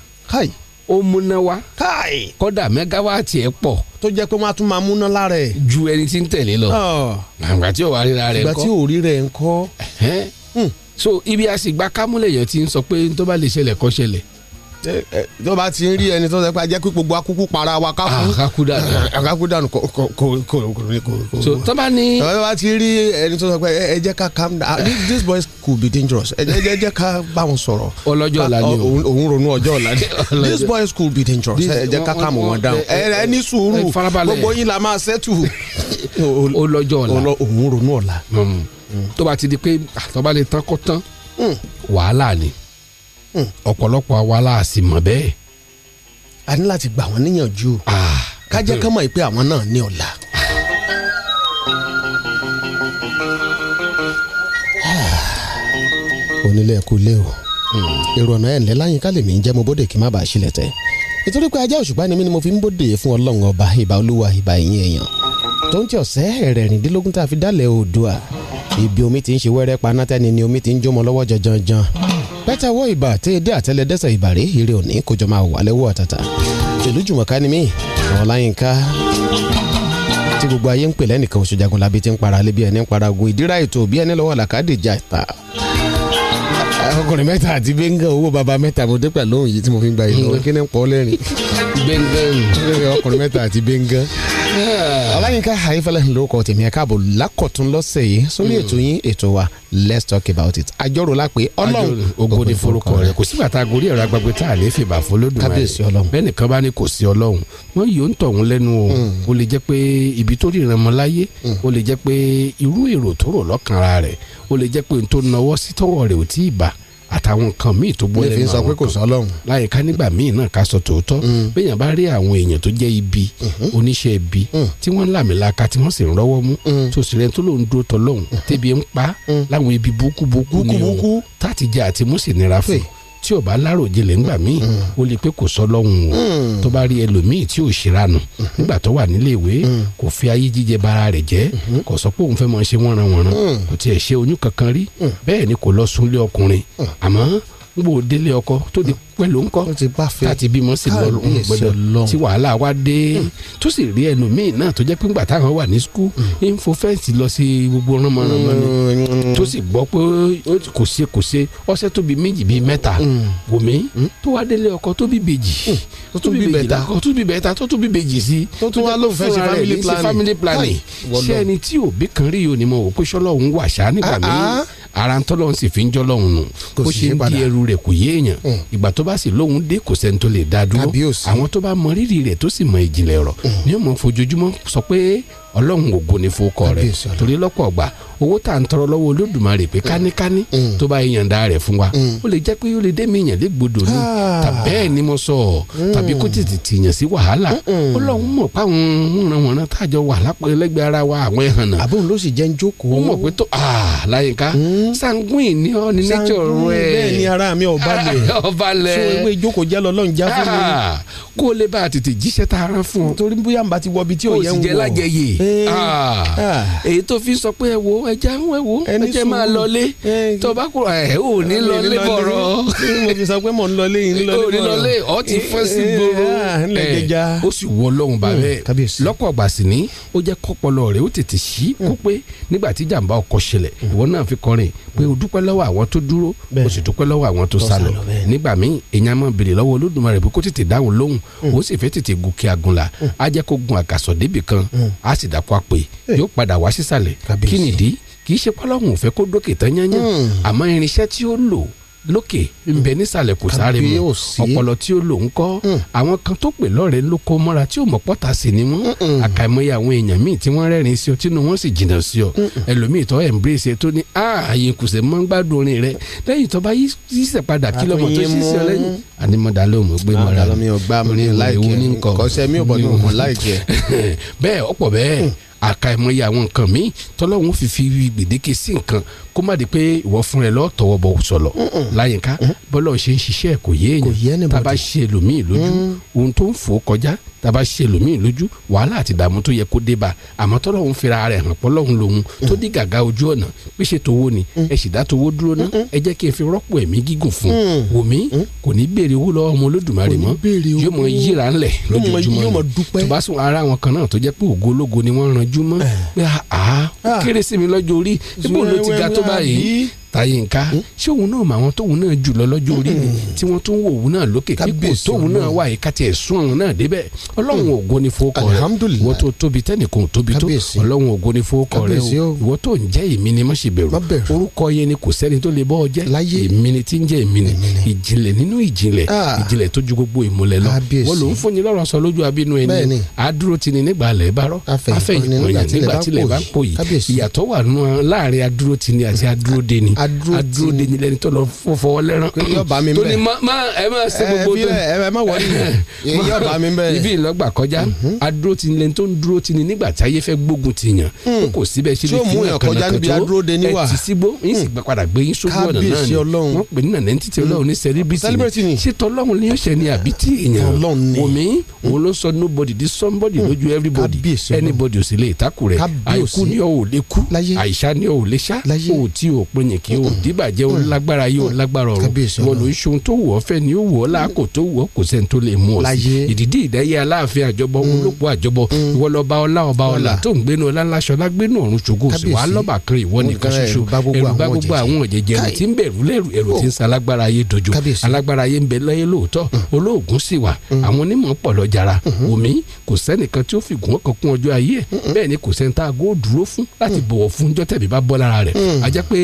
S30: ó múná wá kọ́dà mẹ́gáwáàtì ẹ̀ pọ̀
S29: tó jẹ́ pé wọ́n á tún máa múná lára ẹ̀.
S30: ju ẹni tí ń tẹ̀lé lọ àgbà tí ò Eh, wá ríra rẹ̀
S29: ìgbà tí
S30: kọ́
S29: ò Hmm. rí rẹ̀ ń kọ́.
S30: Ẹ̀hẹ́n. so ibi àsìgbà kámúlẹ̀ yẹn ti ń sọ pé n tó bá lè ṣẹlẹ̀ kó ṣẹlẹ̀
S29: ẹ, ẹ, tó bá ti ń rí ẹni tó sọ pé ajẹ́ pé gbogbo akúkú para wa kákú.
S30: àkàkú dànù
S29: àkàkú dànù kò kò kò kò kò kò.
S30: so tó bá ní
S29: tó bá ti rí ẹni tó sọ pé ẹ ẹ jẹ́ ká calm down This- these boys could be dangerous ẹ jẹ́- ẹ jẹ́ ká bá wọn sọ̀rọ̀.
S30: ọlọ́jọ́ ọ̀la ni o
S29: Òun- òun ronú ọjọ́ ọ̀la ni. These boys could be dangerous
S30: This-
S29: ẹ jẹ́ ká
S30: wọ́n-
S29: calm
S30: wọ́n-
S29: wọn down.
S30: ẹ- ẹ-
S29: ẹ ẹ ní sùúrù
S30: ẹ farabalẹ̀.
S29: gbogbo yín la máa settle.
S30: ọlọ́jọ́ ọ̀la Hmm.
S29: òun ronú ọ̀la.
S30: tó bá ti di pé àtọ́ba lè tán kó tán
S29: Hmm.
S30: wàhálà ni ọ̀pọ̀lọpọ̀ àwa la sì mọ̀ bẹ́ẹ̀. Ah.
S29: a ní láti gbà wọ́n níyànjú ká jẹ́ ká mọ̀ pé àwọn náà ní ọ̀la. onílé ẹ̀kú ilé o Hmm. èrò ọ̀nà ẹ̀ ńlẹ́ láyìn ká lè mí jẹ́ mo bóde kí n má bàa sílẹ̀ tẹ́ nítorí pé ajá òṣùpá ni mí ni mo fi ń bóde fún ọlọ́run ọba ìbà olúwa ìbà ẹ̀yìn èèyàn tó ń tí ọ̀sẹ́ ẹ̀rẹ̀rìndínlógún tá a fi dálẹ̀ oòdùà ibi omi ti ń ṣe wẹ́rẹ́ panátẹ́ni ni omi ti ń jómọ lọ́wọ́ jọjọjọ pẹ́tẹ́wọ́ ìbà tí èdè àtẹlẹdẹ́sẹ̀ ìbàrẹ́ ire òní kò jọ máa wà lẹ́wọ́ àtàtà tèlú jùmọ̀ká ni mí àwọn láyínká tí gbogbo
S6: gbogbo ayé ń pè lẹ́nìkan oṣù jagunlabi ti ń para lé bí ẹni ń para ogun ìdíra ètò bí ẹni lọ́wọ́ làkàdé jà ta ọkùnrin mẹ́ta àti bẹ́ńgà owó baba mẹ́ta mo dé pẹ̀lú òun yìí tí mo fi ń gba yìí lọ́wọ́ kí ni ń pọ́ lẹ́rìn bẹ́ńgà ọkùnrin mẹ́ta àti bẹ́ńgà ọláyínká ayífẹ́lẹ́ ń lórúkọ tèmi ẹ̀ka àbò lákọ̀tún lọ́sẹ̀ yìí sórí ètò yín ètò wa let's talk about it àjọrò lápè ọlọ́run
S30: ogo ni forúkọ rẹ kò sígbà tá a gorí ẹ̀rọ agbègbè tá a lè fi bà fún lódùmarè
S6: Kábíyèsí Ọlọ́run.
S30: bẹ́ẹ̀ nìkan bá ní kò sí ọlọ́run wọ́n yóò ń tọ̀hún lẹ́nu o
S6: Hmm.
S30: o lè jẹ́ pé ibi tó rí ìrànmọ́ láyé o lè jẹ́ pé irú èrò tó rò lọ́kàn ara rẹ̀ o lè jẹ́ pé n tó nawọ́ sí tọ́wọ́ rẹ̀ ò tí ì bà àtàwọn nǹkan míì tó
S6: lè
S30: gbọ́lẹ̀
S6: fi ń sọ pé kò sọ Mm. ọlọ́run
S30: láyé ká nígbà míì náà ká sọ tòótọ́ bẹ́ẹ̀yàn bá rí àwọn èèyàn tó jẹ́ ibi
S6: Mm-hmm.
S30: oníṣẹ́ ibi
S6: Mm.
S30: tí wọ́n ń làmìlaka tí wọ́n sì ń rọ́wọ́ mú tó sì rẹ̀ tó lòun dúró tọ́ lọ́hùn
S6: Mm-hmm.
S30: tẹ́bi ń pa
S6: Mm.
S30: láwọn ibi búkúbúkú ni o táti jẹ́ àti mú sì nira fún tí o bá láròjinlẹ̀ ńgbà míì
S6: Mm.
S30: o lè pé kò sọ lọ́hùn o Mm. tó bá rí ẹlòmíì tí ò ṣìranù
S6: Mm-hmm.
S30: nígbà tó wà nílé ìwé
S6: Mm.
S30: kò fi ayé jíjẹ bara rẹ̀ jẹ́
S6: Mm-hmm.
S30: kò sọ pé òun fẹ́ máa ṣe wọ́nranwọ̀nran
S6: Mm.
S30: kò tiẹ̀ ṣe oyún kankan rí bẹ́ẹ̀ ni kò lọ súnlé ọkùnrin
S6: Mm.
S30: àmọ́ n bò délé ọkọ tó di pẹ̀lú ńkọ́ láti bímọ sí lọ
S6: Kábíyèsí
S30: gbọdọ̀
S6: Ọlọ́run. Hmm.
S30: tí wàhálà wa dé tó sì rí ẹlòmíì náà tó jẹ́ pé ńgbà táwọn wà ní skul
S6: Hmm.
S30: info fẹ́ǹsì lọ sí gbogbo ránmọ́ránmọ́ ni tó sì gbọ́ pé ó ti- kò ṣe kò ṣe ọ̀sẹ̀ tó bí méjì bí mẹ́ta
S6: Hmm.
S30: wòmí tó wá délé ọkọ tó bí bèjì tó
S6: tún bí bẹ̀ta.
S30: tó tún bí bẹ́ta tó tún bí bèjì sí
S6: Tó tún wá lóun fẹ́ ṣe
S30: fúnra rẹ̀
S6: family
S30: ní
S6: planning.
S30: family planning
S6: Káì, wọ́n
S30: ṣé
S6: lọ.
S30: ẹni tí òbí kan rí yìí ò ní mọ̀ wò pé ṣọ́lọ́hún wà ṣá nígbà míì ara ń tọ́lọ́hún sì fi ń jọ́ lọ́hún nù
S6: Ah, Kò
S30: kó
S6: sì
S30: ṣe ń
S6: yí
S30: di
S6: padà.
S30: ẹrù rẹ̀ kò yé èèyàn
S6: Mm.
S30: ìgbà tó bá sì lóhun dé kò sẹ́ni tó lè dá dúró àwọn tó bá mọ rírì rẹ̀ tó sì mọ ìjìnlẹ̀ ọ̀rọ̀
S6: Mm.
S30: ni ó mọ fojoojúmọ́ sọ pé ọlọ́run ògo ni fokọ rẹ̀ torí lọ́pọ̀ ọgbà owó tá à ń tọrọ lọ́wọ́ olódùmarè pé
S6: Mm.
S30: káníkání tó bá yànda rẹ̀ fún wa ó lè jẹ́ pé ó lè dé mi yàn légbodò ni
S6: Ah.
S30: tàbí ẹ̀ ni mo sọ ọ́
S6: Mm.
S30: tàbí kó tètè tìyàn sí wàhálà ọlọ́run mọ̀ pé àwọn wọ̀nranwọ̀nran tájọ wà lápẹ̀lẹ́gbẹ̀ ara wa àwọn ẹ̀hànà
S6: àbóhùn ló sì jẹ́ ń jókòó
S30: ó
S6: Hmm?
S30: mọ̀ pé tó ah, láyìnká sanguine ni ọ́ ní nature rẹ̀
S6: bẹ́ẹ̀ ni ara mi ò balẹ̀
S30: ọ̀ balẹ̀
S6: so ewé ìjókòó jẹ́ lọ lọ́run já fún mi
S30: Ah, kó o lè bá a tètè jíṣẹ́ tá a rán fún ọ
S6: torí bóyá n bá ti wọ ibi tí ò
S30: kó o
S6: yẹ
S30: sì
S6: ń
S30: jẹ́
S6: wọ̀.
S30: lájẹyè
S6: Eh,
S30: Ah,
S6: ah.
S30: èyí tó fi sọ pé ẹ wo ẹja ń wẹ̀ wo ẹjẹ máa
S6: sùúrù.
S30: lọlé tó bá kúrò ẹ ò ní
S6: Mi ò ní
S30: lọlé
S6: lọlé. Mm.
S30: bọ̀rọ̀
S6: Bí mo fi sọ pé mò ń lọlé yìí ń lọlé
S30: ò ní
S6: bọ̀rọ̀.
S30: lọlé ọ ti fọ́n sí
S6: Eh, eh,
S30: gbòòrò
S6: ah, ńlẹ̀
S30: Eh,
S6: jẹja. Hmm,
S30: ó sì wọ lọ́hùn bàbẹ́ lọ́pọ̀ ọgbà sí ni ó jẹ́ kọ́pọlọ rẹ̀ ó tètè sí
S6: Hmm.
S30: kó pé nígbà tí jàǹbá ọkọ̀ ṣẹlẹ̀ ìwọ náà fi kọrin pé o dúpẹ́ lọ́wọ́ àwọn tó dúró o sì dúpẹ́ lọ́wọ́ àwọn tó sálọ nígbà míì èèyàn máa béèrè lọ́wọ́ olódùmarè pé kó tètè dáhùn lóhùn
S6: Hmm.
S30: ó sì fẹ́ tètè gòkè àgùnlà á jẹ́ kó gun àkàsọ̀ débì kan á sì dákú àpè yóò padà wá sísàlẹ̀ kí nìdí kì í ṣe pọ́lọ́hùn ò fẹ́ kó dókè tán yányán àmọ́ irinṣẹ́ tí ó lò lókè ń bẹ nísàlẹ̀ kò sáré mu
S6: Kábíyèsí.
S30: ọpọlọ tí ó lò ń kọ́ àwọn kan tó pè lọ́rẹ̀ẹ́ ló kó mọ́ra tí ò mọ̀ pọ́ta sí ni wọ́n àkàìmọye àwọn èèyàn míì tí wọ́n rẹ́rìn sí ọ tínú wọn sì jìnnà sí ọ ẹlòmíì tó embrace ẹ tó ní "Ah, ààyè kùsẹ̀ mọ́ ń gbádùn orin rẹ lẹ́yìn tó bá yí sísẹ̀ padà kí lọ́mọ tó
S6: Àtúnyẹ̀mú.
S30: sísẹ̀ ọ lẹ́yìn ànímọ̀dá ló mọ̀ gbé mọ́ra
S6: Àmọ̀dá Ah, mi ò gbá mi láìkẹ́. Kọ́sẹ́ mi ò bọ̀ ní òun láìkẹ́.
S30: bẹ́ẹ̀ ọ̀pọ̀
S6: Hmm.
S30: bẹ́ẹ̀ àkàìmọye àwọn nǹkan míì tọ́lọ́hún fi fi gbèdéke sí nǹkan kó má di pé ìwọ fún rẹ lọ́ọ́ tọwọ́ bọ̀ sọ̀lọ̀
S6: Hmm,
S30: láyìnká bọ́lá ò ṣe ń ṣiṣẹ́ ẹ̀ kò yé èèyàn tàbá ṣe ẹlòmíì lójú
S6: Hmm.
S30: ohun tó ń fò kọjá tàbá ṣe ẹlòmíì lójú wàhálà àti ìdààmú tó yẹ kó dé bá àmọ́ tọ́lọ́hún fira rẹ̀ hàn pọ́lọ́hún lòun tó dí gàgà ojú ọ̀nà pé ṣe tówó ni ẹ sì dá tówó dúró ná ẹ jẹ́ kí n fi rọ́pò ẹ̀mí gígùn fún
S6: Mm.
S30: un wò mí kò ní béèrè owó lọ́wọ́ ọmọ olódùmarè mọ́ yóò mọ yíra ńlẹ̀ lójoojúmọ́
S6: yóò mọ
S30: ni tó bá sún ara àwọn kan náà tó jẹ́ pé ògo ológo ni wọ́n ranjú mọ́
S6: Eh.
S30: pé àá ó kéré sí mi lọ́jọ́ orí ibo ló ti ga tó báyìí tayinka
S6: Hmm?
S30: ṣé òun náà mọ àwọn tóun náà jù lọ lọ́jọ́ orí ni tí wọ́n tún wò òun náà lókè kíkò tóun náà wà yìí káti ẹ̀sùn òun náà débẹ̀ ọlọ́run ògo ni fowókọ rẹ wọ́n tó tóbi tẹ́nìkan ò tóbi tó ọlọ́run ògo ni fowókọ rẹ
S6: Kábíyèsí
S30: o
S6: o.
S30: ìwọ tó ń jẹ́ èmi ni má ṣe bẹ̀rù orúkọ yẹn ni kò sẹ́ni tó lè bọ́ ọ jẹ́ èmi ni tí ń jẹ́ èmi ni Ah. ìjìnlẹ̀ nínú ìjìnlẹ̀ ìjìnlẹ̀ tó ju gbogbo ìmùlẹ̀ lọ
S6: Kábíyèsí.
S30: wọ́n ló ń fún ni lọ́rọ̀ sọ lójú abínú
S6: Bẹ́ẹ̀
S30: ẹni
S6: ni.
S30: àdúró ti ni nígbà alẹ́ bá rọ́
S6: Afẹ̀yìnkọ́ni nígbà
S30: afẹ́yìnkọ́ni
S6: tílẹ̀
S30: nígbà
S6: bá
S30: tílẹ̀
S6: pòyì.
S30: bá pòyì ìyàtọ̀ wà nù láàrin adúró ti ni àti adúró de ni adúró de ni lẹni tó lọ fọwọ́ lẹ́rán
S6: yóò bá mi
S30: tó
S6: bẹ́ẹ̀.
S30: ní má má ẹ má ṣe
S6: Ẹ,
S30: gbogbo
S6: filẹ̀, ẹ, ẹ má wọrí. Yóò bá mi bẹ́ẹ̀. Mhm.
S30: ibi ìlọgbà kọjá adúró ti ni lẹni tó ń dúró ti ni nígbà tí ayé fẹ́ gbógun ti yàn
S6: Hmm.
S30: kò síbẹ̀ ṣe
S6: Tí
S30: lè
S6: ó mú yàn kọjá níbi adúró de ni wà.
S30: ẹ ti sígbó yín sì gbà padà gbé yín sójú ọ̀nà náà
S6: Kábíyèsí
S30: ni Hmm.
S6: Ọlọ́run.
S30: wọ́n pè ní nàní títí ọlọ́run ní
S6: Celebrity
S30: sẹ́líbìtì
S6: ni.
S30: ṣé tọ́lọ́run ní ọ̀sẹ̀ ni àbí tí èèyàn omi
S6: Hmm.
S30: òun ló sọ nobody di somebody lójú everybody anybody ò sì lè takù rẹ̀
S6: Kábíyèsí.
S30: àìkú ni ò lè kú àìsá ni ò lè sá ò tí ò pin yìí kì í o
S6: Hmm.
S30: dìbàjẹ́ o lágbára yìí o lágbára ọ̀rọ̀ wọn ló ń ṣohun tó wù ọ́ fẹ́ ni ó wù ọ́ láàkó tó wù ọ́ kò sẹ́ni tó lè mú ọ sí ìdìdí ìdáyé aláàfin àjọbọ
S6: Hmm.
S30: olóko àjọbọ ìwọ lọba ọlá ọba ọlá tó ń gbénu ọlá ńláṣọlá gbénu ọ̀run ṣògo sí wàá lọ́ba kan ìwọ nìkan ṣoṣo ẹ̀rù bá gbogbo àwọn jẹjẹ ẹ̀rù tí ń bẹ̀rù lẹ́rù ẹ̀rù tí ń sa alágbára ayé dojo alágbára ayé ń bẹ láyé lóòótọ́ olóògùn sì wà àwọn onímọ̀ pọ̀ lọ́jàrà omi kò sẹ́nìkan tí ó fi gùn ọkàn kún ọjọ́ ayé ẹ̀ bẹ́ẹ̀ ni kò sẹ́ni tá a gó dúró fún láti bọ̀wọ̀ fún jọ́tẹ̀bí bá bọ́ lára rẹ̀ a jẹ́ pé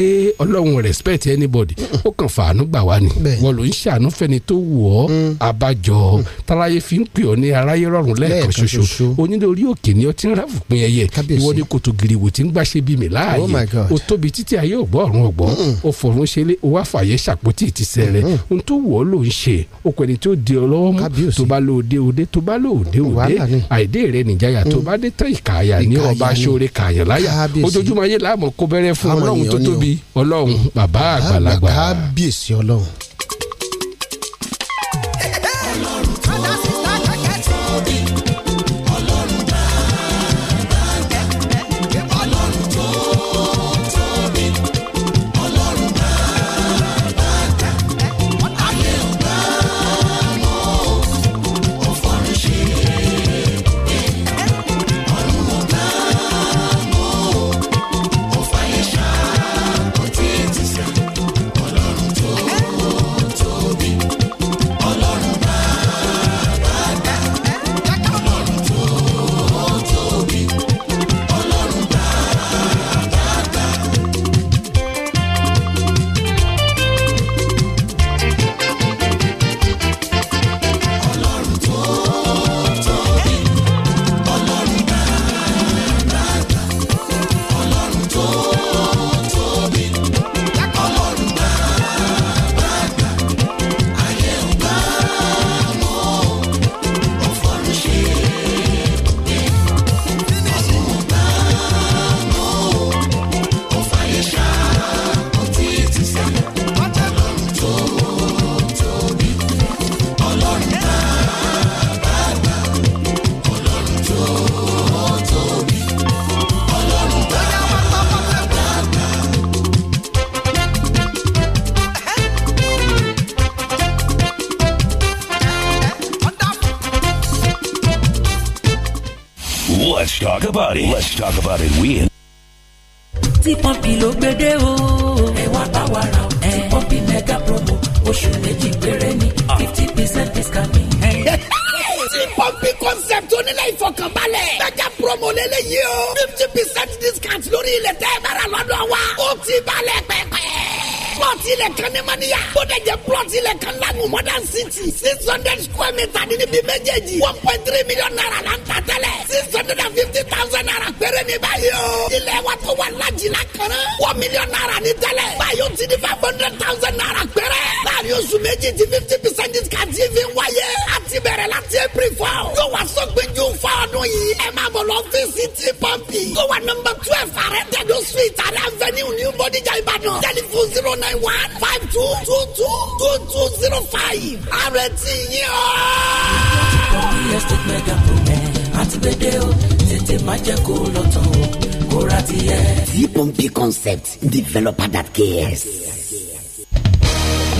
S30: ọlọ́run respect anybody ó kàn fàánú gbà wá ni wọ́n ló ń ṣàánú fẹ́ni tó wù ọ́ abájọ táráyé fi ń pè ọ́ ní aráyé rọrùn lẹ́ẹ̀kan
S29: Lẹ́ẹ̀kan
S30: ṣoṣo onídórí òkè ni ọ ti ń ráfùpin ẹyẹ ìwọ ni kòtò gìrìwò ti ń gbàṣe bí mi
S29: Oh my
S30: láàyè
S29: God.
S30: o tóbi títí ayé ò gbọ́ ọ̀run ọ̀gbọ́ o fọ̀run ṣe lé o wá fàyè ṣàpótí ti sẹ̀rẹ̀ ohun tó wọ̀ ọ́ ló ń ṣe o kò ní tí ó di ọ lọ́wọ́ mú tó bá lò dé òde tó bá lò dé òde
S29: Wàhálà ni.
S30: àìdè rẹ nìjáyà tó
S6: Hmm.
S30: bá dé tán ìkàyà ní
S29: Ìkàyà
S30: ọba
S29: ni.
S30: aṣọ́re kàyàn láyà
S29: Kábíyèsí.
S30: ojoojúmọ́ ayé láàmú kó bẹ́rẹ́ fún
S29: Àwọn
S30: ọlọ́run tó
S29: èèyàn ni o.
S30: tóbi ọlọ́run bàbá àgbàlagbà.
S29: kábíyèsí ọlọ́run.
S19: Let's talk about it. Let's talk about it with
S10: tí pọ́ǹpì ló gbédè o. ẹ wá bá wa ra o tí pọ́ǹpì mega promo oṣù méjì péré ni fifty percent discount.
S28: tí pọ́ǹpì concept onílé ìfọkànbalẹ̀ mega promo lélẹ́yìí o fifty percent discount lórí ilẹ̀ tẹ́ ẹ bá rà lọ́dọ̀ wa ó ti balẹ̀ pẹ́pẹ́. plọ̀tì ilẹ̀ kan ní maniya bódẹ̀jẹ̀ plọ̀tì ilẹ̀ kan lanu modern city six hundred square meter ní níbi méjèèjì one point three million naira la ń ta tẹ́lẹ̀ six hundred and fifty thousand naira péré ní báyìí o ilẹ̀ wa tó wà lajìlá kan náà one million naira ní tẹ́lẹ̀ báyìí o ti di five hundred thousand naira péré láàrin oṣù méjì ti fifty percent discount yìí fi ń wáyé a ti bẹ̀rẹ̀ láti april four yóò wá sọ́gbẹ́ ju fún ọdún yìí ẹ máa bọ̀ lọ fèsì tí pọ́ǹpì yóò wá nọmba twelve àrẹ tẹ̀dọ̀ street àrẹ avenue new bodijà ìbàdàn tẹlifon zero nine one five two two two two two zero five àrẹ tí yín ọ́.
S10: real estate mega promo àti gbédè o tètè má jẹ́ kó lọ tán o kó ra tiẹ̀.
S31: tí pọ́ǹpì concept developer that cares.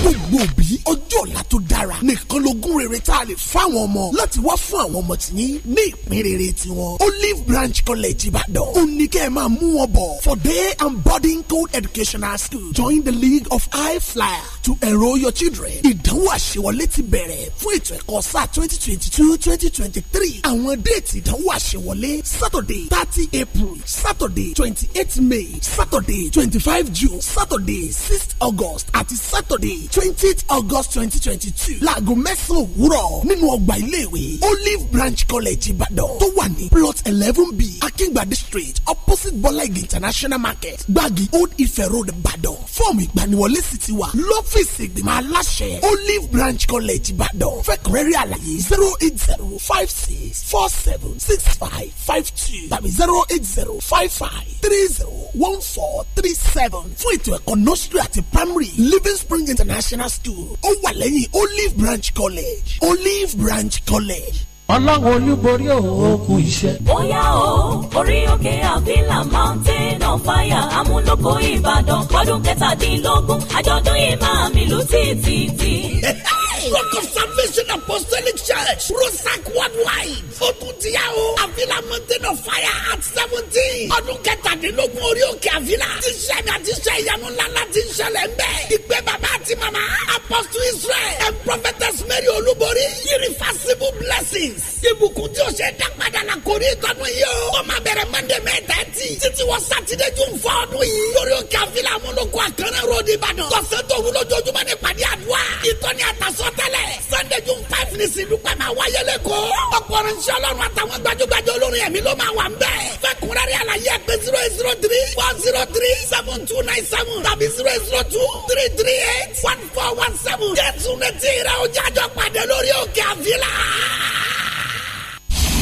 S13: gbogbo òbí ọjọ́ ọ̀la tó dára nìkan lógún rere tá a lè fáwọn ọmọ láti wá fún àwọn ọmọ tí yín ní ìpín rere tiwọn Olive Branch College Ìbàdàn ó ní kẹ́ ẹ máa mú wọn bọ̀ for day and boarding co-educational school join the league of high flyer to enrol your children ìdánwò àṣewọlé ti bẹ̀rẹ̀ fún ètò ẹ̀kọ́ sáà twenty twenty two twenty twenty three àwọn déètì ìdánwò àṣewọlé Saturday thirty April Saturday twenty eight May Saturday twenty five June Saturday six August àti Saturday twentieth August twenty twenty two láago mẹ́sàn-án òwúrọ̀ nínú ọgbà iléèwé Olive Branch College Ìbàdàn tó wà ní plot eleven b Akíngbadé street opposite Bọ́láìgì International Market Gbági Old Ife Road Ìbàdàn fọ́ọ̀mù ìgbaniwọlé sì ti wà lọ́fíìsì ìgbìmọ̀ aláṣẹ Olive Branch College Ìbàdàn fẹ́kùrẹ́rì àlàyé zero eight zero five six four seven six five five two tàbí zero eight zero five five three zero one four three seven fún ètò ẹ̀kọ́ nursery àti primary Living Spring International School ó wà lẹ́yìn Olive Branch College Olive Branch College. ọlọ́run olúborí òkú iṣẹ́.
S10: bóyá o orí òkè àfílà mountain of fire amúlò kó ìbàdàn kọ́dún kẹtàdínlógún àjọ̀dún yìí máa mi lù tìtìtì.
S28: Rock of Salvation Apostolic Church, Rosac Worldwide, Otuntiyahu, Avila Mountain of Fire at seventeen. Ọdún kẹtàdínlógún orí òkè Avila. Ti ṣe mi àti ṣe ìyanu ńláńlá ti ṣẹlẹ̀ ń bẹ̀. Ìgbé bàbá àti màmá. Apostle Israel and Prophetess Mary Olúborí. Irreversible blessings. Ibùkún tí o ṣe dá padà la kò rí ìtọ́nu yìí o. Ó máa bẹ̀rẹ̀ Mọ́ndé mẹ́ta ẹtì. Títí wọ Sátidé June four ọdún yìí. Lórí òkè Avila Amúlòkó Àkànrẹ́ Road Ìbàdàn. Tọ̀sán tòru lójoojúmọ́ ní pàdé àdúrà. Ìtọ́ni àtàsọ tẹ́lẹ̀. Sunday June five ní Sìndúpẹ́ máa wáyé lẹ́kọ̀ọ́. Ọ̀pọ̀ ọ̀rẹ́nsẹ́ ọlọ́run àtàwọn gbajúgbajù olórin ẹ̀mí ló máa wà ń bẹ̀. Fẹ́kúnrẹ́rẹ́ àlàyé ẹgbẹ́ zero eight zero three four zero three seven two nine seven tàbí zero eight zero two three three eight one four one seven. Jésù ní tí ìrẹ́ ojú àjọ pàdé lórí òkè àfilà.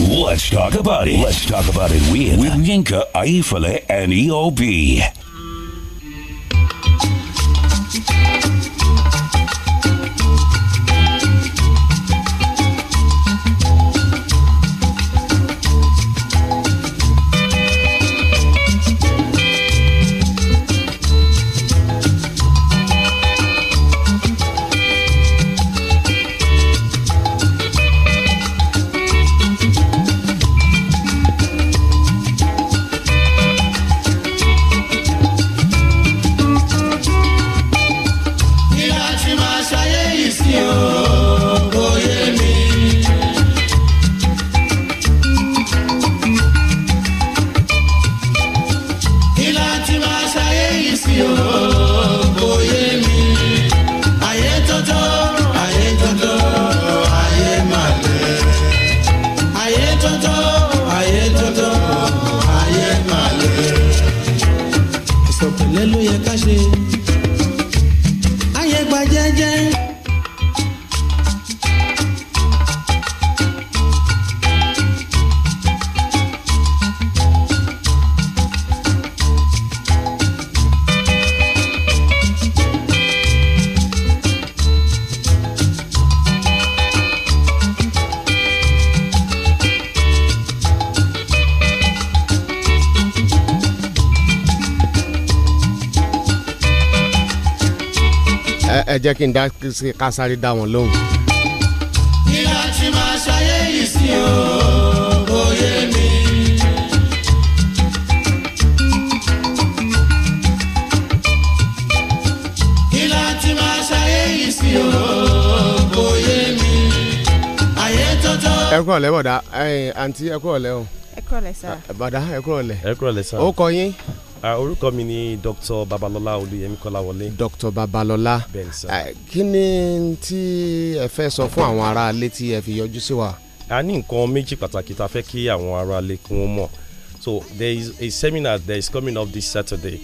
S2: Let's talk about it. Let's talk about it with, with Yinka, Aifale, and E EOB.
S19: Kí la ti máa ṣayé yìí sí o,
S10: Oh.
S19: kò yé mi. Kí la ti máa ṣayé yìí sí o, kò yé mi. Ayé tótó, ayé tótó, ayé máa lè. Ayé tótó, ayé tótó, ayé máa lè. Ìsọ̀pẹ̀lẹ̀ ló yẹ ká ṣe ayé gba jẹ́jẹ́.
S29: Ẹ- ẹ jẹ́ kí n dá sí- ká sáré dá wọn lóhùn.
S19: kí la ti máa ṣayé yìí sí o kò yé mi. kí la ti máa ṣayé yìí sí o kò yé mi. ayé tótó.
S29: ẹ kúrò lẹ́bọ̀dá àǹtí ẹ kúrò lẹ́ o
S32: ẹ kúrọ̀lẹ́ sá.
S29: bọ̀dá ẹ kúrò lẹ́.
S33: ẹ kúrọ̀lẹ́ sá.
S29: ó kọ yín.
S33: Ah, orúkọ mi ni dr babalọla olùyẹmí kọláwọlé.
S29: dr babalọla
S33: bẹ́ẹ̀ni sá.
S29: kí ni tí ẹ fẹ́ sọ fún àwọn aráalé tí ẹ fi yọjú sí wa.
S33: a ní nǹkan méjì pàtàkì tá a fẹ́ kí àwọn aráalé kí wọ́n mọ̀ so there is a seminar that is coming up this saturday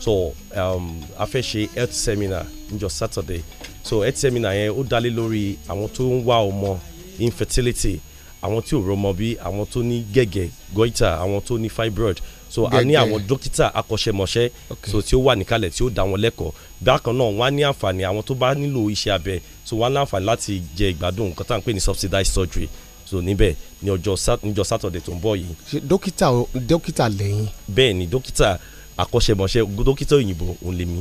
S33: so um, a fẹ́ ṣe health seminar níjọ saturday so health seminar yẹn ó dálé lórí àwọn tó ń wá ọmọ infertility àwọn tí ò rọmọ bí àwọn tó ní gẹ̀gẹ̀ goiter àwọn tó ní fibroid so a ní
S17: Gẹ̀gẹ̀.
S33: àwọn dókítà akọ́ṣẹ́mọṣẹ́ so tí ó wà níkàlẹ̀ tí ó dá wọn lẹ́kọ̀ọ́ bákan náà wọ́n á ní àǹfààní àwọn tó bá nílò iṣẹ́ abẹ so wọ́n á ní àǹfààní láti jẹ ìgbádùn nǹkan tá à ń pè ní subsidized surgery so níbẹ̀ ní ọjọ́ Sat- níjọ́ saturday tó ń bọ̀ yìí
S29: ṣé dókítà o- dókítà lẹ́yìn.
S33: bẹ́ẹ̀ ni dókítà akọ́ṣẹ́mọṣẹ́ dókítà òyìnbó òun lèmi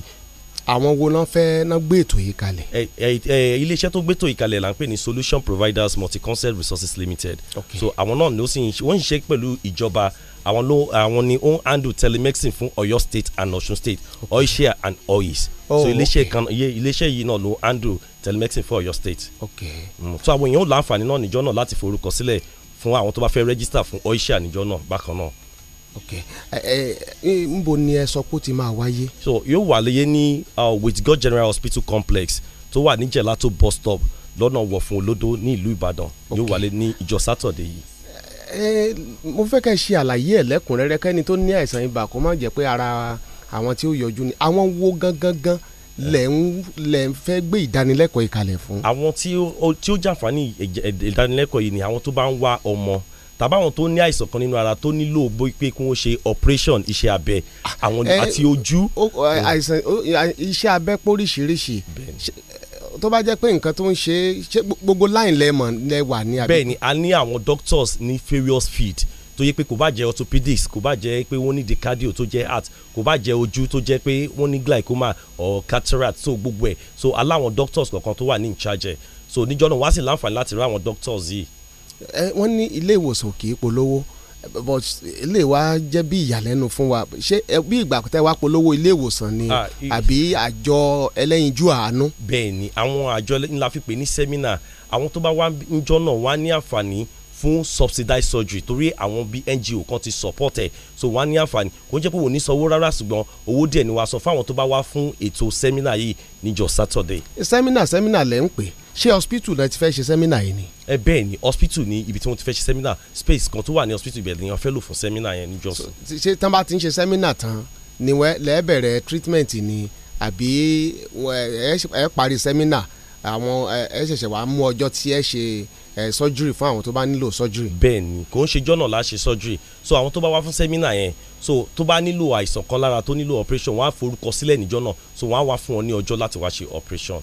S29: àwọn wo náà fẹ́ náà gbé ètò yìí kalẹ̀.
S33: ẹ- ẹ- ẹ- iléeṣẹ́ tó gbétò ìkàlẹ̀ là ń pè ní solution providers multi-concept resources limited so àwọn náà ló sì ń ṣe- wọ́n ń ṣe pẹ̀lú ìjọba àwọn ló àwọn ni ó ń handle telemedicine fún ọ̀yọ́ state and ọ̀ṣun state oishare and oyis
S29: Oh,
S33: so iléeṣẹ́ kan iye- iléeṣẹ́ yìí náà ló handle telemedicine fún ọ̀yọ́ state
S29: Okay.
S33: Mm, so àwọn èèyàn ó láǹfààní náà níjọ́ náà láti forúkọ sílẹ̀ fún àwọn tó bá fẹ́ register fún oishare níjọ́ náà bákan náà
S29: ẹ ẹ ẹ, ńbo ni ẹ sọ pé ó ti máa wáyé.
S33: so yóò wà lóye ní uh, with god general hospital complex tó wà ní gelato bus stop lọ́nà wọ̀fun olódó ní ìlú ìbàdàn yóò wà lé ní ìjọ sátọ̀dẹ̀ yìí.
S29: ẹ mo fẹ́ kẹ́ ẹ ṣe àlàyé ẹ̀ lẹ́kùnrẹ́rẹ́ kẹ́ni tó ní àìsàn ibà kó má jẹ́ pé ara àwọn tí ó yọjú ni àwọn wo gangan gan lẹ̀ ń lẹ̀ ń fẹ́ gbé ìdánilẹ́kọ̀ọ́ ìkàlẹ̀ fún.
S33: àwọn tí ó ó- tí ó jàǹfààní ìjẹ- ẹ̀- ìdánilẹ́kọ̀ọ́ yìí ni àwọn tó bá ń wá ọmọ tàbí àwọn tó ní àìsàn kan nínú ara tó nílò bó pé kí wọ́n ṣe operation iṣẹ́ abẹ àwọn
S29: Ẹ,
S33: àti ojú.
S29: ó- ó, ẹ, àìsàn ó, ẹ, iṣẹ́ abẹ́ póríṣiríṣi Ṣé- ẹ, tó bá jẹ́ pé nǹkan tó ń ṣe é, ṣé gbogbo láìn lẹ mọ̀ lẹ wà ní abẹ́.
S33: bẹ́ẹ̀ ni a ní àwọn doctors ní various field tó tó yẹ pé kò bá jẹ́ orthopedics kò bá jẹ́ pé wọ́n ní the cardio tó jẹ́ heart kò bá jẹ́ ojú tó jẹ́ pé wọ́n ní glaucoma or cataract so gbogbo ẹ̀ so aláwọn doctors kọ̀ọ̀kan tó wà ní in charge ẹ̀ so níjọ́ náà wá sí láǹfààní láti rí àwọn doctors yìí
S29: ẹ wọ́n ní ilé ìwòsàn kì í polówó but ilé wa jẹ́ bí ìyàlẹ́nu fún wa ṣé ẹ, bí ìgbà tẹ́ wá polówó ilé ìwòsàn ni
S33: Ah, i-
S29: àbí àjọ ẹlẹ́yinjú àánú.
S33: bẹ́ẹ̀ ni àwọn àjọ ńlá fi pè ní sẹ́mínà àwọn tó bá wá ń jọ náà wá ní àǹfààní fún subsidized surgery torí àwọn bíi ngo kan ti support ẹ̀ so wá ní àǹfààní kò ń jẹ́ pé wò ní sanwó rárá ṣùgbọ́n owó díẹ̀ ni wàá sọ fáwọn tó bá wá fún ètò sẹ́mínà yìí níjọ saturday
S29: sẹ́mínà sẹ́mínà lẹ́ ń pè ṣé hospital náà ti fẹ́ ṣe sẹ́mínà yìí ni.
S33: ẹ bẹ́ẹ̀ ni hospital ní ibi tí wọ́n ti fẹ́ ṣe sẹ́mínà space kan tó wà ní hospital ibẹ̀ lèèyàn fẹ́ lò fún sẹ́mínà yẹn níjọ sọ.
S29: Ti- ṣé tán bá ti ń ṣe sẹ́mínà tán ni wẹ́ lẹ́ẹ̀ bẹ̀rẹ̀ treatment ni àbí wẹ́- ẹ ṣe- ẹ parí sẹ́mínà àwọn ẹ- ẹ ṣẹ̀ṣẹ̀ wàá mú ọjọ́ tí ẹ ṣe ẹ, surgery fún àwọn tó bá nílò surgery.
S33: bẹ́ẹ̀ ni kò ń ṣe jọ́nà láṣẹ surgery so àwọn tó bá wá fún sẹ́mínà yẹn so tó bá nílò àìsàn kan lára tó nílò operation wọ́n á forúkọ sílẹ̀ níjọ́ náà so wọ́n á wá fún wọn ní ọjọ́ láti wá ṣe operation.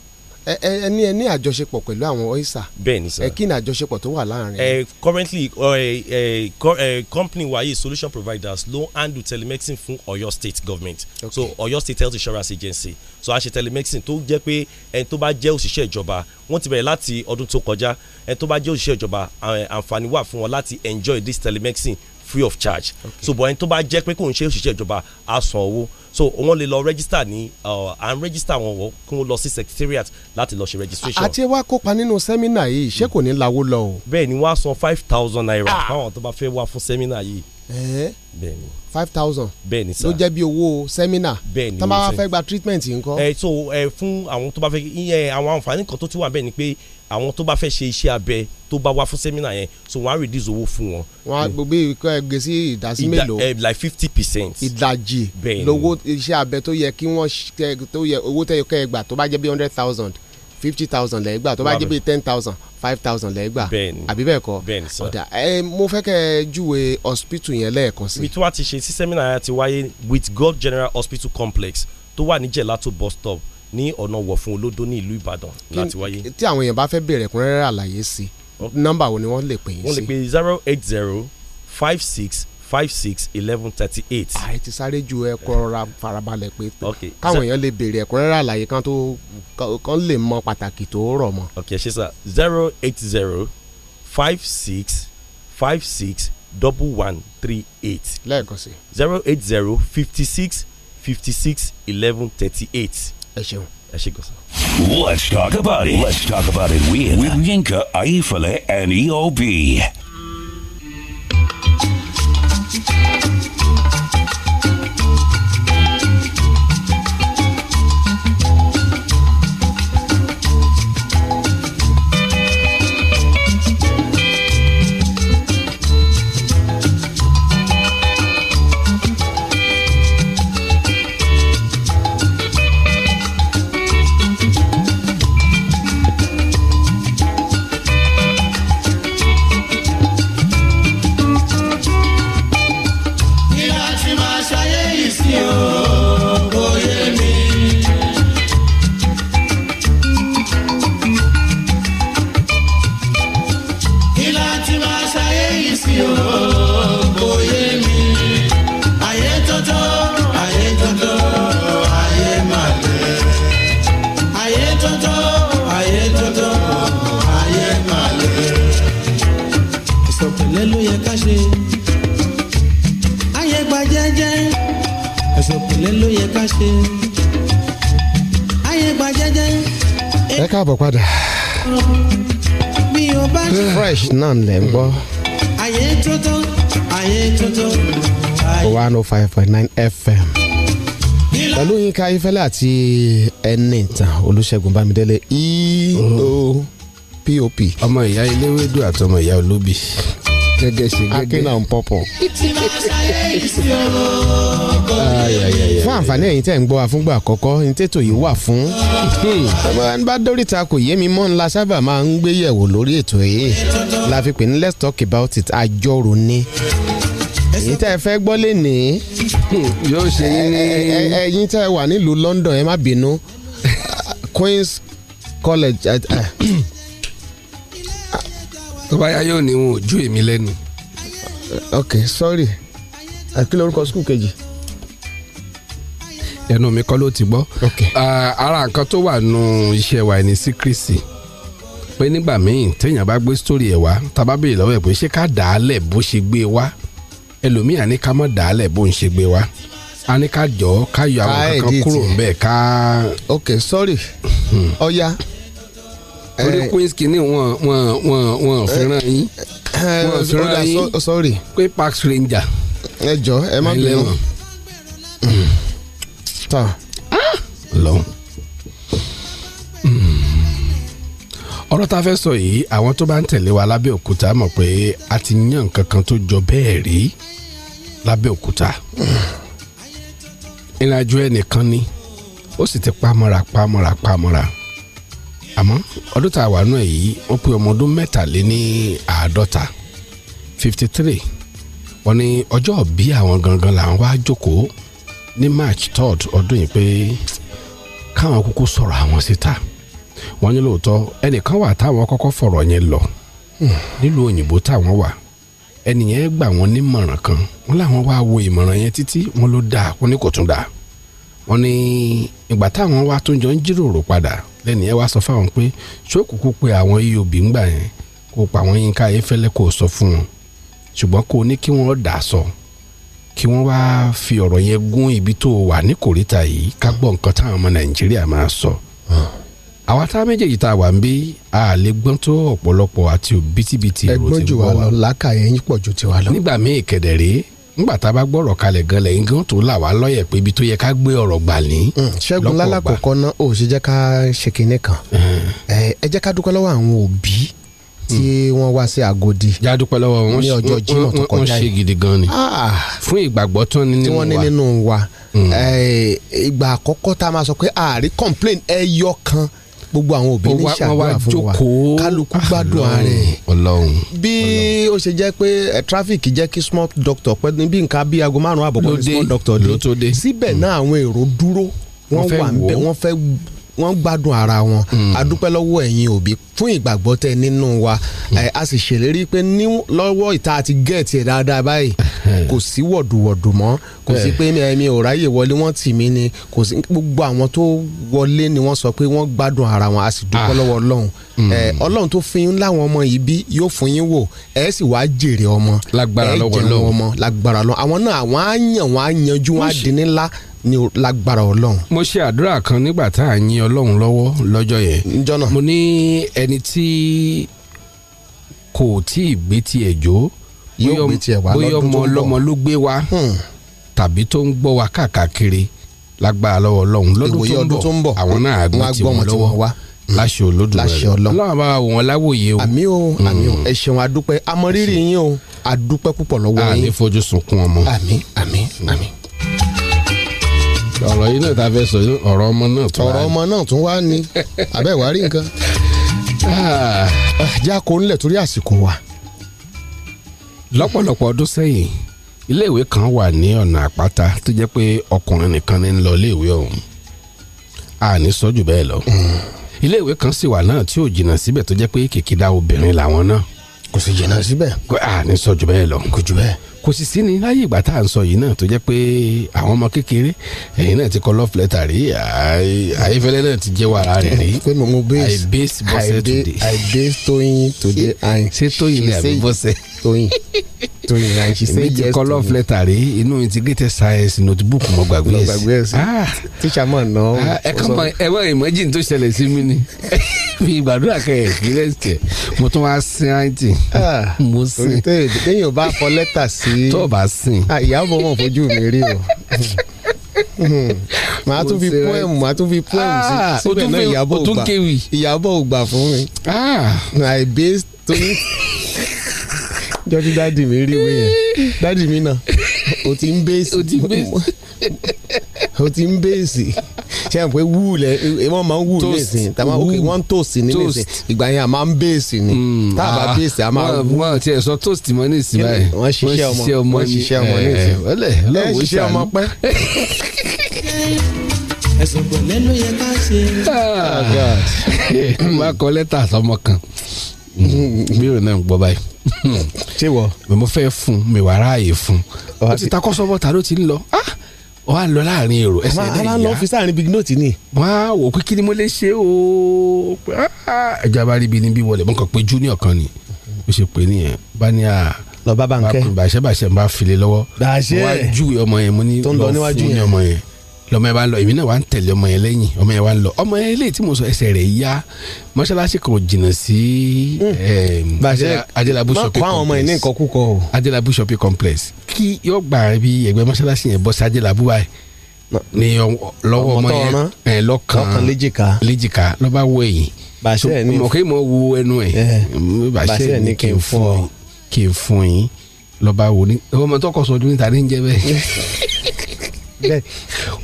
S29: ẹ ẹ ẹ ní ẹ ní àjọṣepọ̀ pẹ̀lú àwọn ọ́ísà.
S33: bẹ́ẹ̀ ni sir.
S29: ẹ kí ni àjọṣepọ̀ tó wà láàrin.
S33: Eh, currently eh, eh, co- eh, company wa yìí solution providers ló ń handle telemedicine fún Ọ̀yọ́ state government so Ọ̀yọ́ state health insurance agency so a ṣe telemedicine tó jẹ́ pé ẹni tó bá jẹ́ òṣìṣẹ́ ìjọba wọ́n ti bẹ̀rẹ̀ láti ọdún tó kọjá ẹni tó bá jẹ́ òṣìṣẹ́ ìjọba eh, àǹfààní wà fún wọn láti enjoy this telemedicine free of charge so bọ̀ ẹni tó bá jẹ́ pé kò ń ṣe òṣìṣẹ́ ìjọba á san owó so wọ́n lè lọ register ní uh, à ń register wọn wọ kí wọ́n lọ sí secretariat láti lọ ṣe registration
S29: àti wá kópa nínú sẹ́mínà yìí ṣé kò ní lawó lọ o.
S33: bẹ́ẹ̀ ni wọ́n á san five thousand naira fáwọn tó bá fẹ́ wá fún sẹ́mínà yìí.
S29: ẹ
S33: bẹ́ẹ̀ ni
S29: five thousand
S33: bẹ́ẹ̀ ni sá.
S29: ló jẹ́ bí owó sẹ́mínà.
S33: bẹ́ẹ̀ ni
S29: tán bá
S33: mo
S29: wá
S33: ṣe-
S29: fẹ́ gba treatment nǹkan.
S33: ẹ so ẹ fún àwọn tó bá fẹ́ ẹ àwọn àǹfààní kan tó ti wà bẹ́ẹ̀ ni pé àwọn tó bá fẹ́ ṣe iṣẹ́ abẹ tó bá wá fún sẹ́mínà yẹn so wọ́n á reduce owó fún wọn.
S29: wọn á gbogbo ìkọ́ ẹ gbé sí ìdásí
S33: Ìdá-
S29: mélòó.
S33: eh, like fifty percent.
S29: ìdajì
S33: Bẹ́ẹ̀ ni.
S29: lówó iṣẹ́ abẹ tó yẹ kí wọ́n ṣ- kẹ́- tó yẹ owó tẹ́ kẹ́ ẹ gbà tó bá jẹ́ bí hundred thousand fifty thousand lẹ́ẹ̀ gbà tó bá
S33: Wà
S29: jẹ́ bí
S33: bẹ́ẹ̀.
S29: ten thousand five thousand lẹ́ẹ̀ gbà
S33: Bẹ́ẹ̀ni.
S29: àbí bẹ́ẹ̀ kọ́
S33: Bẹ́ẹ̀ni sá.
S29: ọ̀dà ẹ mo fẹ́ kẹ́ ẹ júwe hospital yẹn lẹ́ẹ̀kan sí
S33: ibi tí wàá ti ṣe sí sẹ́mínà yẹn ti wáyé with god general hospital complex tó wà ní jẹ̀látó bus stop ní ọ̀nà wọ̀fun olódó ní ìlú ìbàdàn láti wáyé.
S29: tí àwọn èèyàn bá fẹ́ béèrè ẹ̀kúnrẹ́rẹ́ àlàyé sí nọ́mbà wo ni wọ́n lè pè yín
S33: wọ́n lè
S29: sí.
S33: pe zero eight zero five six five six eleven thirty eight.
S29: àì ti sáré ju ẹkọ ọ̀rọ̀ farabalẹ̀ pé
S33: Okay.
S29: káwọn èèyàn lè béèrè ẹ̀kúnrẹ́rẹ́ àlàyé kan tó kan lè mọ pàtàkì tó rọ̀ mọ́.
S33: ok ṣe sá zero eight zero five six five six double one three eight.
S29: lẹ́ẹ̀kan sí.
S33: zero eight zero fifty six fifty six eleven thirty eight.
S29: ẹ ṣeun.
S33: ẹ ṣe gbọ́sán.
S2: Let's talk about it. Let's talk about it with, with Yinka, Aifale, and E EOB.
S19: Kí láti máa ṣayé yìí sí o, kò yé mi. Kí láti máa ṣayé yìí sí o, kò yé mi. Ayé tótó, ayé tótó, ayé máa lè. Ayé tótó, ayé tótó, ayé máa lè. Ìsọ̀pẹ̀lẹ̀ ló yẹ ká ṣe ayé gba jẹ́jẹ́ ẹ̀sùn kùnlé ló yẹ ká ṣe ayé gba jẹ́jẹ́
S29: ẹ káàbọ̀ padà.
S19: bí o bá ṣe
S29: fresh náà lẹ̀ ń gbọ́
S19: ayé tuntun ayé tuntun
S29: one oh five point nine fm pẹ̀lú yínká ifẹ̀lẹ́ àti ẹni ìtàn olùṣègùn bámidélé E eo pop.
S30: ọmọ ìyá eléwédú àti ọmọ ìyá olóbì gẹ́gẹ́ ṣe gẹ́gẹ́
S29: akínà ń pọ̀pọ̀.
S19: tí máa ṣayé yìí sí ọ̀rọ̀ kò
S29: fún àǹfààní ẹ̀yin tẹ̀ ń gbọ́ àfúngbà àkọ́kọ́ ní tètò yìí wà fún. ọmọ ẹni bá dóríta kò yé mi mọ́ ńlá sábà máa ń gbé yẹ̀wò lórí ètò yìí la fi pè ní let's talk about it àjọrò ni. èyí tẹ́ ẹ fẹ́ gbọ́ lé ní. yóò ṣe ẹ̀yin tẹ́ ẹ wà nílùú London ẹ má bínú Queen's College. eh, eh,
S30: tó bá yá yóò ní wọn ò ju èmi lẹ́nu
S34: ok sorry àkìlẹ̀ orúkọ skul kejì.
S30: ẹnu mi kọ́ ló ti gbọ́. Ah, ara nǹkan tó wà nù iṣẹ́ wa ni síkírìsì pé nígbà míì téèyàn bá gbé sítórì ẹ̀ wá tàbá béèrè lọ́wọ́ ẹ̀ pé ṣé ká dà á lẹ̀ bó ṣe gbé e wá ẹlòmíì àní ká mọ̀ dà á lẹ̀ bó ń ṣe gbé e wá a ní ká jọ ọ́, ká yọ àwọn
S34: Ká
S30: kankan
S34: edit
S30: kúrò
S34: ẹ̀.
S30: ńbẹ̀ ká. Hmm.
S34: ok sorry ọya.
S30: orí
S29: Eh,
S30: queens kìíní wọn wọn wọn wọn fẹ́ràn yín wọn fẹ́ràn yín
S34: sorry.
S30: pé parks ranger.
S34: ẹ jọ ẹ má bínú. tán.
S30: lọ́hùn. Mm. ọ̀rọ̀ tá a fẹ́ sọ yìí àwọn tó bá ń tẹ̀lé wa lábẹ́ òkúta mọ̀ pé a ti yan nǹkan kan tó jọ bẹ́ẹ̀ rí lábẹ́ òkúta. ìrìnàjò ẹnìkan ni ó sì ti pamọ́ra pamọ́ra pamọ́ra àmọ́ ọdún tá a wà nù ẹ̀ yìí wọ́n pe ọmọ ọdún mẹ́tàléní àádọ́ta fifty three wọ́n ní ọjọ́ bí àwọn gangan là ń wá jókòó ní march third ọdún yìí pé káwọn kúkú sọ̀rọ̀ àwọn síta wọ́n ní lóòótọ́ ẹnìkan wà táwọn kọ́kọ́ fọ̀rọ̀ yẹn lọ Hmm, nílùú òyìnbó táwọn wà ẹnìyẹn gbà wọ́n nímọ̀ràn kan wọ́n làwọn wá wo ìmọ̀ràn yẹn títí wọ́n ló dáa wọ́n ní kò tún dáa wọ́n ní ìgbà táwọn wá tó jọ ń jíròrò padà lẹ́nu yẹn wá sọ fáwọn pé ṣókùkù pé àwọn E eob ń gbà yẹn kó pa àwọn yínká ayéfẹ́lẹ́ kó sọ fún wọn ṣùgbọ́n kó ní kí wọ́n dà á sọ kí wọ́n wá fi ọ̀rọ̀ yẹn gún ibi tó wà ní kòríta yìí ká gbọ́ nǹkan táwọn ọmọ nàìjíríà máa sọ. àwa tá méjèèjì tá a wà ń bí a lè gbọ́n tó ọ̀pọ̀lọpọ̀ àti òbítíbitì èrò
S29: ẹgbọ́n
S30: ti
S29: jù wá
S30: wọ́
S29: lọ làákàyè yín pọ̀ ju tiwa lọ.
S30: nígbà míì kẹ̀dẹ̀rẹ́ nígbà tá a bá gbọ́rọ̀ kalẹ̀ gan lẹ́yìn gan tó là wá lọ́yẹ̀ pé ibi tó yẹ ká gbé ọ̀rọ̀ gbà ní.
S29: Mm, ṣẹ́gun lálàkọ̀kọ́ náà ò ṣe jẹ́ ká ṣe kinní kan Eh, ẹ jẹ́ ká dúpẹ́ lọ́wọ́ àwọn òbí tí wọ́n wá sí Agodi
S30: já Hmm. dúpẹ́ lọ́wọ́ wọn
S29: ní ọjọ́
S30: wọ́n-
S29: Jímọ̀ tó
S30: wọ́n-
S29: kọjá
S30: wọ́n ṣe
S29: yìí
S30: gidi gan ni
S29: Ah.
S30: fún ìgbàgbọ́ tán ni
S29: tí
S30: nínú wa Hmm.
S29: wọ́n ní nínú wa Eh, ìgbà àkọ́kọ́ tá a máa sọ pé ààrí complain ẹyọ kan gbogbo àwọn òbí ní
S30: Wọ́n wá- wọ́n wá
S29: ìṣàdúrà fún wa
S30: jókòó. Ah,
S29: kálukú gbádùn ara ẹ̀
S30: Ọlọ́run
S29: bí ó ṣe jẹ́ pé eh, traffic jẹ́ kí small doctor pẹ́ ní bí nǹkan bí aago márùn-ún
S30: Ló
S29: àbọ̀kọ́ ní
S30: dé,
S29: small doctor dé
S30: ló tó dé. Hmm.
S29: síbẹ̀ náà àwọn èrò dúró wọ́n
S30: Wọ́n fẹ́
S29: wà
S30: wò
S29: níbẹ̀
S30: ó. Hmm.
S29: wọ́n fẹ́ wọ́n gbádùn ara wọn a dúpẹ́ lọ́wọ́ ẹ̀yin òbí fún ìgbàgbọ́ tẹ nínú wa
S30: Hmm.
S29: Eh, a sì ṣèlérí pé ní lọ́wọ́ ìta àti gẹ̀ẹ́tì ẹ̀ dáadáa báyìí
S30: Hmm.
S29: kò sí wọ̀dùwọ̀dù mọ́ kò sí pé mi- mi ò ráyè wọlé wọ́n tì mí ni kò sí gbogbo àwọn tó wọlé ni wọ́n sọ pé wọ́n gbádùn ara wọn a sì
S30: Ah.
S29: dúpẹ́ lọ́wọ́ ọlọ́run
S30: Hmm.
S29: Eh, ọlọ́run tó fi yín láwọn ọmọ yìí bí yóò fún yín wò ẹ sì wá jèrè ọmọ
S30: Lágbára
S29: Ẹ
S30: lọ́wọ́
S29: jẹun
S30: Ọlọ́run.
S29: ọmọ lágbára lọ àwọn náà àwọn á yàn wọn á yanjú wọn á di nílá ní o- lágbára ọlọ́run.
S30: mo ṣe àdúrà kan nígbà tá à ń yin ọlọ́run lọ́wọ́ lọ́jọ́ yẹn.
S29: njọ́nà.
S30: mo ní ẹni tí kò tí ì gbé tiẹ̀ jó
S29: Yóò
S30: bóyá-
S29: gbé tiẹ̀ wá
S30: bóyá
S29: lọ́dún
S30: ọmọ
S29: tó ń bọ̀. Hmm.
S30: ọlọ́mọ ló gbé wá tàbí tó ń gbọ́ wa káàkiri lágbára lọ́wọ́ ọlọ́run
S29: Ìwòye
S30: lọ́dún
S29: ọdún
S30: tó ń bọ̀ àwọn náà á
S29: wọ́n á gbọ́
S30: gbọ́
S29: wọn
S30: tiwọn
S29: tí wọ́n
S30: lọ́wọ́
S29: wá. Hmm.
S30: láṣẹ olódùmarè
S29: Láṣẹ Ọlọ́run.
S30: ọlọ́run bá wò wọ́n láwòye o Mm.
S29: àmì o àmì o ẹ ṣeun adúpẹ́ amọ̀rírì yín o adúpẹ́ púpọ̀ lọ́wọ́
S30: a ní
S29: yín.
S30: fojú sunkún ọmọ.
S29: àmì àmì àmì.
S30: ọ̀rọ̀ yìí náà ta fẹ́ sọ ọ̀rọ̀ ọmọ náà tó
S29: ọ̀rọ̀ ọmọ náà tún wá ní abẹ́ ìwà rí nǹkan.
S30: Ah.
S29: jẹ́ àkó ńlẹ̀ torí àsìkò wa.
S30: lọ́pọ̀lọpọ̀ ọdún sẹ́yìn iléèwé kan wà ní ọ̀nà àpáta tó jẹ́ pé ọkùnrin nìkan ní ń lọ iléèwé ọ̀hún a ní sọ jù bẹ́ẹ̀ lọ iléèwé kan sì wà náà tí ò jìnnà síbẹ̀ tó jẹ́ pé kìkìdá obìnrin làwọn náà
S29: kò sì jìnnà síbẹ̀
S30: a ní sọ jù bẹ́ẹ̀ lọ
S29: kò jù bẹ́ẹ̀
S30: kò sì sí ní láyé ìgbà tá à ń sọ yìí náà tó jẹ́ pé àwọn ọmọ kékeré ẹ̀yin náà ti kọ́ love letter rí àì- àìfẹ́lẹ́ náà ti jẹ́wọ́ ara rẹ̀ rí
S29: pé mo mo base
S30: I base Bose
S29: I ba-
S30: today.
S29: I base Toyin today and
S30: ṣé Tóyìn ni
S29: she
S30: àbí
S29: say-
S30: Bose?
S29: Toyin Toyin and she say
S30: èmi ti
S29: yes
S30: kọ́
S29: to
S30: love
S29: me.
S30: letter rí inú integrated science notebook mo gbàgbé
S29: lọ
S30: ẹ̀ sí Ah.
S29: gbàgbé ẹ sí tíṣà mọ̀ náà.
S30: ẹ kàn mọ ẹ mọ imagine tó ṣẹlẹ̀ sí mi ni mi gbàdúrà kẹ experience tẹ mo tún wá sin àìtì
S29: Ah,
S30: mo sin
S29: téèyàn ò bá kọ lẹ́tà sí.
S30: tó o bá sin
S29: Ah, ìyá ọmọ ọmọ fojú mi rí o. Hmm. màá tún fi
S30: Mo ṣe rẹ.
S29: poem màá tún fi poem sí
S30: Ah, o
S29: síbẹ̀
S30: tún
S29: náà
S30: fẹ́-
S29: ìyàbọ̀
S30: o tún
S29: ògbà
S30: kéwì. Ah.
S29: ìyàbọ̀ ògbà fún mi. I base Toyin. jọ́jú dáàdì mi rí ìwé yẹn dáàdì mi náà o ti ń bẹ́ẹ̀sì o ti ń bẹ́ẹ̀sì o ti ń bẹ́ẹ̀sì ṣe é pé wúù lẹ ẹ wọ́n máa ń wúù
S30: Toast.
S29: nísìnyí tàbí ok
S30: Wúù.
S29: wọ́n ń tòsí ní nísìnyí
S30: Toast. Hmm.
S29: ìgbà yẹn a máa ń bẹ́ẹ̀sì ni tá a bá bẹ́ẹ̀sì a máa wú.
S30: wọn Ah, ti ẹ sọ toast mọ ní ìsìn báyìí
S29: wọ́n ṣiṣẹ́ ọmọ wọ́n ṣiṣẹ́ ọmọ ní
S30: ẹ
S29: ìsìn.
S30: wọlé
S29: ẹ
S30: ọlọ́wọ́
S29: ṣiṣẹ́ ọmọ pẹ́.
S30: ẹsùn pẹ̀lẹ́ ló yẹ ká ṣe. Ah, wọ́n á kọ lẹ́tà sọmọ kan bí ìròyìn náà ń gbọ́ báyìí.
S6: ṣé wọ.
S30: mo fẹ́ fún mi wàá ráàyè fún ó ti ta kọ́sọ́bọ̀ ta ló ti ń lọ ah ó wá ń lọ láàrin èrò ẹsẹ̀
S6: Àmọ́
S30: ẹ̀dẹ̀
S6: ara ń lọ
S30: ìyá
S6: ọ́fíìsì àárín big note ni.
S30: wọ́n á wò pé kí ni mo lè ṣe o pé ah ẹja bá rí ibi níbí wọlé mo kàn pé junior kan ni ó ṣe pé nìyẹn bá ní à
S6: lọ bá Bánkẹ́.
S30: bàṣẹ bàṣẹ n bá file lọ́wọ́
S6: Bàṣẹ.
S30: mo wá júwe ọmọ yẹn mo ní
S6: Tó ń lọ níwájú
S30: fún
S6: yẹn.
S30: ọmọ yẹn lọmọ yẹn bá ń lọ èmi náà wà ń tẹ̀lé ọmọ yẹn lẹ́yìn ọmọ yẹn wà ń lọ ọmọ yẹn eléyìí tí mo sọ ẹsẹ̀ rẹ̀ yá mọ́ṣáláṣí kan ò jìnnà sí
S6: Hmm.
S30: em, Adela- Adelabu
S6: má
S30: shopping
S6: kó àwọn ọmọ yẹn ní
S30: complex
S6: nǹkan kúkọ o.
S30: adélábù shopping complex kí yóò gbà bí ẹgbẹ́ mọ́ṣáláṣí yẹn bọ́ sí adélábù báyìí ni ọ- lọ́wọ́
S6: Ọmọ
S30: ọmọ
S6: tó
S30: yẹn
S6: rán.
S30: ẹ,
S6: Lọ́kàn
S30: lọ́kàn
S6: léjìká.
S30: léjìká ló bá wọ èyí
S6: Bàṣẹ ni-
S30: mọ̀ kí mo wo ẹnu ẹ̀ bàṣẹ ni kí n fún ọ kí n fún yín ló bá wò ní ọmọ tó kọ sọdún níta ní ń jẹ bẹ́ẹ̀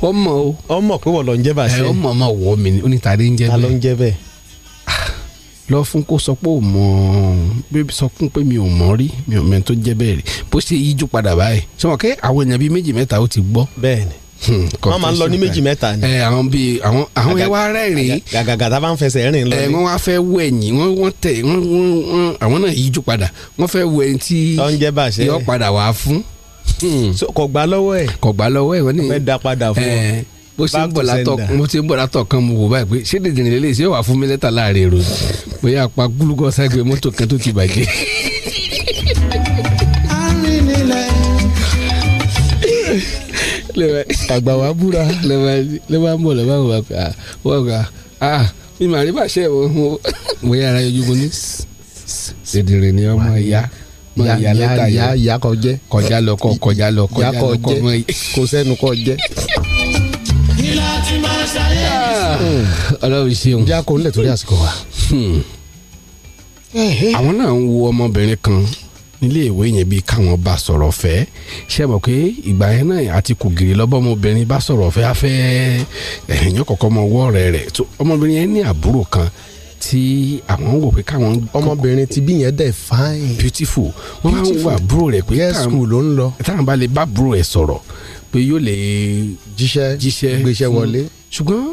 S30: ọmọ o
S6: ọmọ pé wọ́n lọ ń jẹ́ bàṣẹ.
S30: ẹ, ọmọ ọmọ wọ mi níta ní ń jẹ
S6: ta ló ń jẹ́ bẹ́ẹ̀.
S30: Ah, lọ fún kó sọ pé ò mọ bébí sọ fún pé mi ò mọ rí mi ò mẹ tó jẹ bẹ́ẹ̀ rí bó ṣe yíjú padà báyìí sọmọ kẹ àwọn èèyàn bíi méjì mẹ́ta ó ti gbọ́. Hmm,
S6: bẹ́ẹ̀ni wọ́n máa ń lọ ní méjì mẹ́ta ni.
S30: ẹ àwọn bíi àwọn àwọn yẹn wá rẹ́rìn-ín
S6: gàgàgà tá a bá ń fẹsẹ̀ rìn lọ
S30: ẹ
S6: ní.
S30: wọ́n wá fẹ́ wọ ẹ̀yìn wọ́n wọ́n tẹ wọ́n wọ́n wọ́n àwọn náà yíjú padà wọ́n fẹ́ wọ ẹni tí
S6: tó ń jẹ́ bàṣẹ.
S30: yọ padà wá fún. Hmm.
S6: kò gbà lọ́wọ́ ẹ̀.
S30: kò gbà lọ́wọ́ ẹ̀ wọ́n ní.
S6: fẹ́ da padà fún ọ.
S30: ẹ, Eh, bó ṣe ń
S6: Back
S30: bọ̀
S6: to
S30: látọ̀
S6: sender.
S30: mo ṣe ń bọ̀ látọ̀ kan mo wò báyìí pé ṣé dèjìnrín lélẹ̀ ṣé wàá fún mi lẹ́tà láàrin èrò ni? bóyá apá gúlúgọ́sá gbé mọ́tò kan tó ti bàjẹ́.
S6: àgbà wa búra
S30: lẹ́wọ̀ ń bọ̀ lẹ́wọ̀ wà pé ah wọ́n gà ah mi màrí bàṣẹ wo mo mo yára yọjú mo ní ṣèdìrín ni ọmọ ìyá mo ìyá lẹ́tà
S6: ya
S30: yẹn
S6: ya kọ jẹ.
S30: kọjá lọ kọ kọjá lọ kọjá
S6: ya
S30: lọ
S6: kọ
S30: kọ mọ
S6: jẹ kò sẹ́nu kọ jẹ.
S19: kí láti máa ṣayé yìí sí o.
S30: ọlọ́run ṣeun.
S6: jẹ́ àkó nílẹ̀ torí àsìkò wa.
S30: Hmm. àwọn náà ń wo ọmọbìnrin kan nílé ìwé yẹn bíi káwọn bá sọ̀rọ̀ fẹ́ ṣe mọ̀ pé ìgbà yẹn náà àti kògiri lọ́bọ̀ ọmọbìnrin bá sọ̀rọ̀ fẹ́ afẹ́ ẹ̀yìn kọ̀ọ̀kan ọmọ ọwọ́ rẹ̀ rẹ̀ tó ọmọbìnrin yẹn ní àbúrò kan tí àwọn ń wò pé káwọn.
S6: ọmọbìnrin ti bí yẹn dẹ̀ fine.
S30: beautiful wọ́n máa ń
S6: Beautiful.
S30: wà àbúrò rẹ̀ pé
S6: Yes, school ló ń lọ.
S30: táwọn bá lè bá àbúrò ẹ̀ sọ̀rọ̀ pé yóò lè jíṣẹ́ jíṣẹ́
S6: gbéṣẹ́
S30: fún-
S6: wọlé.
S30: ṣùgbọ́n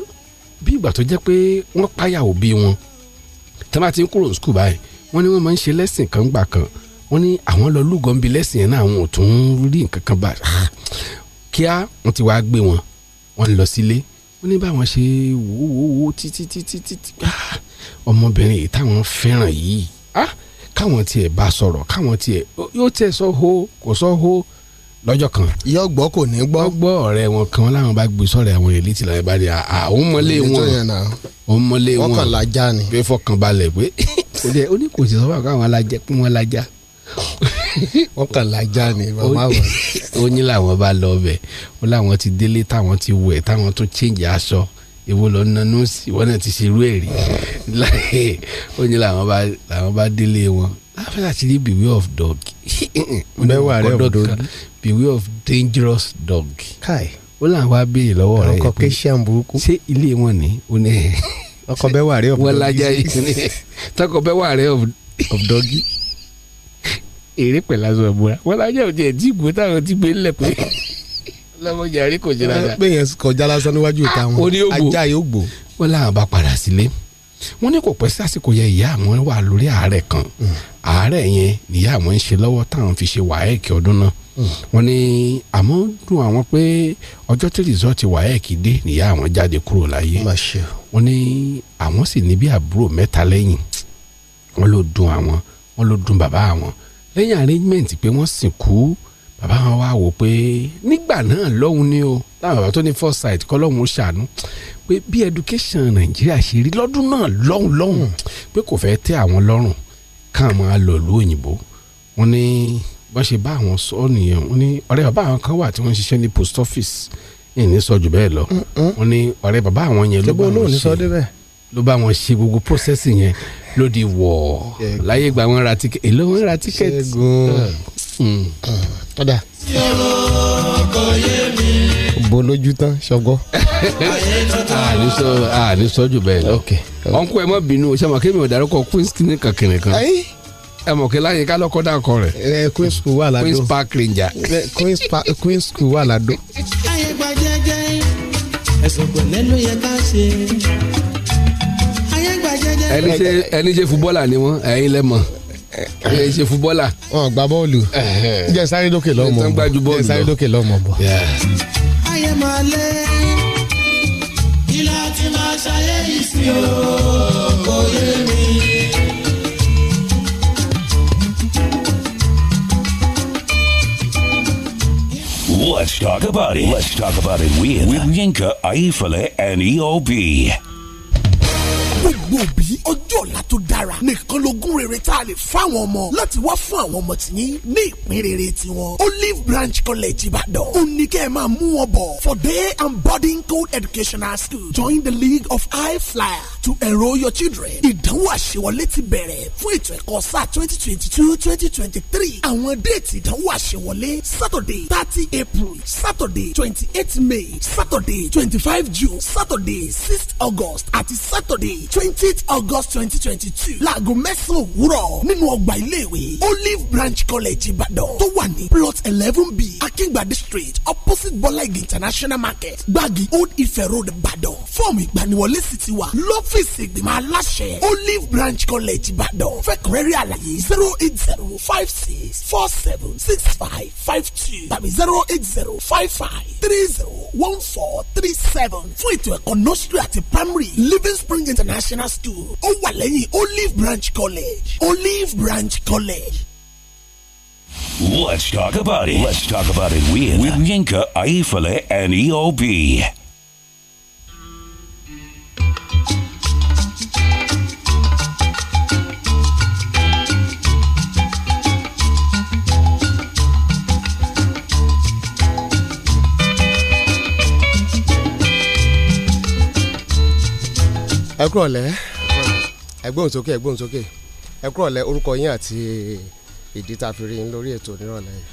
S30: bí ìgbà tó jẹ́ pé wọ́n páyà òbí wọn tí wọ́n bá ti ń kúrò ní skul báyìí wọ́n ní wọ́n máa ń ṣe lẹ́sìn kan gbà kan wọ́n ní àwọn lọ lúgọ̀ ń bi lẹ́sìn yẹn náà àwọn ò tún rí nǹkan kan bá Ah, kíá wọ́n ti wá gbé wọn wọ́n lọ sílé wọ́n ní báwọn ṣe wò wò wò títí títí títí ah, ọmọbìnrin yìí táwọn fẹ́ràn yìí ah, káwọn tiẹ̀ bá sọ̀rọ̀ káwọn tiẹ̀ yóò tiẹ̀ sọ ho kò sọ ho lọ́jọ́ kan
S6: yọ gbọ́ kò ní gbọ́.
S30: gbọ́ ọ̀rẹ́ wọn kan láwọn bá gbé sọ̀rọ̀ àwọn èlé tìlà ẹ̀ bá rí a- àwọn mọ́lé
S6: Ilé tó
S30: wọn
S6: yẹn náà.
S30: àwọn mọ́lé wọn
S6: wọ́n kàn lajá ni.
S30: pé fọkànbalẹ̀ pé kò jẹ́ ó ní kò sí sọ́wọ́ káwọn alájẹ pé wọ́n lajá
S6: wọ́n kàn lajá ni bàbá
S30: ó-
S6: wọn.
S30: ó ní làwọn bá lọ ọbẹ̀ ó láwọn ti délé táwọn ti wẹ̀ táwọn tó change aṣọ èwo lọ nanú sí wọn náà ti ṣe irú ẹ̀ rí Láì- ó ní làwọn bá làwọn bá délé wọn láfẹ́ àti rí beware of dog
S6: Beware of
S30: Ọ̀dọ́
S6: dog.
S30: kan, beware of dangerous dog
S6: káì.
S30: ó láwọn wá béèrè lọ́wọ́ rẹ̀
S6: ọkọ̀
S30: pé
S6: kéṣíàn burúkú.
S30: ṣé ilé wọn ni ó ní ẹ̀
S6: ọkọ̀ bẹ́ẹ̀ wà rí ọ̀pọ̀
S30: wọ́n lájà yìí ni tọkọ bẹ́ẹ̀ wà rẹ̀ of- of doggy èrè pẹ̀lú aṣọ ìbúra wọ́n lájà òjò ẹ̀dí ìgbó táwọn ti gbé ńlẹ̀ pé lọ́mọdé àrí kò jẹ́ dáadáa
S6: pé yẹn kọjá lásán níwájú ìta wọn
S30: ó ní ògbó.
S6: ajá yóò gbó.
S30: wọ́n láwọn bá padà sílé wọ́n ní kò pẹ́ sí àsìkò yẹn ìyá àwọn wà lórí àárẹ̀ kan
S6: Hmm.
S30: àárẹ̀ yẹn nìyá àwọn ń ṣe lọ́wọ́ táwọn fi ṣe wàhẹ́ẹ̀kì ọdún náà
S6: Hmm.
S30: wọ́n ní àmọ́ dùn àwọn pé ọjọ́ tí rìsọ́ọ̀tì wàhẹ́ẹ̀kì dé nìyá àwọn jáde kúrò láyé
S6: má ṣe o.
S30: wọ́n ní àwọn sì ní bí àbúrò mẹ́ta lẹ́yìn wọ́n ló dùn àwọn wọ́n ló dùn bàbá àwọn lẹ́yìn arrangement pé wọ́n sìnkú bàbá wọn wá wò pé nígbà náà lọ́hùn ni o láwọn bàbá tó ní foresight kọ́ lọ́hùn ó ṣàánú pé bí education nàìjíríà ṣe rí lọ́dún náà lọ́hùn lọ́hùn pé kò fẹ́ tẹ́ àwọn lọ́rùn káwọn máa lọ ìlú òyìnbó wọ́n ní wọ́n ṣe bá àwọn sọ nìyẹn wọ́n ní ọ̀rẹ́ bàbá àwọn kan wà tí wọ́n ń ṣiṣẹ́ ní post office ìní sọ jù bẹ́ẹ̀ lọ wọ́n ní ọ̀rẹ́ bàbá àwọn yẹn ló
S6: ṣé bó
S30: bá wọn
S6: olóò ní
S30: ṣe
S6: sọ débẹ̀.
S30: ló bá wọn ṣe gbogbo process yẹn ló di wọ̀ láyé gba wọn ra ticket èló wọn ra ticket.
S6: ṣẹ́gun.
S30: Mm.
S6: ọ̀dà bo lójú tán ṣọgọ́.
S30: àníṣọ àníṣọ ah, jù bẹ́ẹ̀ lọ. ọ̀nkú ẹ má bínú o ṣàmọ̀ kémi ọ̀dàrúkọ queens kìíní kan kìíní kan
S6: ẹyí
S30: ẹ mọ̀ kí láyé ká lọ́kọ́ dà kọ rẹ̀
S6: ẹ queen Eh, school wà ládó.
S30: queens park ranger.
S6: Ẹ, Queen's Pa- queen school wà ládó.
S19: ayé gba jẹ́jẹ́ ẹ̀sùn pẹ̀lẹ́ ló yẹ ká ṣe. ayé gba jẹ́jẹ́
S30: ẹni ṣe ẹni ṣe fúbọ́ọ̀là ni wọ́n ẹ̀yin lẹ́ mọ̀
S6: Eh,
S30: ẹ ṣe fúbọ́là.
S6: wọn gba bọ́ọ̀lù jẹ́ sáré dókè lọ́mọ
S30: Ẹ tán gbájú
S6: bọ̀
S30: bọ́ọ̀lù
S6: jẹ́ sáré
S30: lọ.
S6: dókè lọ́mọ bọ̀.
S19: ayé máa lé kí la ti máa ṣayé yìí sí o kò yé mi.
S2: Let's talk about it. Let's talk about it with, with Yinka, Aifale, and E EOB.
S13: gbogbo òbí ọjọ́ ọ̀la tó dára nìkan lógún rere tá a lè fáwọn ọmọ láti wá fún àwọn ọmọ tí yín ní ìpín rere tiwọn olive branch college ìbàdàn ó ní kẹ́ ẹ máa mú wọn bọ̀ for day and boarding co-educational school join the league of high flyer to enrol your children ìdánwò àṣewọlé ti bẹ̀rẹ̀ fún ètò ẹ̀kọ́ sáà twenty twenty two twenty twenty three àwọn déètì ìdánwò àṣewọlé saturday thirty april saturday twenty eight may saturday twenty five june saturday six august àti saturday twenty august twenty twenty two láago mẹ́sàn-án òwúrọ̀ nínú ọgbà iléèwé olive branch college ìbàdàn tó wà ní plot eleven b akíngbàdé street opposite bọ́láìgì international market gbági old ife road ìbàdàn fọ́ọ̀mù ìgbaniwọlé sì ti wà lọ́fíìsì ìgbìmọ̀ aláṣẹ olive branch college ìbàdàn fẹ́kọ̀rẹ́rì àlàyé zero eight zero five six four seven six five five two tàbí zero eight zero five five three zero one four three seven fún ètò ẹ̀kọ́ nursery àti primary living spring international school ó wà lẹ́yìn olive branch college olive branch college.
S2: Let's talk about it. Let's talk about it with, with Yinka, Aifale, and E EOB.
S29: ẹ kúrò lẹ ẹgbóhùn sókè ẹgbóhùn sókè ẹ kúrò lẹ orúkọ yín àti ìdí tá a fi rí yín lórí ètò onírọ̀lẹ́ yìí.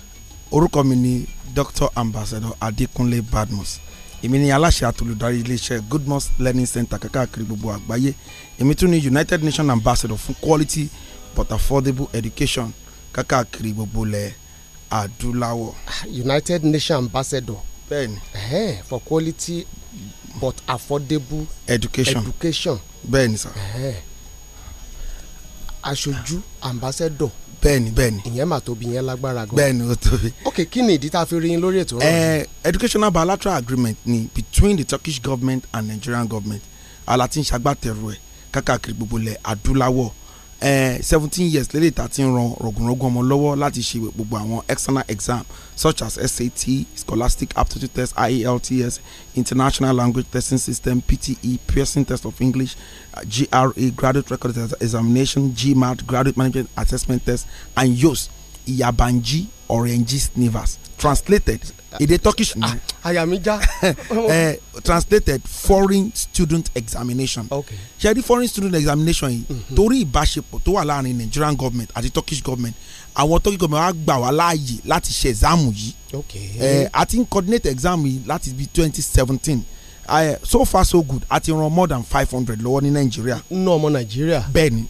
S35: orúkọ mi ni dr ambassador adekunle badmus èmi ni aláṣẹ àtolùdarí iléeṣẹ́ goodmus learning center kákàkiri gbogbo àgbáyé èmi tún ni united nations ambassador fún quality but affordable education kákàkiri gbogbo ilẹ̀ adúláwọ̀.
S29: united nations ambassador.
S35: bẹ́ẹ̀ni.
S29: ẹhẹn for quality but affordable
S35: education
S29: education.
S35: bẹ́ẹ̀ni sá.
S29: ẹhẹn aṣojú ambassador.
S35: bẹ́ẹ̀ni bẹ́ẹ̀ni.
S29: ìyẹn mà tóbi ìyẹn lágbára gan.
S35: bẹ́ẹ̀ni o tóbi.
S29: ok kí ni ìdí tá a fi rí yín lórí ètò
S35: Eh, educational bilateral agreement ni between the turkish government and nigerian government alatin ṣagbátẹrù ẹ kákàkiri gbogbo ilẹ̀ adúláwọ̀ seventeen years lélẹ̀ ta ti ń ran rọ̀gùnrọ̀gùn ọmọ lọ́wọ́ láti ṣe gbogbo àwọn external exam such as sat scholastic aptitude test ielts international language testing system pte piercing test of english uh, gra graduate record examination gmat graduate management assessment test and yos iyabanji orange snivers translated èdè turkish ni
S29: àyà mi já
S35: eh, translated foreign student examination ṣe rí foreign student examination yìí
S29: Mhm.
S35: torí ìbáṣepọ̀ tó wà láàrin nigerian government àti turkish government àwọn turkish government wá gbà wá láàyè láti ṣe exam yìí
S29: ok
S35: eh, a ti ń coordinate exam yìí láti bí twenty seventeen Eh, so far so good a ti ran more than five hundred lọ́wọ́ ní nàìjíríà
S29: nínú ọmọ Eh. nàìjíríà.
S35: bẹ́ẹ̀ni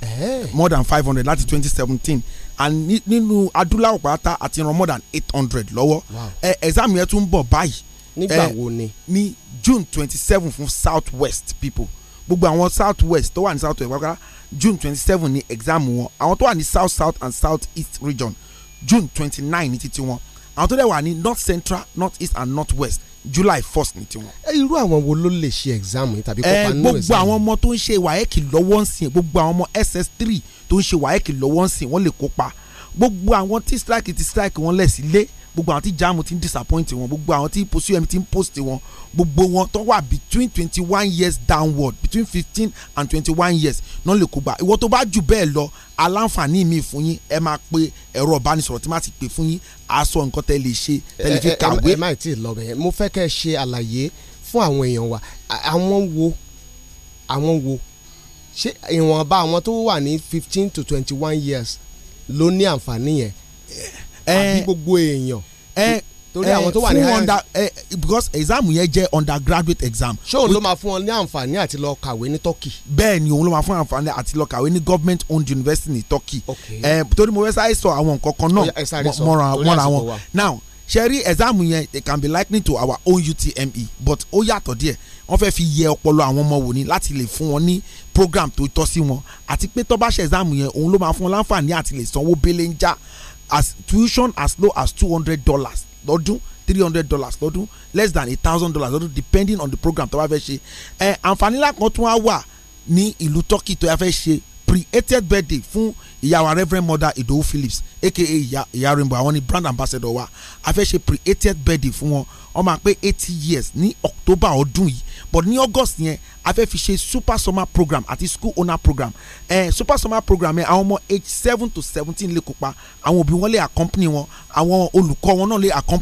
S35: more than five hundred láti twenty seventeen and ní- nínú adúláwọ̀ pátá a ti ran more than eight hundred lọ́wọ́
S29: Wow.
S35: Eh, exam yẹn tún ń bọ̀ báyìí.
S29: Nígbà
S35: Eh,
S29: wo ni?
S35: ní june twenty seven fún south west people gbogbo àwọn south west tó wà ní south west pápá june twenty seven ní exam wọn àwọn tó wà ní south south and south east region june twenty nine ní títí wọn àwọn tó dẹ̀ wà ní north central north east and north west july first ní tiwọn
S29: Eh, irú àwọn wo ló lè ṣe exam yìí tàbí kópa nínú
S35: Eh, gbogbo àwọn ọmọ tó ń ṣe wáyẹ́kì lọ́wọ́ ń sìn gbogbo àwọn ọmọ ss3 tó ń ṣe wáyẹ́kì lọ́wọ́ ń sìn wọ́n lè kópa gbogbo àwọn tí strike ti strike wọn lẹ̀ sílé gbogbo àwọn tí jamu ti ń disappoint wọn gbogbo àwọn tí pursuem ti ń post wọn gbogbo wọn tó wà between twenty one years downward between fifteen and twenty one years náà lè kópa ìwọ tó bá jù bẹ́ẹ̀ lọ aláǹfààní mi fún yín ẹ máa pe ẹ̀rọ ìbánisọ̀rọ̀ tí má ti pè fún yín aṣọ nǹkan tẹ́ lè ṣe tẹ́ lè fi
S29: Eh, ẹ
S35: kàwé
S29: má ì tí ì lọ bẹ̀yẹn mo fẹ́ kẹ́ ẹ ṣe àlàyé fún àwọn èèyàn wa À- àwọn wo àwọn wo ṣé ìwọ̀nba àwọn tó wà ní fifteen to twenty one years ló ní àǹfààní yẹn àbí gbogbo èèyàn torí
S35: Eh,
S29: àwọn tó wà ní
S35: fún
S29: higher
S35: under eh, because exam yẹn jẹ́ undergraduate exam.
S29: ṣé òun ló máa fún ọ ní àǹfààní àti lọ kàwé ní turkey.
S35: bẹ́ẹ̀ ni òun ló máa fún àǹfààní àti lọ kàwé ní government owned university ní turkey eh, torí mo fẹ́ sáré sọ àwọn nǹkan kan
S29: Ó yá, ẹ sáré
S35: náà
S29: sọ,
S35: mọ- mọ́ra
S29: torí
S35: mọ́ra
S29: àsìkò
S35: wọn
S29: wa.
S35: now ṣẹ́rí ẹ̀sáàmù yẹn it can be likened to our own UTME E, but ó yàtọ̀ díẹ̀ wọ́n fẹ́ fi yẹ ọpọlọ àwọn ọmọ wò ni láti lè fún wọn ní program tó tọ́ sí wọn àti pé tó bá ṣe ẹ̀sáàmù yẹn òun ló máa fún wọn láǹfààní àti lè sanwó belenja as tuition as low as two hundred dollars lọ́dún three hundred dollars lọ́dún less than a thousand dollars lọ́dún depending on the program tó bá fẹ́ ṣe ẹ̀ àǹfààní ńlá kan tún wá wà ní ìlú turkey tó yà fẹ́ ṣe pre-eightieth birthday fún ìyàwó reverend mother idowu phillips aka ìyá ìyá rainbow àwọn ni brand ambassador wa a fẹ́ ṣe pre-eightieth birthday fún wọn wọ́n máa pé eighty years ní october ọdún yìí but ní august yẹn a fẹ́ fi ṣe super summer program àti school owner program eh, super summer program yẹn àwọn ọmọ age seven to seventeen lè kópa àwọn òbí wọn lè accompany wọn àwọn olùkọ́ wọn náà lè accompany